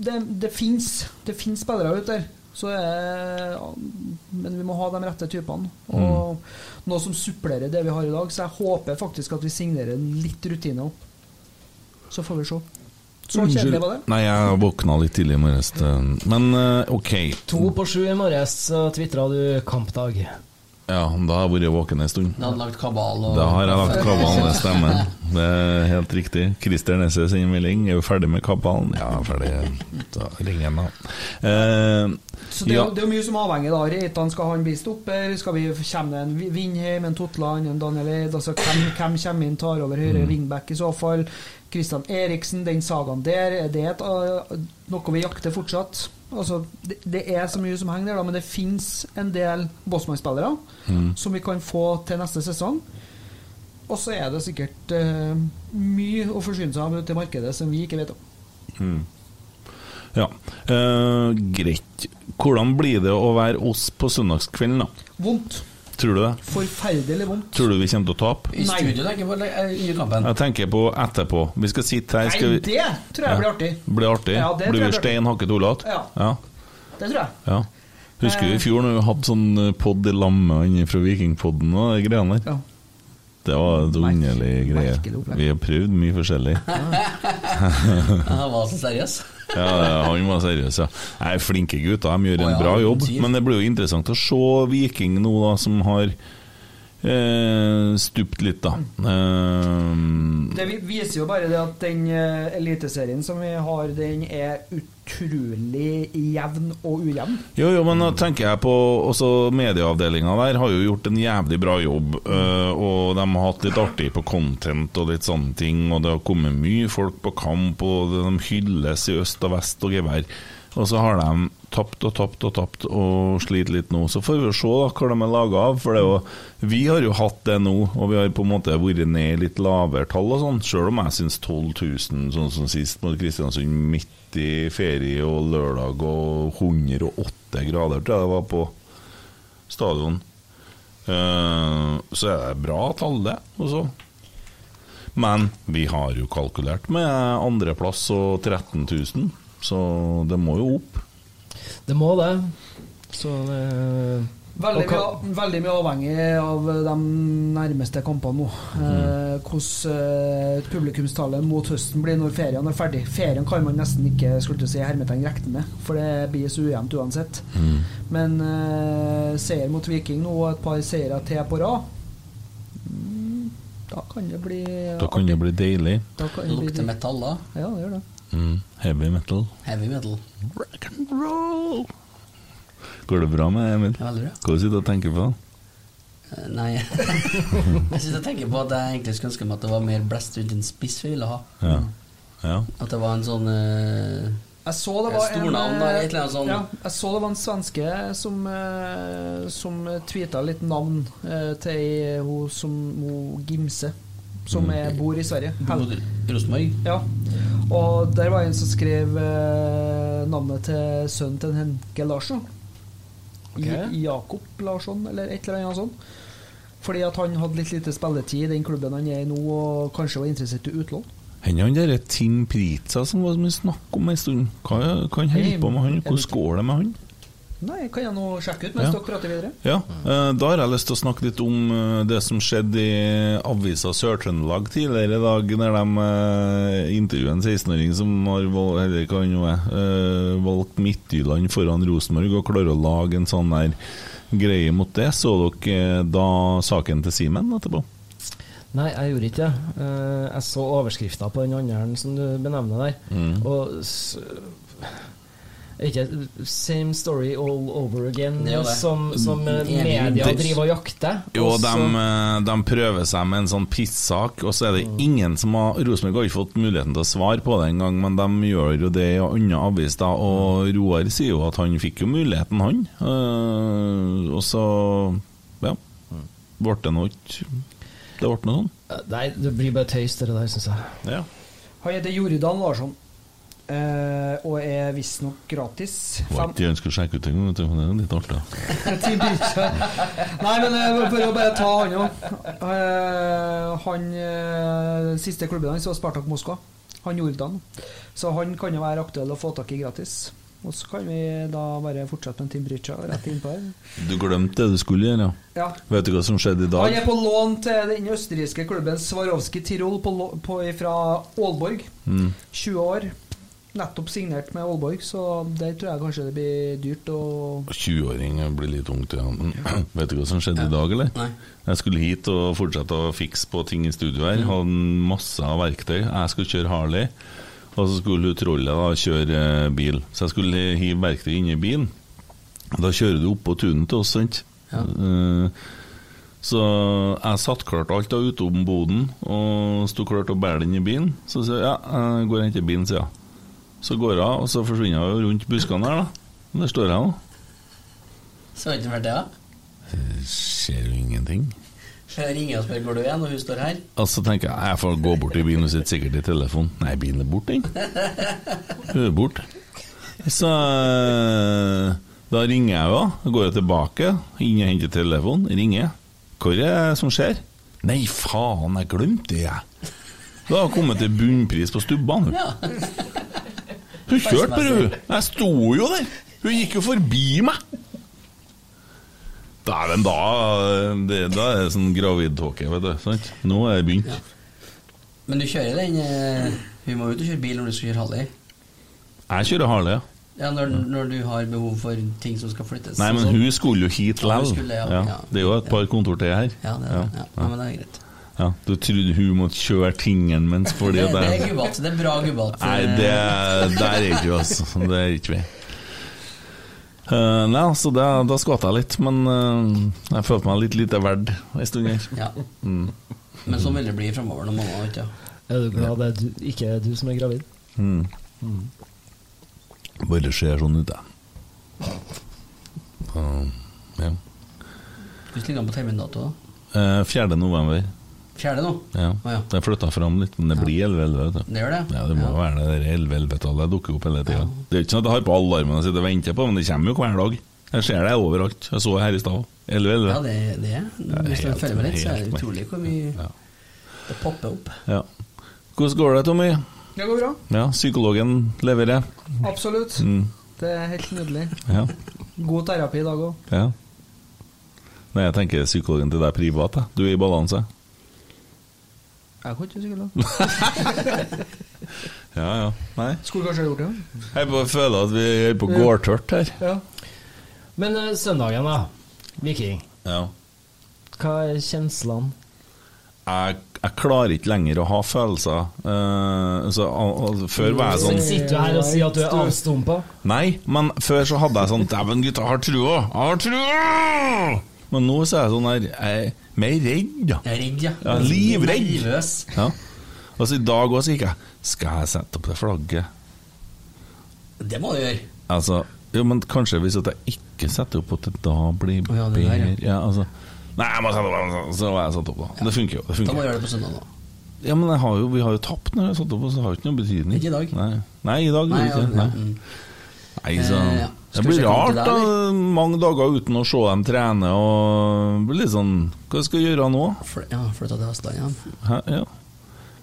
E: det, det fins Det finnes spillere ute der. Så det er, men vi må ha de rette typene. Og noe som supplerer det vi har i dag. Så jeg håper faktisk at vi signerer litt rutine opp. Så får vi se. Så kjedelig var det.
C: Nei, jeg våkna litt tidlig i morges. det- Men eh, ok.
F: To på sju i morges, så tvitra du 'kampdag'.
C: Ja, da har jeg vært våken en stund.
D: Da hadde lagt kabal og
C: Da har jeg lagt kabalen, det stemmer. Det er helt riktig. Christer Nesse sender melding. Er du ferdig med kabalen? Ja, ferdig. Da ringer han, da. Eh,
E: Så det, er
C: ja.
E: jo- det er jo mye som avhenger da. Reitan skal han bli stopper? Skal vi Kommer det en Vi- Vindheim, en Totland, en Daniel Eid? Altså, hvem, hvem kommer inn, tar over
C: Mm.
E: høyre wingback i så fall? Christian Eriksen, den sagaen der, er det et, uh, noe vi jakter fortsatt? Altså, det, det er så mye som henger der, da, men det fins en del Bosman-spillere
C: Mm.
E: som vi kan få til neste sesong. Og så er det sikkert eh, mye å forsyne seg av ute i markedet som vi ikke vet om.
C: ja. Eh, greit. Hvordan blir det å være oss på søndagskvelden, da?
E: Vondt.
C: Tror du det?
E: Forferdelig vondt.
C: Tror du vi kommer til å tape?
D: I studio tenker jeg på eh, under kampen.
C: Jeg tenker på etterpå. Vi skal sitte her. Skal
E: Nei,
C: vi
E: det tror jeg blir artig.
C: blir artig.
E: Ja, det tror
C: blir vi
E: jeg blir artig.
C: stein hakket olete?
E: Ja.
C: ja.
E: Det tror jeg.
C: Ja. Husker du i fjor når vi hadde sånn pod i lamme inne fra Vikingpodden og de greiene der?
E: Ja.
C: Det var et underlig greie.
E: merkelig opplegg.
C: Vi har prøvd mye forskjellig.
D: Jeg var så seriøs.
C: Ja, han var seriøs, ja. Nei, flinke gutter, de gjør
D: Å,
C: en
D: ja,
C: bra jobb.
D: sier.
C: Men det blir jo interessant å se Viking nå, da, som har eh, stupt litt, da.
D: Mm.
C: Eh,
E: Det vi- viser jo bare det at den eh, eliteserien som vi har, den er utrolig jevn og ujevn.
C: Jo, jo, men da tenker jeg på Også medieavdelinga der har jo gjort en jævlig bra jobb. øh, og de har hatt litt artig på content og litt sånne ting. Og det har kommet mye folk på kamp, og de hylles i øst og vest og gevær. Og så har de tapt og tapt og tapt og sliter litt nå. Så får vi jo se da hvor de er laga av. For det er jo, vi har jo hatt det nå, og vi har på en måte vært ned i litt lavere tall og sånn. Sjøl om jeg syns 12 000, sånn som sist mot Kristiansund, midt i ferie og lørdag og 108 grader, tror jeg det var på stadion. Eh, så er det bra tall, det. Også. Men vi har jo kalkulert med andreplass og 13 000, så det må jo opp.
F: Det må det. Så det
E: Veldig
F: eh, Og
E: mye,
F: hva-
E: veldig mye avhengig av de nærmeste kampene nå. Eh, hvordan eh, publikumstallet mot høsten blir når ferien er ferdig. Ferien kan man nesten ikke skulle til å si hermetegn regne med, for det blir så ujevnt uansett.
C: Mm.
E: Men eh, seier mot Viking nå og et par seire til på rad mm, Da kan det bli
C: Da kan det bli deilig.
E: Da kan
D: Det
E: det bli-
D: lukter metall da.
E: Ja, det gjør det.
C: Mm. Heavy metal.
D: Heavy metal.
C: Rock and roll. Går det bra med Emil?
D: Det er veldig bra.
C: Hva sitter du og tenker på?
D: Eh, Nei Jeg sitter og tenker på at jeg egentlig skulle ønske meg at det var mer blest rundt en spiss vi ville ha.
C: Ja. ja.
D: At det var en sånn eh,
E: Jeg så det var en,
D: Stornavn, da, et eller annet sånn.
E: ja, jeg så det var en svenske som, eh, som tweeta litt navn eh, til ei- hun som hun Gimse, som
D: Mm.
E: er, bor i Sverige. Hel-
D: mot Rosenborg.
E: Ja. Og der var en som skrev eh, navnet til sønnen til Henke Larsson.
F: Ok.
E: I- Jakob Larsson, eller et eller annet sånt. Fordi at han hadde litt lite spilletid i den klubben han er i nå, og kanskje var interessert i utlån.
C: Han han derre Tim Pritza som var så mye snakk om en stund, hva hva han holder på med han? Hvordan går det med han?
E: Nei, kan jeg nå sjekke ut mens
C: Ja.
E: dere prater videre?
C: Ja, eh, Da har jeg lyst til å snakke litt om eh, det som skjedde i avisa Sør-Trøndelag tidligere i dag, der de eh, intervjuet en 16-åring som har val- eller hva han nå er, eh, valgt Midtjylland foran Rosenborg, og klarer å lage en sånn der greie mot det. Så dere eh, da saken til Simen etterpå?
F: Nei, jeg gjorde ikke det. Eh, Jeg så overskrifta på den andre som du benevner der.
D: Mm.
F: Og s- er ikke same story all over again
D: Det er jo det. Mm,
F: som, som eh,
D: Enig.
F: media
C: Det-
F: driver og jakter.
C: Jo,
F: og
C: de,
F: så-
C: eh, de prøver seg med en sånn pissak, og så er det ingen som har Rosenborg har ikke fått muligheten til å svare på det engang, men de gjør jo det i annen avis, da. Og Roar sier jo at han fikk jo muligheten, han. Eh, og så ja. Ble det nå ikke Det ble noe sånn.
F: Eh, Nei, det blir bare tøys, det der, syns jeg.
C: Ja.
E: Han heter Jordan Larsson. eh, og er visstnok gratis.
C: Var
E: Fem-
C: ikke ønska å sjekke ut engang, vet du, for det er litt artig. da.
E: Team Bridge. Nei, men eh, for å bare ta han òg. han eh, siste klubben hans var Spartak Moskva. Han Jordan. Så han kan jo være aktuell å få tak i gratis. Og så kan vi da bare fortsette med Team Bridge og rett innpå her.
C: Du glemte det du skulle gjøre, ja.
E: Ja.
C: Vet du hva som skjedde i
E: Han
C: dag?
E: er på lån til den østerrikske klubben Swarovski Tirol på, lå- på, fra Aalborg.
C: Mm.
E: 20 år. Nettopp signert med Aalborg, så der tror jeg kanskje det blir dyrt å
C: 20-åring blir litt ungt, ja. Men Vet du hva som skjedde i dag, eller?
D: Nei.
C: Jeg skulle hit og fortsette å fikse på ting i studio her. Hadde masse av verktøy. Jeg skulle kjøre Harley, og så skulle hun trollet da kjøre eh, bil. Så jeg skulle hive verktøy inn i bilen. Da kjører du opp på tunet til oss, sant? Eh, Så jeg satt klart alt av utom boden, og sto klart og bærer den i bilen. Så sier jeg ja, jeg går og henter bilen, sier jeg. Så går jeg, og så forsvinner jeg jo rundt buskene her, da. Og Der står jeg nå.
D: Så har det ikke vært det, da.
C: Skjer jo ingenting.
D: Så jeg ringer og spør går du igjen, og hun står her.
C: Og så tenker jeg jeg får gå bort til bilen og sitte sikkert i telefonen. Nei, bilen er borte, den. Hun er borte. Så eh, da ringer jeg jo, da. går jeg tilbake, inn og henter telefonen, ringer. Hva er det som skjer? Nei, faen, jeg glemte det, jeg. Da har jeg kommet til bunnpris på stubbene. hun.
D: Ja.
C: Hun kjørte bare, hun. Jeg sto jo der. Hun gikk jo forbi meg. Dæven, da det, Da er det sånn gravidtåke, vet du. Sant? Nå er det begynt.
D: Men du kjører den eh, Hun må jo ut og kjøre bil når du skal kjøre Harley.
C: Jeg kjører Harley. ja.
D: Ja, når, når du har behov for ting som skal flyttes.
C: Nei, men
D: Så-
C: hun skulle jo hit
D: Sånn. Ja, hun
C: lell.
D: skulle, ja.
C: Ja,
D: Ja.
C: det er jo et par kontor til her.
D: Ja, det er det. Ja. Ja, men det er greit.
C: Ja, Du trodde hun måtte kjøre tingene mens fordi
D: Det,
C: at
D: det er
C: jeg-
D: gubbete. Det er bra eh, gubbete.
C: Nei, det der er ikke vi, altså. Det er ikke vi. Eh, nei, altså, det, da skvatt jeg litt, men eh, jeg følte meg litt lite verd en stund her.
D: Ja. Men sånn vil det bli framover noen måneder. vet du.
F: Er du glad det er du, ikke er du som er gravid?
C: Mm. Bare ser sånn ut, jeg. Eh, ja.
D: Hvordan ligger den på termindato? da?
C: Eh, 4. november.
D: Fjerde nå?
C: Ja.
D: Å, ja.
C: Det flytta fram litt, men det blir 11-11, vet du.
D: Det gjør det?
C: Ja, det må jo være det der 11-11-tallet dukker opp hele tida. Det er ikke sånn at jeg har på alarmen og sitter og venter på, men det kommer jo hver dag. Jeg ser det overalt. Jeg så det her i stad òg.
D: Ja,
C: 11-11.
D: det, det er
C: er
D: Hvis du
C: helt-
D: følger med litt, så er det
C: helt
D: utrolig hvor mye
C: Ja.
D: det popper opp.
C: Ja. Hvordan går det, Tommy?
E: Det går bra.
C: Ja, psykologen leverer. Mm.
E: Absolutt. Det er helt nydelig.
C: Ja.
E: God terapi i dag òg.
C: ja. Nei, jeg tenker psykologen til deg privat. Jeg. Du er i balanse.
E: Jeg kan ikke psykolog.
C: Ja, ja. Nei.
E: Skulle kanskje ha gjort det.
C: Jeg bare føler at vi er på gårdtørt her.
E: Ja.
F: Men eh, søndagen, da. Viking.
C: Ja.
F: Hva er kjenslene?
C: Jeg, jeg klarer ikke lenger å ha følelser. Eh, så, al- al- før var jeg
F: Sånn.
C: sånn
F: Sitter du her og sier at du er avstumpa?
C: Nei, men før så hadde jeg sånn Dæven, gutta, jeg har trua! Jeg har trua! Men nå så er jeg sånn her Jeg er mer redd, da.
D: Jeg er redd, ja.
C: Ja, livredd.
D: Nervøs.
C: Ja. Og så i dag òg gikk jeg Skal jeg sette opp det flagget?
D: Det må du gjøre.
C: Altså Jo, men kanskje hvis at jeg ikke setter opp at det da blir
D: Å, ja,
C: bedre
D: det der, ja.
C: ja, altså Nei, jeg må sette opp det, så var jeg satt opp, da. Det funker jo. det
D: Da må du
C: funker
D: gjøre det på søndag nå.
C: Ja, Men jeg har jo, vi har jo tapt når jeg har satt opp, så det har jo ikke noe betydning.
D: Ikke i dag.
C: Nei, Nei i dag gjorde det ikke
D: ja,
C: Nei.
D: mm.
C: Nei, så
D: Eh, ja.
C: Det
D: Skal vi
C: blir
D: sjekke om
C: rart,
D: det der,
C: da. Mange dager uten å se dem trene og det blir litt sånn Hva skal jeg gjøre nå?
D: Fly- Ja, flytta til Vestlandet igjen.
C: Hæ? Ja.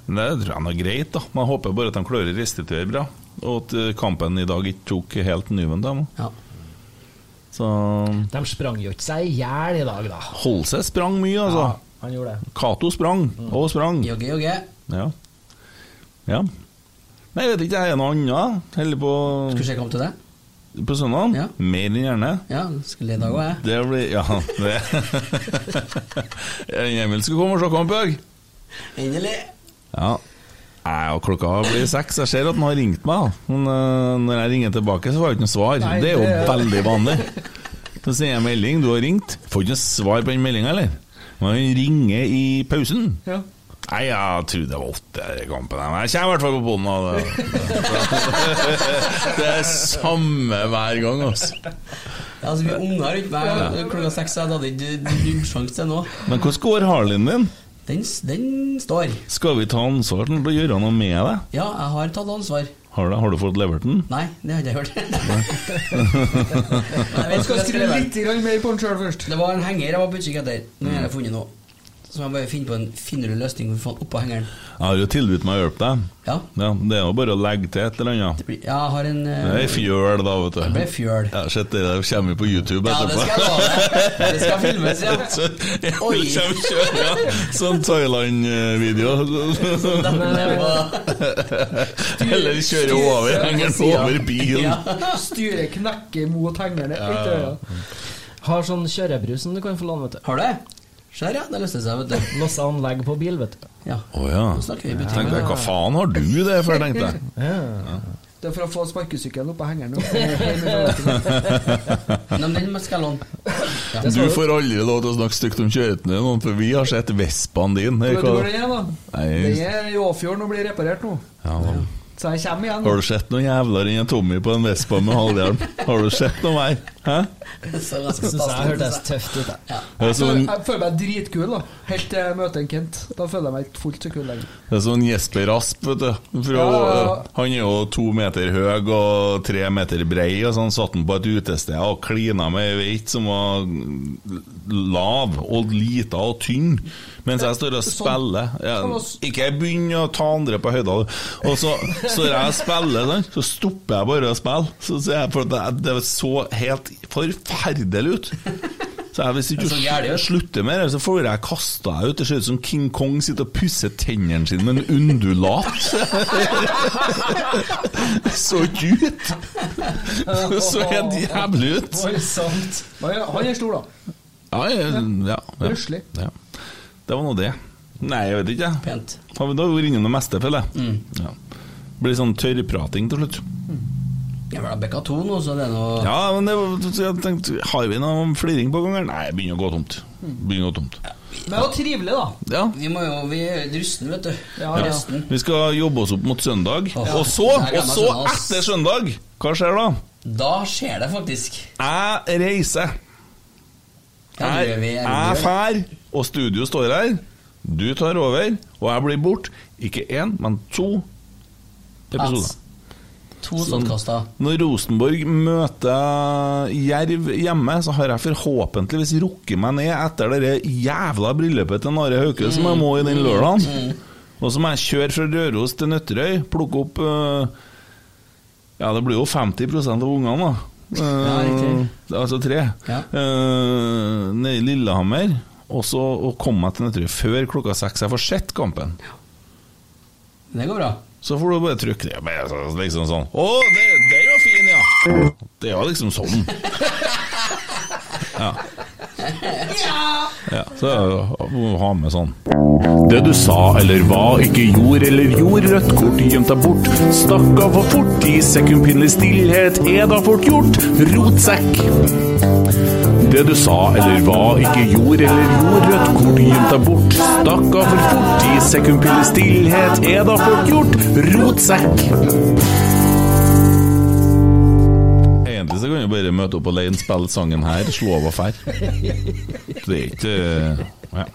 C: Men Det tror jeg nå er greit, da. Men jeg håper bare at de klarer å restituere bra. Og at eh, kampen i dag ikke tok helt nyven dem.
D: Ja.
C: Så
F: De sprang jo ikke seg i hjel i dag, da.
C: Holse sprang mye, altså.
F: Han gjorde det. Mm.
C: Cato sprang, og sprang.
D: Jogge, jogge.
C: Ja. ja. Nei, jeg vet ikke, jeg er noe annet. Heller på,
D: Skal vi sjekke om til det?
C: på søndag.
D: Ja.
C: Mer enn gjerne.
D: Ja, skulle i dag òg, jeg.
C: Det blir Ja, det Emil skal komme og se kamp i dag.
D: Endelig.
C: Ja. Nei, og klokka blir seks. Jeg ser at han har ringt meg. da. Men øh, når jeg ringer tilbake, så får jeg ikke noe svar.
E: Nei,
C: det er jo
E: det-
C: veldig vanlig. Så sender jeg melding. 'Du har ringt.' Får ikke noe svar på den meldinga, eller? Men han ringer i pausen.
E: Ja.
C: Nei, jeg trodde det var åtte i kampen, her, men jeg kommer i hvert fall på bånn av det. Det er samme hver gang, altså.
D: Ja, altså, vi unger rundt meg klokka seks, så jeg hadde ikke nubbsjanse til nå.
C: Men hvordan går Harlin din?
D: Den, s- den står.
C: Skal vi ta ansvar til å gjøre noe med det?
D: Ja, jeg har tatt ansvar.
C: Har du, har du fått levert den?
D: Nei, det har jeg ikke gjort. Nei, jeg
E: Jeg skal
D: vet ikke hva jeg
E: skrive
D: skrev.
E: litt grann mer på den sjøl først.
D: Det var en henger jeg var på utkikk etter. Nå
C: Mm.
D: har jeg funnet noe. Så må jeg bare finne på en finere løsning for å få den oppå hengeren.
C: Jeg har jo tilbudt meg å hjelpe deg.
D: Ja,
C: Ja, det er jo bare å legge til et eller annet.
D: det blir, ja jeg har en eh,
C: Det er fjøl, da, vet du.
D: Det ble fjøl.
C: Ja, Sett det der kommer vi på YouTube
D: Ja, det
C: etterpå.
D: skal jeg love deg. Det skal filmes, ja.
C: Så- ja,
D: Oi.
C: det kommer kjøre, ja. Sånn Thailand-video. Eller kjøre over hengeren over bilen.
E: Styret knekker mot hengerne. Ikke øya.
F: Har sånn kjørebrus som du kan få låne, vet du.
D: Har du det? Ser ja, det løste seg, vet du.
F: Losse anlegg på bil, vet du.
D: Ja.
C: Å ja.
D: Nå snakker vi i
C: Jeg
D: butikken.
C: tenkte, hva faen har du det for, tenkte jeg.
E: Det er for å få sparkesykkelen oppå hengeren. nå.
D: Nei, men den skal jeg låne. Ja.
C: Du får aldri lov til å snakke stygt om kjøretøyet ditt, for vi har sett Vespaen din. Hei,
E: Vet du hvor
C: hva-
E: den er, da? Den
C: Nei,
E: er i Åfjorden og blir reparert nå.
C: ja, da.
E: Så jeg kommer igjen.
C: Har du sett noen jævler enn en Tommy på en Vespa med halvhjelm? Har du sett noe mer? Hæ?
D: Så jeg skal
F: Syns
D: ta
F: jeg hørtes
D: den.
F: tøft ut, jeg.
C: Det er
E: Jeg føler,
C: sånn,
E: jeg føler meg dritkul, da. Helt til jeg møter en Kent. Da føler jeg meg ikke fullt så kul lenger.
C: det er sånn Jesper Asp, vet du. Fra,
E: Ja.
C: Han er jo to meter høy og tre meter brei, og sånn satt han på et utested og klina med ei veit som var lav og lita og tynn, mens jeg står og
E: Sånn.
C: spiller. Ja, ikke begynn å ta andre på høyda, du. Og så står jeg og spiller, sånn, så stopper jeg bare å spille. Så ser jeg for at det, det så helt forferdelig ut. Så jeg, hvis ikke
D: Det er så gærlig,
C: du
D: vet du.
C: slutter med det, så får jeg kasta deg ut. Det ser ut som King Kong sitter og pusser tennene sine med en undulat. så ikke ut! Det så helt jævlig ut.
F: Voldsomt.
E: Men ja, han er stor, da.
C: Ja, ja, ja, ja.
E: Røslig.
C: ja. Det var nå det. Nei, jeg vet ikke. jeg.
D: Pent.
C: Har vi da vært innom det meste, føler jeg.
D: Mm.
C: Ja. Blir sånn tørrprating til slutt.
D: Jeg har bekka to nå, så det er noe
C: Ja, men det var, så jeg tenkte, Har vi noe fliring på gang? her? Nei, det begynner å gå tomt.
D: Mm.
C: Begynner å gå tomt.
E: Men det var trivelig, da.
C: Ja.
D: Vi må jo Vi er rusten, vet du.
E: Ja, ja.
D: Rusten.
C: Vi skal jobbe oss opp mot søndag.
D: Ja.
C: Og så,
D: Jeg
C: og
D: gleder meg
C: så
D: til oss.
C: etter søndag, hva skjer da?
D: Da skjer det faktisk.
C: Jeg reiser.
D: Ja, det gjør vi,
C: Jeg
D: jeg
C: jeg
D: gjør.
C: fær, og studio står her. Du tar over, og jeg blir borte. Ikke én, men to episoder.
D: Pats. To ståndkaster.
C: Når Rosenborg møter Jerv hjemme, så har jeg forhåpentligvis rukket meg ned etter det jævla bryllupet til Are Hauke som jeg må i den lørdagen. Og så må jeg kjøre fra Røros til Nøtterøy, plukke opp eh, Ja, det blir jo 50 av ungene, da.
D: riktig.
C: Eh, altså tre.
D: Ja.
C: Eh, nede i Lillehammer. Og så å komme meg til Nøtterøy før klokka seks. Jeg får sett kampen.
D: Det går bra.
C: Så får du bare trykke det. Bare så- Liksom sånn Å, det- den var fin, ja! Det er jo liksom sånn. Ja. ja. Så ja, må du ha med sånn.
I: Det du sa eller hva, ikke gjorde eller gjorde, rødt kort gjemt deg bort. Stakk av for fort, ti sekund pinlig stillhet er da fort gjort. Rotsekk. Det du sa eller hva, ikke gjorde eller gjorde, rødt kort gjemt deg bort. Stakk av for fort, ti sekund pinlig stillhet er da fort gjort. Rotsekk.
C: Egentlig så kan vi bare møte opp alene, spille sangen her, slå av og fær. Det er ikke eh, ja.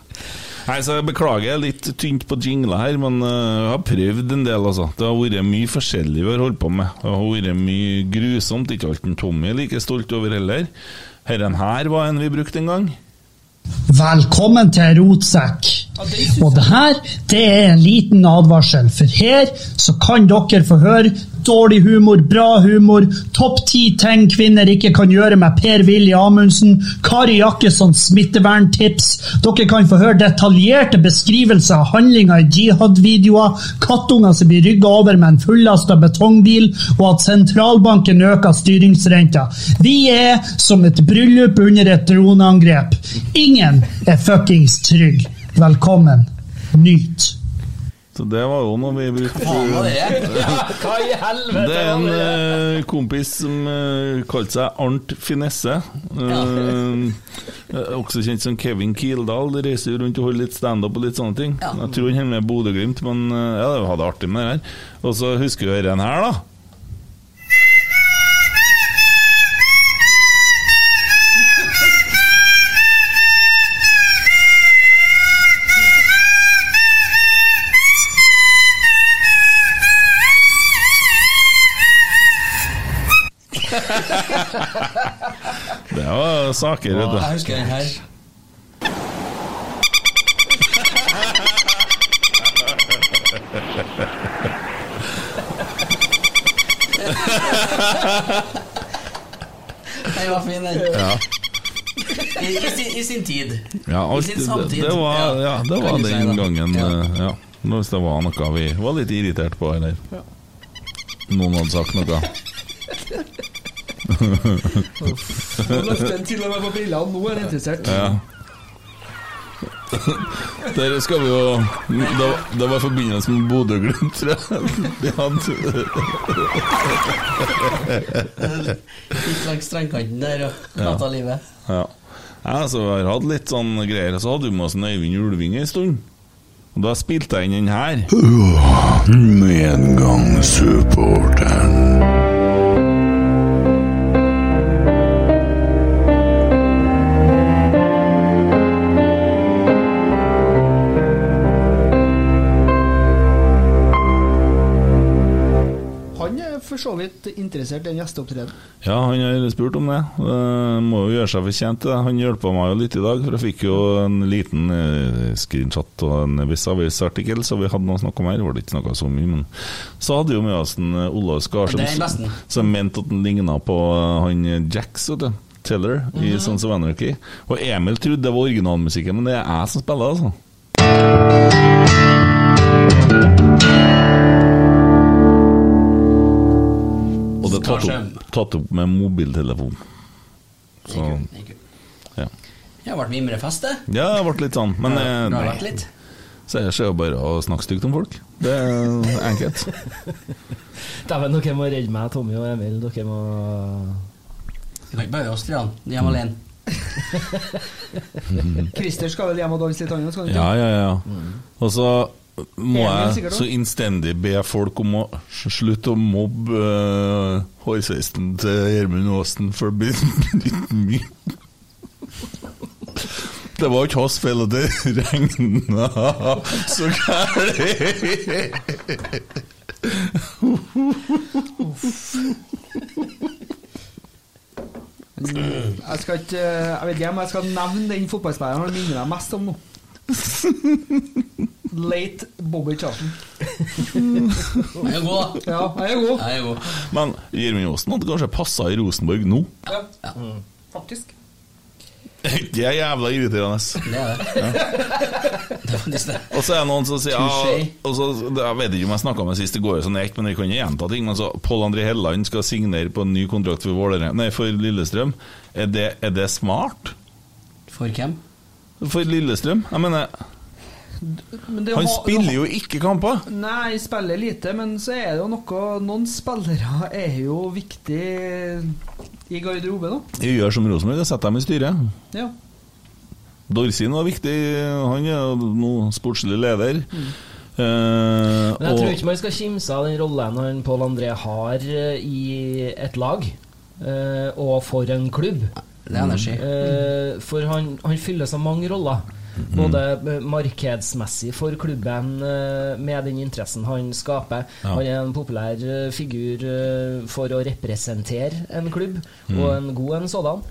C: Nei, så jeg beklager, jeg er litt tynt på jingler her, men eh, jeg har prøvd en del, altså. Det har vært mye forskjellig vi har holdt på med. Det har vært mye grusomt, ikke alt en Tommy er like stolt over heller. Herren her var en vi brukte en gang.
J: Velkommen til Rotsekk. Og det her, det er en liten advarsel, for her så kan dere få høre dårlig humor, bra humor, topp ti ting kvinner ikke kan gjøre med Per-Willy Amundsen, Kari Jakkessons smitteverntips. Dere kan få høre detaljerte beskrivelser av handlinger i jihad-videoer, kattunger som blir rygga over med en fullasta betongbil, og at sentralbanken øker styringsrenta. Vi er som et bryllup under et droneangrep. Ingen er fuckings trygg. Velkommen. Nyt.
C: Så det var jo noe vi brukte.
D: Faen var det?
F: Hva i helvete?
C: Det er en
F: var det?
C: eh, kompis som eh, kalte seg Arnt Finesse. Eh, eh, også kjent som Kevin Kildahl. De reiser jo rundt og holder litt standup og litt sånne ting.
D: Ja.
C: Jeg tror han holder med Bodø-Glimt, men eh, ja, det hadde artig med det her. Og så husker vi den her, da. Det var saker, vet du.
D: Jeg husker den her. Den var fin, den. I, i, sin, I sin tid.
C: Ja, alt,
D: I sin
C: det,
D: samtid.
C: det var,
D: Ja.
C: ja, det var
D: Kan du si
C: den
D: det?
C: gangen
D: Ja.
C: eh, ja. Hvis det var noe vi var litt irritert på, eller noen hadde sagt noe.
E: Nå løfter han til og med på brillene, nå er han interessert.
C: Ja. Der skal vi jo Det, det var i forbindelse med Bodø-Glimt, tror jeg. De hadde,
D: Litt langs strengkanten der og prata livet.
C: ja. ja, så vi har hatt litt sånn greier. Og så hadde vi med oss en Øyvind Ulving en stund. Og da spilte jeg inn den her.
I: Medgangssupporteren.
E: Han er for så vidt interessert i en gjesteopptreden.
C: Ja, han har spurt om det. Eh, må jo gjøre seg fortjent til det. Han hjelpa meg jo litt i dag, for jeg fikk jo en liten eh, screenshot og en vis-a-vis-artikkel, så vi hadde noe å snakke om her. Det var ikke noe så mye, men så hadde jo med oss en eh, Olav Skarsum
D: Det er nesten.
C: som, som mente at han ligna på eh, han Jacks, vet du. Teller
D: Mhm.
C: i Sons of Anarchy. Og Emil trodde det var originalmusikken, men det er jeg som spiller, altså. Og det er tatt opp,
D: Skarsheim.
C: tatt opp med mobiltelefon. Så,
D: Det gikk jo.
C: ja.
D: Det har vært mimrefest, det.
C: ja, det ble litt sånn. Men eh,
D: Det har
C: nei,
D: vært litt.
C: så er det jo bare å snakke stygt om folk. Det er enkelt.
F: Dæven, dere må redde meg, Tommy og Emil. Dere må
D: Vi kan ikke bare oss tre, han. De er alene.
E: Christer skal vel hjem og danse litt annet, skal han
C: Ja,
E: ikke?
C: Mm. ja, ja. Og så må jeg
E: Enig, sikkert
C: så
E: også.
C: innstendig be folk om å s- slutte å mobbe uh, hårsveisen til Gjermund Aasen for å bli litt mye. Det var ikke hans feil at det regna så gærent.
E: eh, Jeg skal ikke, jeg vet ikke om jeg skal nevne den fotballspilleren han minner meg mest om nå. Late Bobby Charlton.
D: Han er god, da.
E: Ja, jeg er god.
D: Han er god.
C: Men Gjermund Aasen hadde kanskje passa i Rosenborg nå.
E: Ja. Faktisk.
C: Det er jævla irriterende.
D: Det er det. Det er faktisk det.
C: Og så er det noen som sier ja,
D: Touché.
C: og så, Jeg vet ikke om jeg snakka med sist, det går jo sånn ekte, men vi kan jo gjenta ting. Men så Pål André Helleland skal signere på en ny kontrakt for, Vålerenga- nei, for Lillestrøm. Er det, er det smart?
D: For hvem?
C: For Lillestrøm? Jeg mener,
E: Men det
C: han
E: har-
C: spiller jo ikke kamper!
E: Nei, jeg spiller lite, men så er det jo noe Noen spillere er jo viktig i garderoben òg.
C: Jeg gjør som Rosenborg, jeg setter dem i styret.
E: Ja.
C: Dorsin var viktig, han er jo nå sportslig leder. Eh,
F: Mm. Men jeg tror
C: og
F: ikke man skal kimse av den rollen han Pål André har eh, i et lag, eh, og for en klubb.
D: Det er energi.
F: Eh, For han, han fyller så mange roller.
C: Mm.
F: Både eh, markedsmessig for klubben, eh, med den interessen han skaper.
C: Ja.
F: Han er en populær eh, figur eh, for å representere en klubb, og
C: Mm.
F: en god en sådan.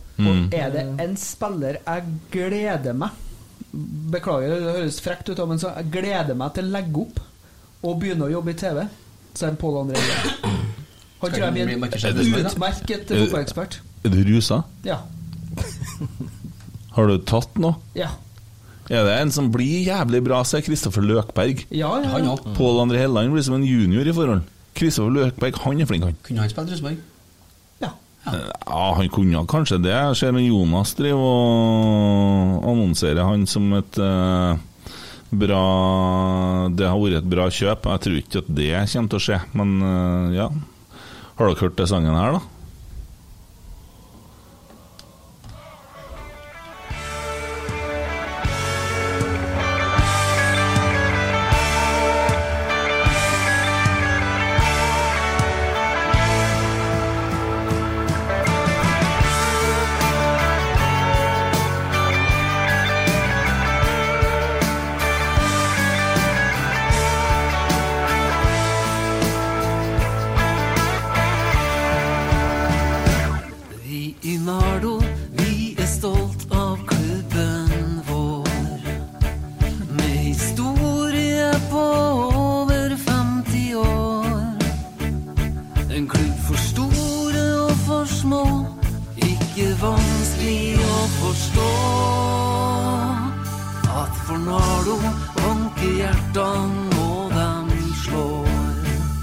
E: Er det en spiller jeg gleder meg Beklager, det høres frekt ut, men så jeg gleder meg til å legge opp og begynne å jobbe i TV, så er det Pål André Helleland. Han tror jeg
D: bli
E: blir
D: markedsekspert,
E: en
D: da?
E: utmerket
C: Eh,
E: fotballekspert.
C: Er du rusa?
E: Ja.
C: Har du tatt noe?
E: Ja.
C: Er det en som blir jævlig bra, så er Kristoffer Løkberg.
E: Ja, ja.
D: Han
E: ja.
D: òg.
C: Pål André Helland blir som en junior i forhold. Kristoffer Løkberg, han er flink, han.
D: Kunne han spilt Rosenborg?
E: ja.
C: Ja, han kunne ha kanskje det. Jeg ser en Jonas driver og annonserer han som et eh, bra Det har vært et bra kjøp. Jeg tror ikke at det kommer til å skje, men eh, ja. Har dere hørt det sangen her, da?
B: Vi i Nardo, vi er stolt av klubben vår. Med historie på over 50 år. En klubb for store og for små, ikke vanskelig å forstå. At for Nardo vanker hjertene, og dem slår.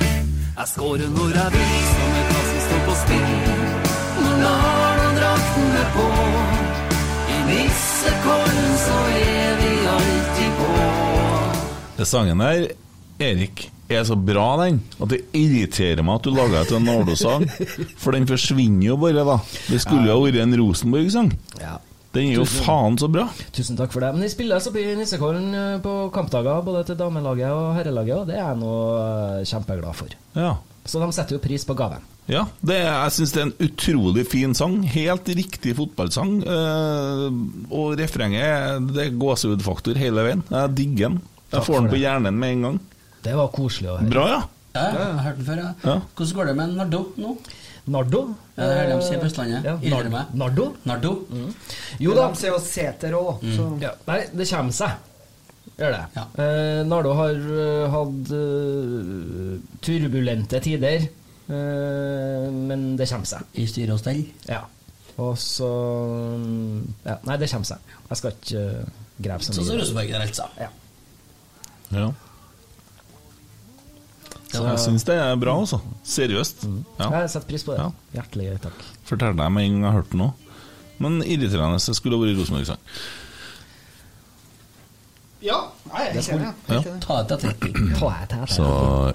B: Jeg skårer når jeg vil, som en klassen står på spill. Når Nardo-drakten er på, i nissekollen så er vi alltid på.
C: Den sangen her, Erik, er så bra, den, at det irriterer meg at du laga til en Nardo-sang. For den forsvinner jo bare, da. Det skulle jo ha vært en Rosenborg-sang. Den er jo faen så bra.
F: Tusen takk for det. Men de spilles oppe i Nissekollen eh, på kampdager, både til damelaget og herrelaget, og det er jeg nå eh, kjempeglad for.
C: Ja.
F: Så de setter jo pris på gaven.
C: Ja, det, er- jeg syns det er en utrolig fin sang. Helt riktig fotballsang. eh, og refrenget det er gåsehudfaktor hele veien. Jeg digger den. Jeg får den på hjernen med en gang.
F: Det var koselig å høre.
C: Bra, ja.
D: Ja, jeg har hørt den før, ja.
C: Ja.
D: Hvordan går det med Nardo nå?
F: Nardo?
D: Ja, det er det de sier på Østlandet.
F: Eh, Ja, Mm.
D: Irrer
F: Nar-
D: meg.
F: Nardo?
D: Nardo?
F: Jo da.
E: De ser jo Sæter òg, da. Så
F: Ja. Nei, det kommer seg. Gjør det.
D: Ja.
F: Eh, Nardo har eh, hatt eh, turbulente tider, eh, men det kommer seg.
D: I styre og stell?
F: Ja. Og så ja, Nei, det kommer seg. Jeg skal ikke eh, grave så
D: Sånn som
F: mye.
D: Rosenborg der, altså.
F: Ja.
C: ja. Så jeg syns det er bra, altså. Seriøst. Ja.
F: Jeg setter pris på det.
C: Ja.
F: Hjertelig takk.
C: Forteller deg med en gang jeg hørte den òg. Men irriterende. Det skulle ha vært Rosenborg-sang.
E: Ja, nei, jeg er enig.
C: Ja.
D: Ta det til ettertid.
F: Ta et her,
C: Så,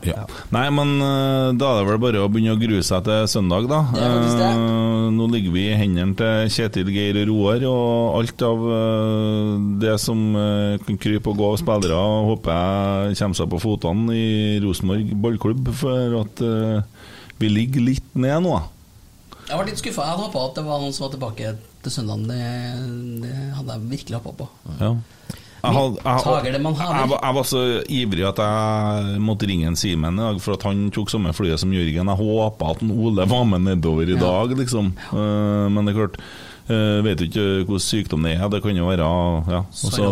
C: ja. Nei, men eh, da er det vel bare å begynne å grue seg til søndag, da.
D: Det er faktisk det.
C: Eh, Nå ligger vi i hendene til Kjetil, Geir og Roar, og alt av eh, det som eh, kan krype og gå av spillere, håper jeg kommer seg på fotene i Rosenborg ballklubb, for at eh, vi ligger litt ned nå.
D: Jeg var litt skuffa. Jeg hadde håpa at det var noen som var tilbake til søndagen. Det, det hadde jeg virkelig håpa på.
C: Ja. Jeg, had, jeg,
D: Tager det man
C: jeg,
D: har.
C: var- jeg var så ivrig at jeg måtte ringe en Simen i dag, for at han tok samme flyet som Jørgen. Jeg håpa at en Ole var med nedover i dag, liksom. Eh, Men det er klart Eh, vet jo ikke hvordan sykdom det er, det kan jo være ja.
E: Sånn
C: Og så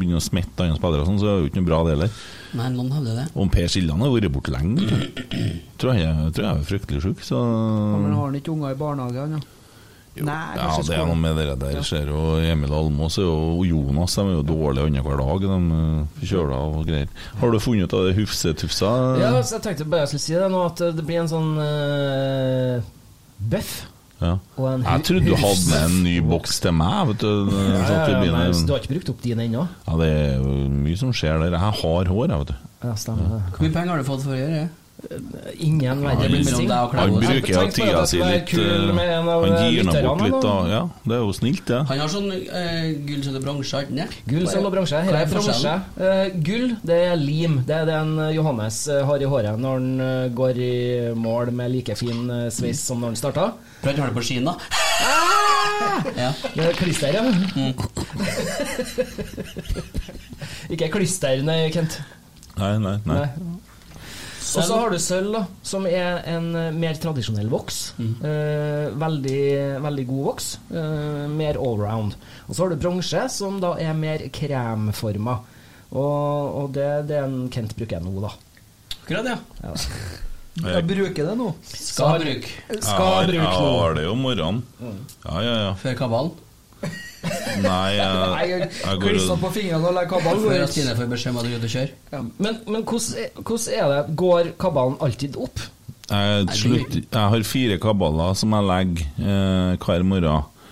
C: begynner å smitte andre spillere, og sånn, så er det jo ikke noe bra, det heller.
D: Nei, noen hevder det.
C: Om Per Siljan har vært borte lenge, tror jeg, tror jeg er fryktelig sjuk. Så
D: Mm.
E: Ja, Men har han ikke unger i barnehagen, ja? Nei,
C: ja,
E: kanskje
C: det er noe
E: skolen.
C: med det der. Ser jo Emil Almås og Jonas de er jo dårlige annenhver dag. De eh, kjøler av og greier. Har du funnet ut av det Hufsetufsa?
F: Ja, så jeg tenkte bare jeg skulle si det nå, at det blir en sånn eh, bøff.
C: Ja.
F: Og en hu-
C: Jeg trodde du hadde
F: hufse.
C: med en ny boks til meg. Vet du,
F: Ja,
C: sånn
F: ja,
C: at vi
F: ja,
C: begynner-
F: men du har ikke brukt opp dine ennå?
C: ja, det er jo mye som skjer der. Jeg har hår, jeg, vet du.
F: Ja, stemmer det.
D: Hvor mye penger har du fått for å gjøre det?
F: Ingen
C: Han,
F: verre
D: mellom
F: blessing.
D: deg og
C: han
D: Klæbo.
C: bruker
F: Jeg
C: jo
F: tenkte bare
C: tida
F: at
C: si
F: det var
C: litt
F: kul med
C: eh,
F: en av
C: Han gir nå bort
F: lytterne,
C: litt, da.
F: da.
C: Ja, det er jo snilt, det.
D: Han har sånn eh, gull som det bransje, har han ikke det?
F: Gull, sølv og bronse. Her
D: Hva
F: er bronse.
D: forskjellen?
F: Eh, gull, det er lim. Det er det en eh, Johannes eh, har i håret når han eh, går i mål med like fin eh, sveis som når han starta.
D: For han har det på skien, da. Ja.
F: Det er klister, ja. Ikke klister, nei, Kent.
C: Nei, nei, nei.
F: Nei. Og så har du sølv, da, som er en eh, mer tradisjonell voks.
C: Mm.
F: Eh, veldig, veldig god voks. Eh, mer allround. Og så har du bronse, som da er mer kremforma. Og, og det det er en Kent bruker nå, da.
D: Akkurat, ja.
E: Jeg bruker det nå.
D: Skal bruke.
C: Jeg har,
F: Skal
C: jeg
F: bruke Mm. nå.
C: har det jo om morgenen. Ja, ja, ja.
D: Før kabalen.
C: Nei,
E: Nei,
C: jeg,
E: Jeg
C: jeg går
E: klissa
C: og
E: på fingrene og legger kabalen
D: Før at
E: gå ut.
D: Stine får beskjed om at du er ute og kjører.
F: Men, men hvordan, er- hvordan er det? Går kabalen alltid opp?
C: Jeg, slutt, jeg har fire kabbaler som jeg legger eh, hver morgen.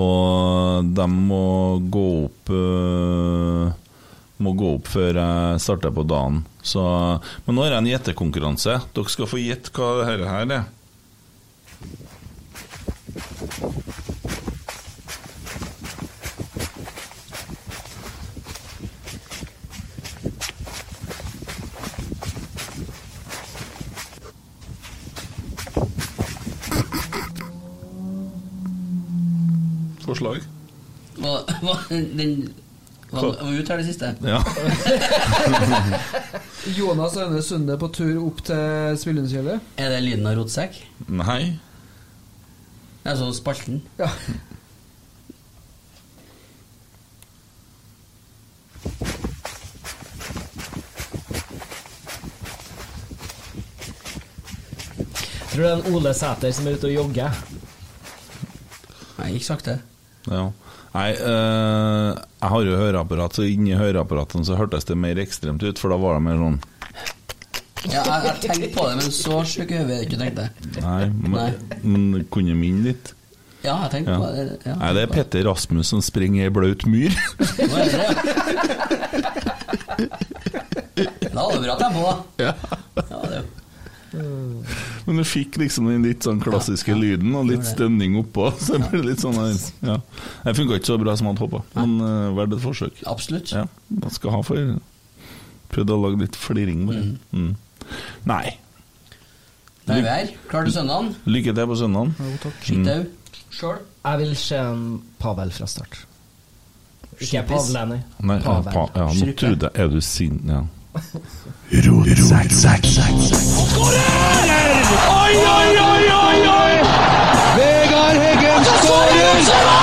C: Og de må gå opp eh, Må gå opp før jeg starter på dagen. Så, men nå har jeg en gjettekonkurranse. Dere skal få gjette hva dette her er. Forslag?
D: Hva- hva- Den var
C: Hva?
D: var ut her det siste.
C: Ja.
E: Jonas Øyne Sunde på tur opp til Svillundskjellet.
D: Er det lyden av rotsekk?
C: Nei.
D: Altså spalten?
E: Ja.
F: Tror du det er en Ole Sæter som er ute og jogger?
D: Nei, ikke sakte.
C: Ja. Nei, eh, jeg har jo høreapparat, så inni høreapparatene så hørtes det mer ekstremt ut, for da var det mer sånn
D: Ja, jeg, jeg tenkte på det, men så sjuk i hodet er det ikke, tenkte jeg.
C: Nei,
D: Nei.
C: men, men kunne minne litt.
D: Ja, jeg tenkte
C: Ja.
D: på det. Ja.
C: Nei, det er Petter Rasmus som springer i blaut myr.
D: Nå er det det, ja. Da hadde du bra tempo, da. Ja, det er jo
C: Men du fikk liksom den litt sånn klassiske lyden og litt stemning oppå. Så det ble litt sånn her ja. Det funka ikke så bra som jeg hadde håpa, men uh, verdt et forsøk.
D: absolutt.
C: Ja, man skal ha for Prøvde å lage litt fliring med det. Mm. Nei.
D: Da er vi her. Klar til søndagen.
C: Lykke til på søndagen.
D: Skitt au.
E: Sjøl.
F: Jeg vil se en Pavel fra start. Ikke
D: Skipis.
F: Pavle, nei.
C: Nei, ja,
F: Pavel.
C: pa, ja, nå
D: Skrupe.
C: trodde jeg Er du sint? Ja.
A: Vegard Heggen skårer!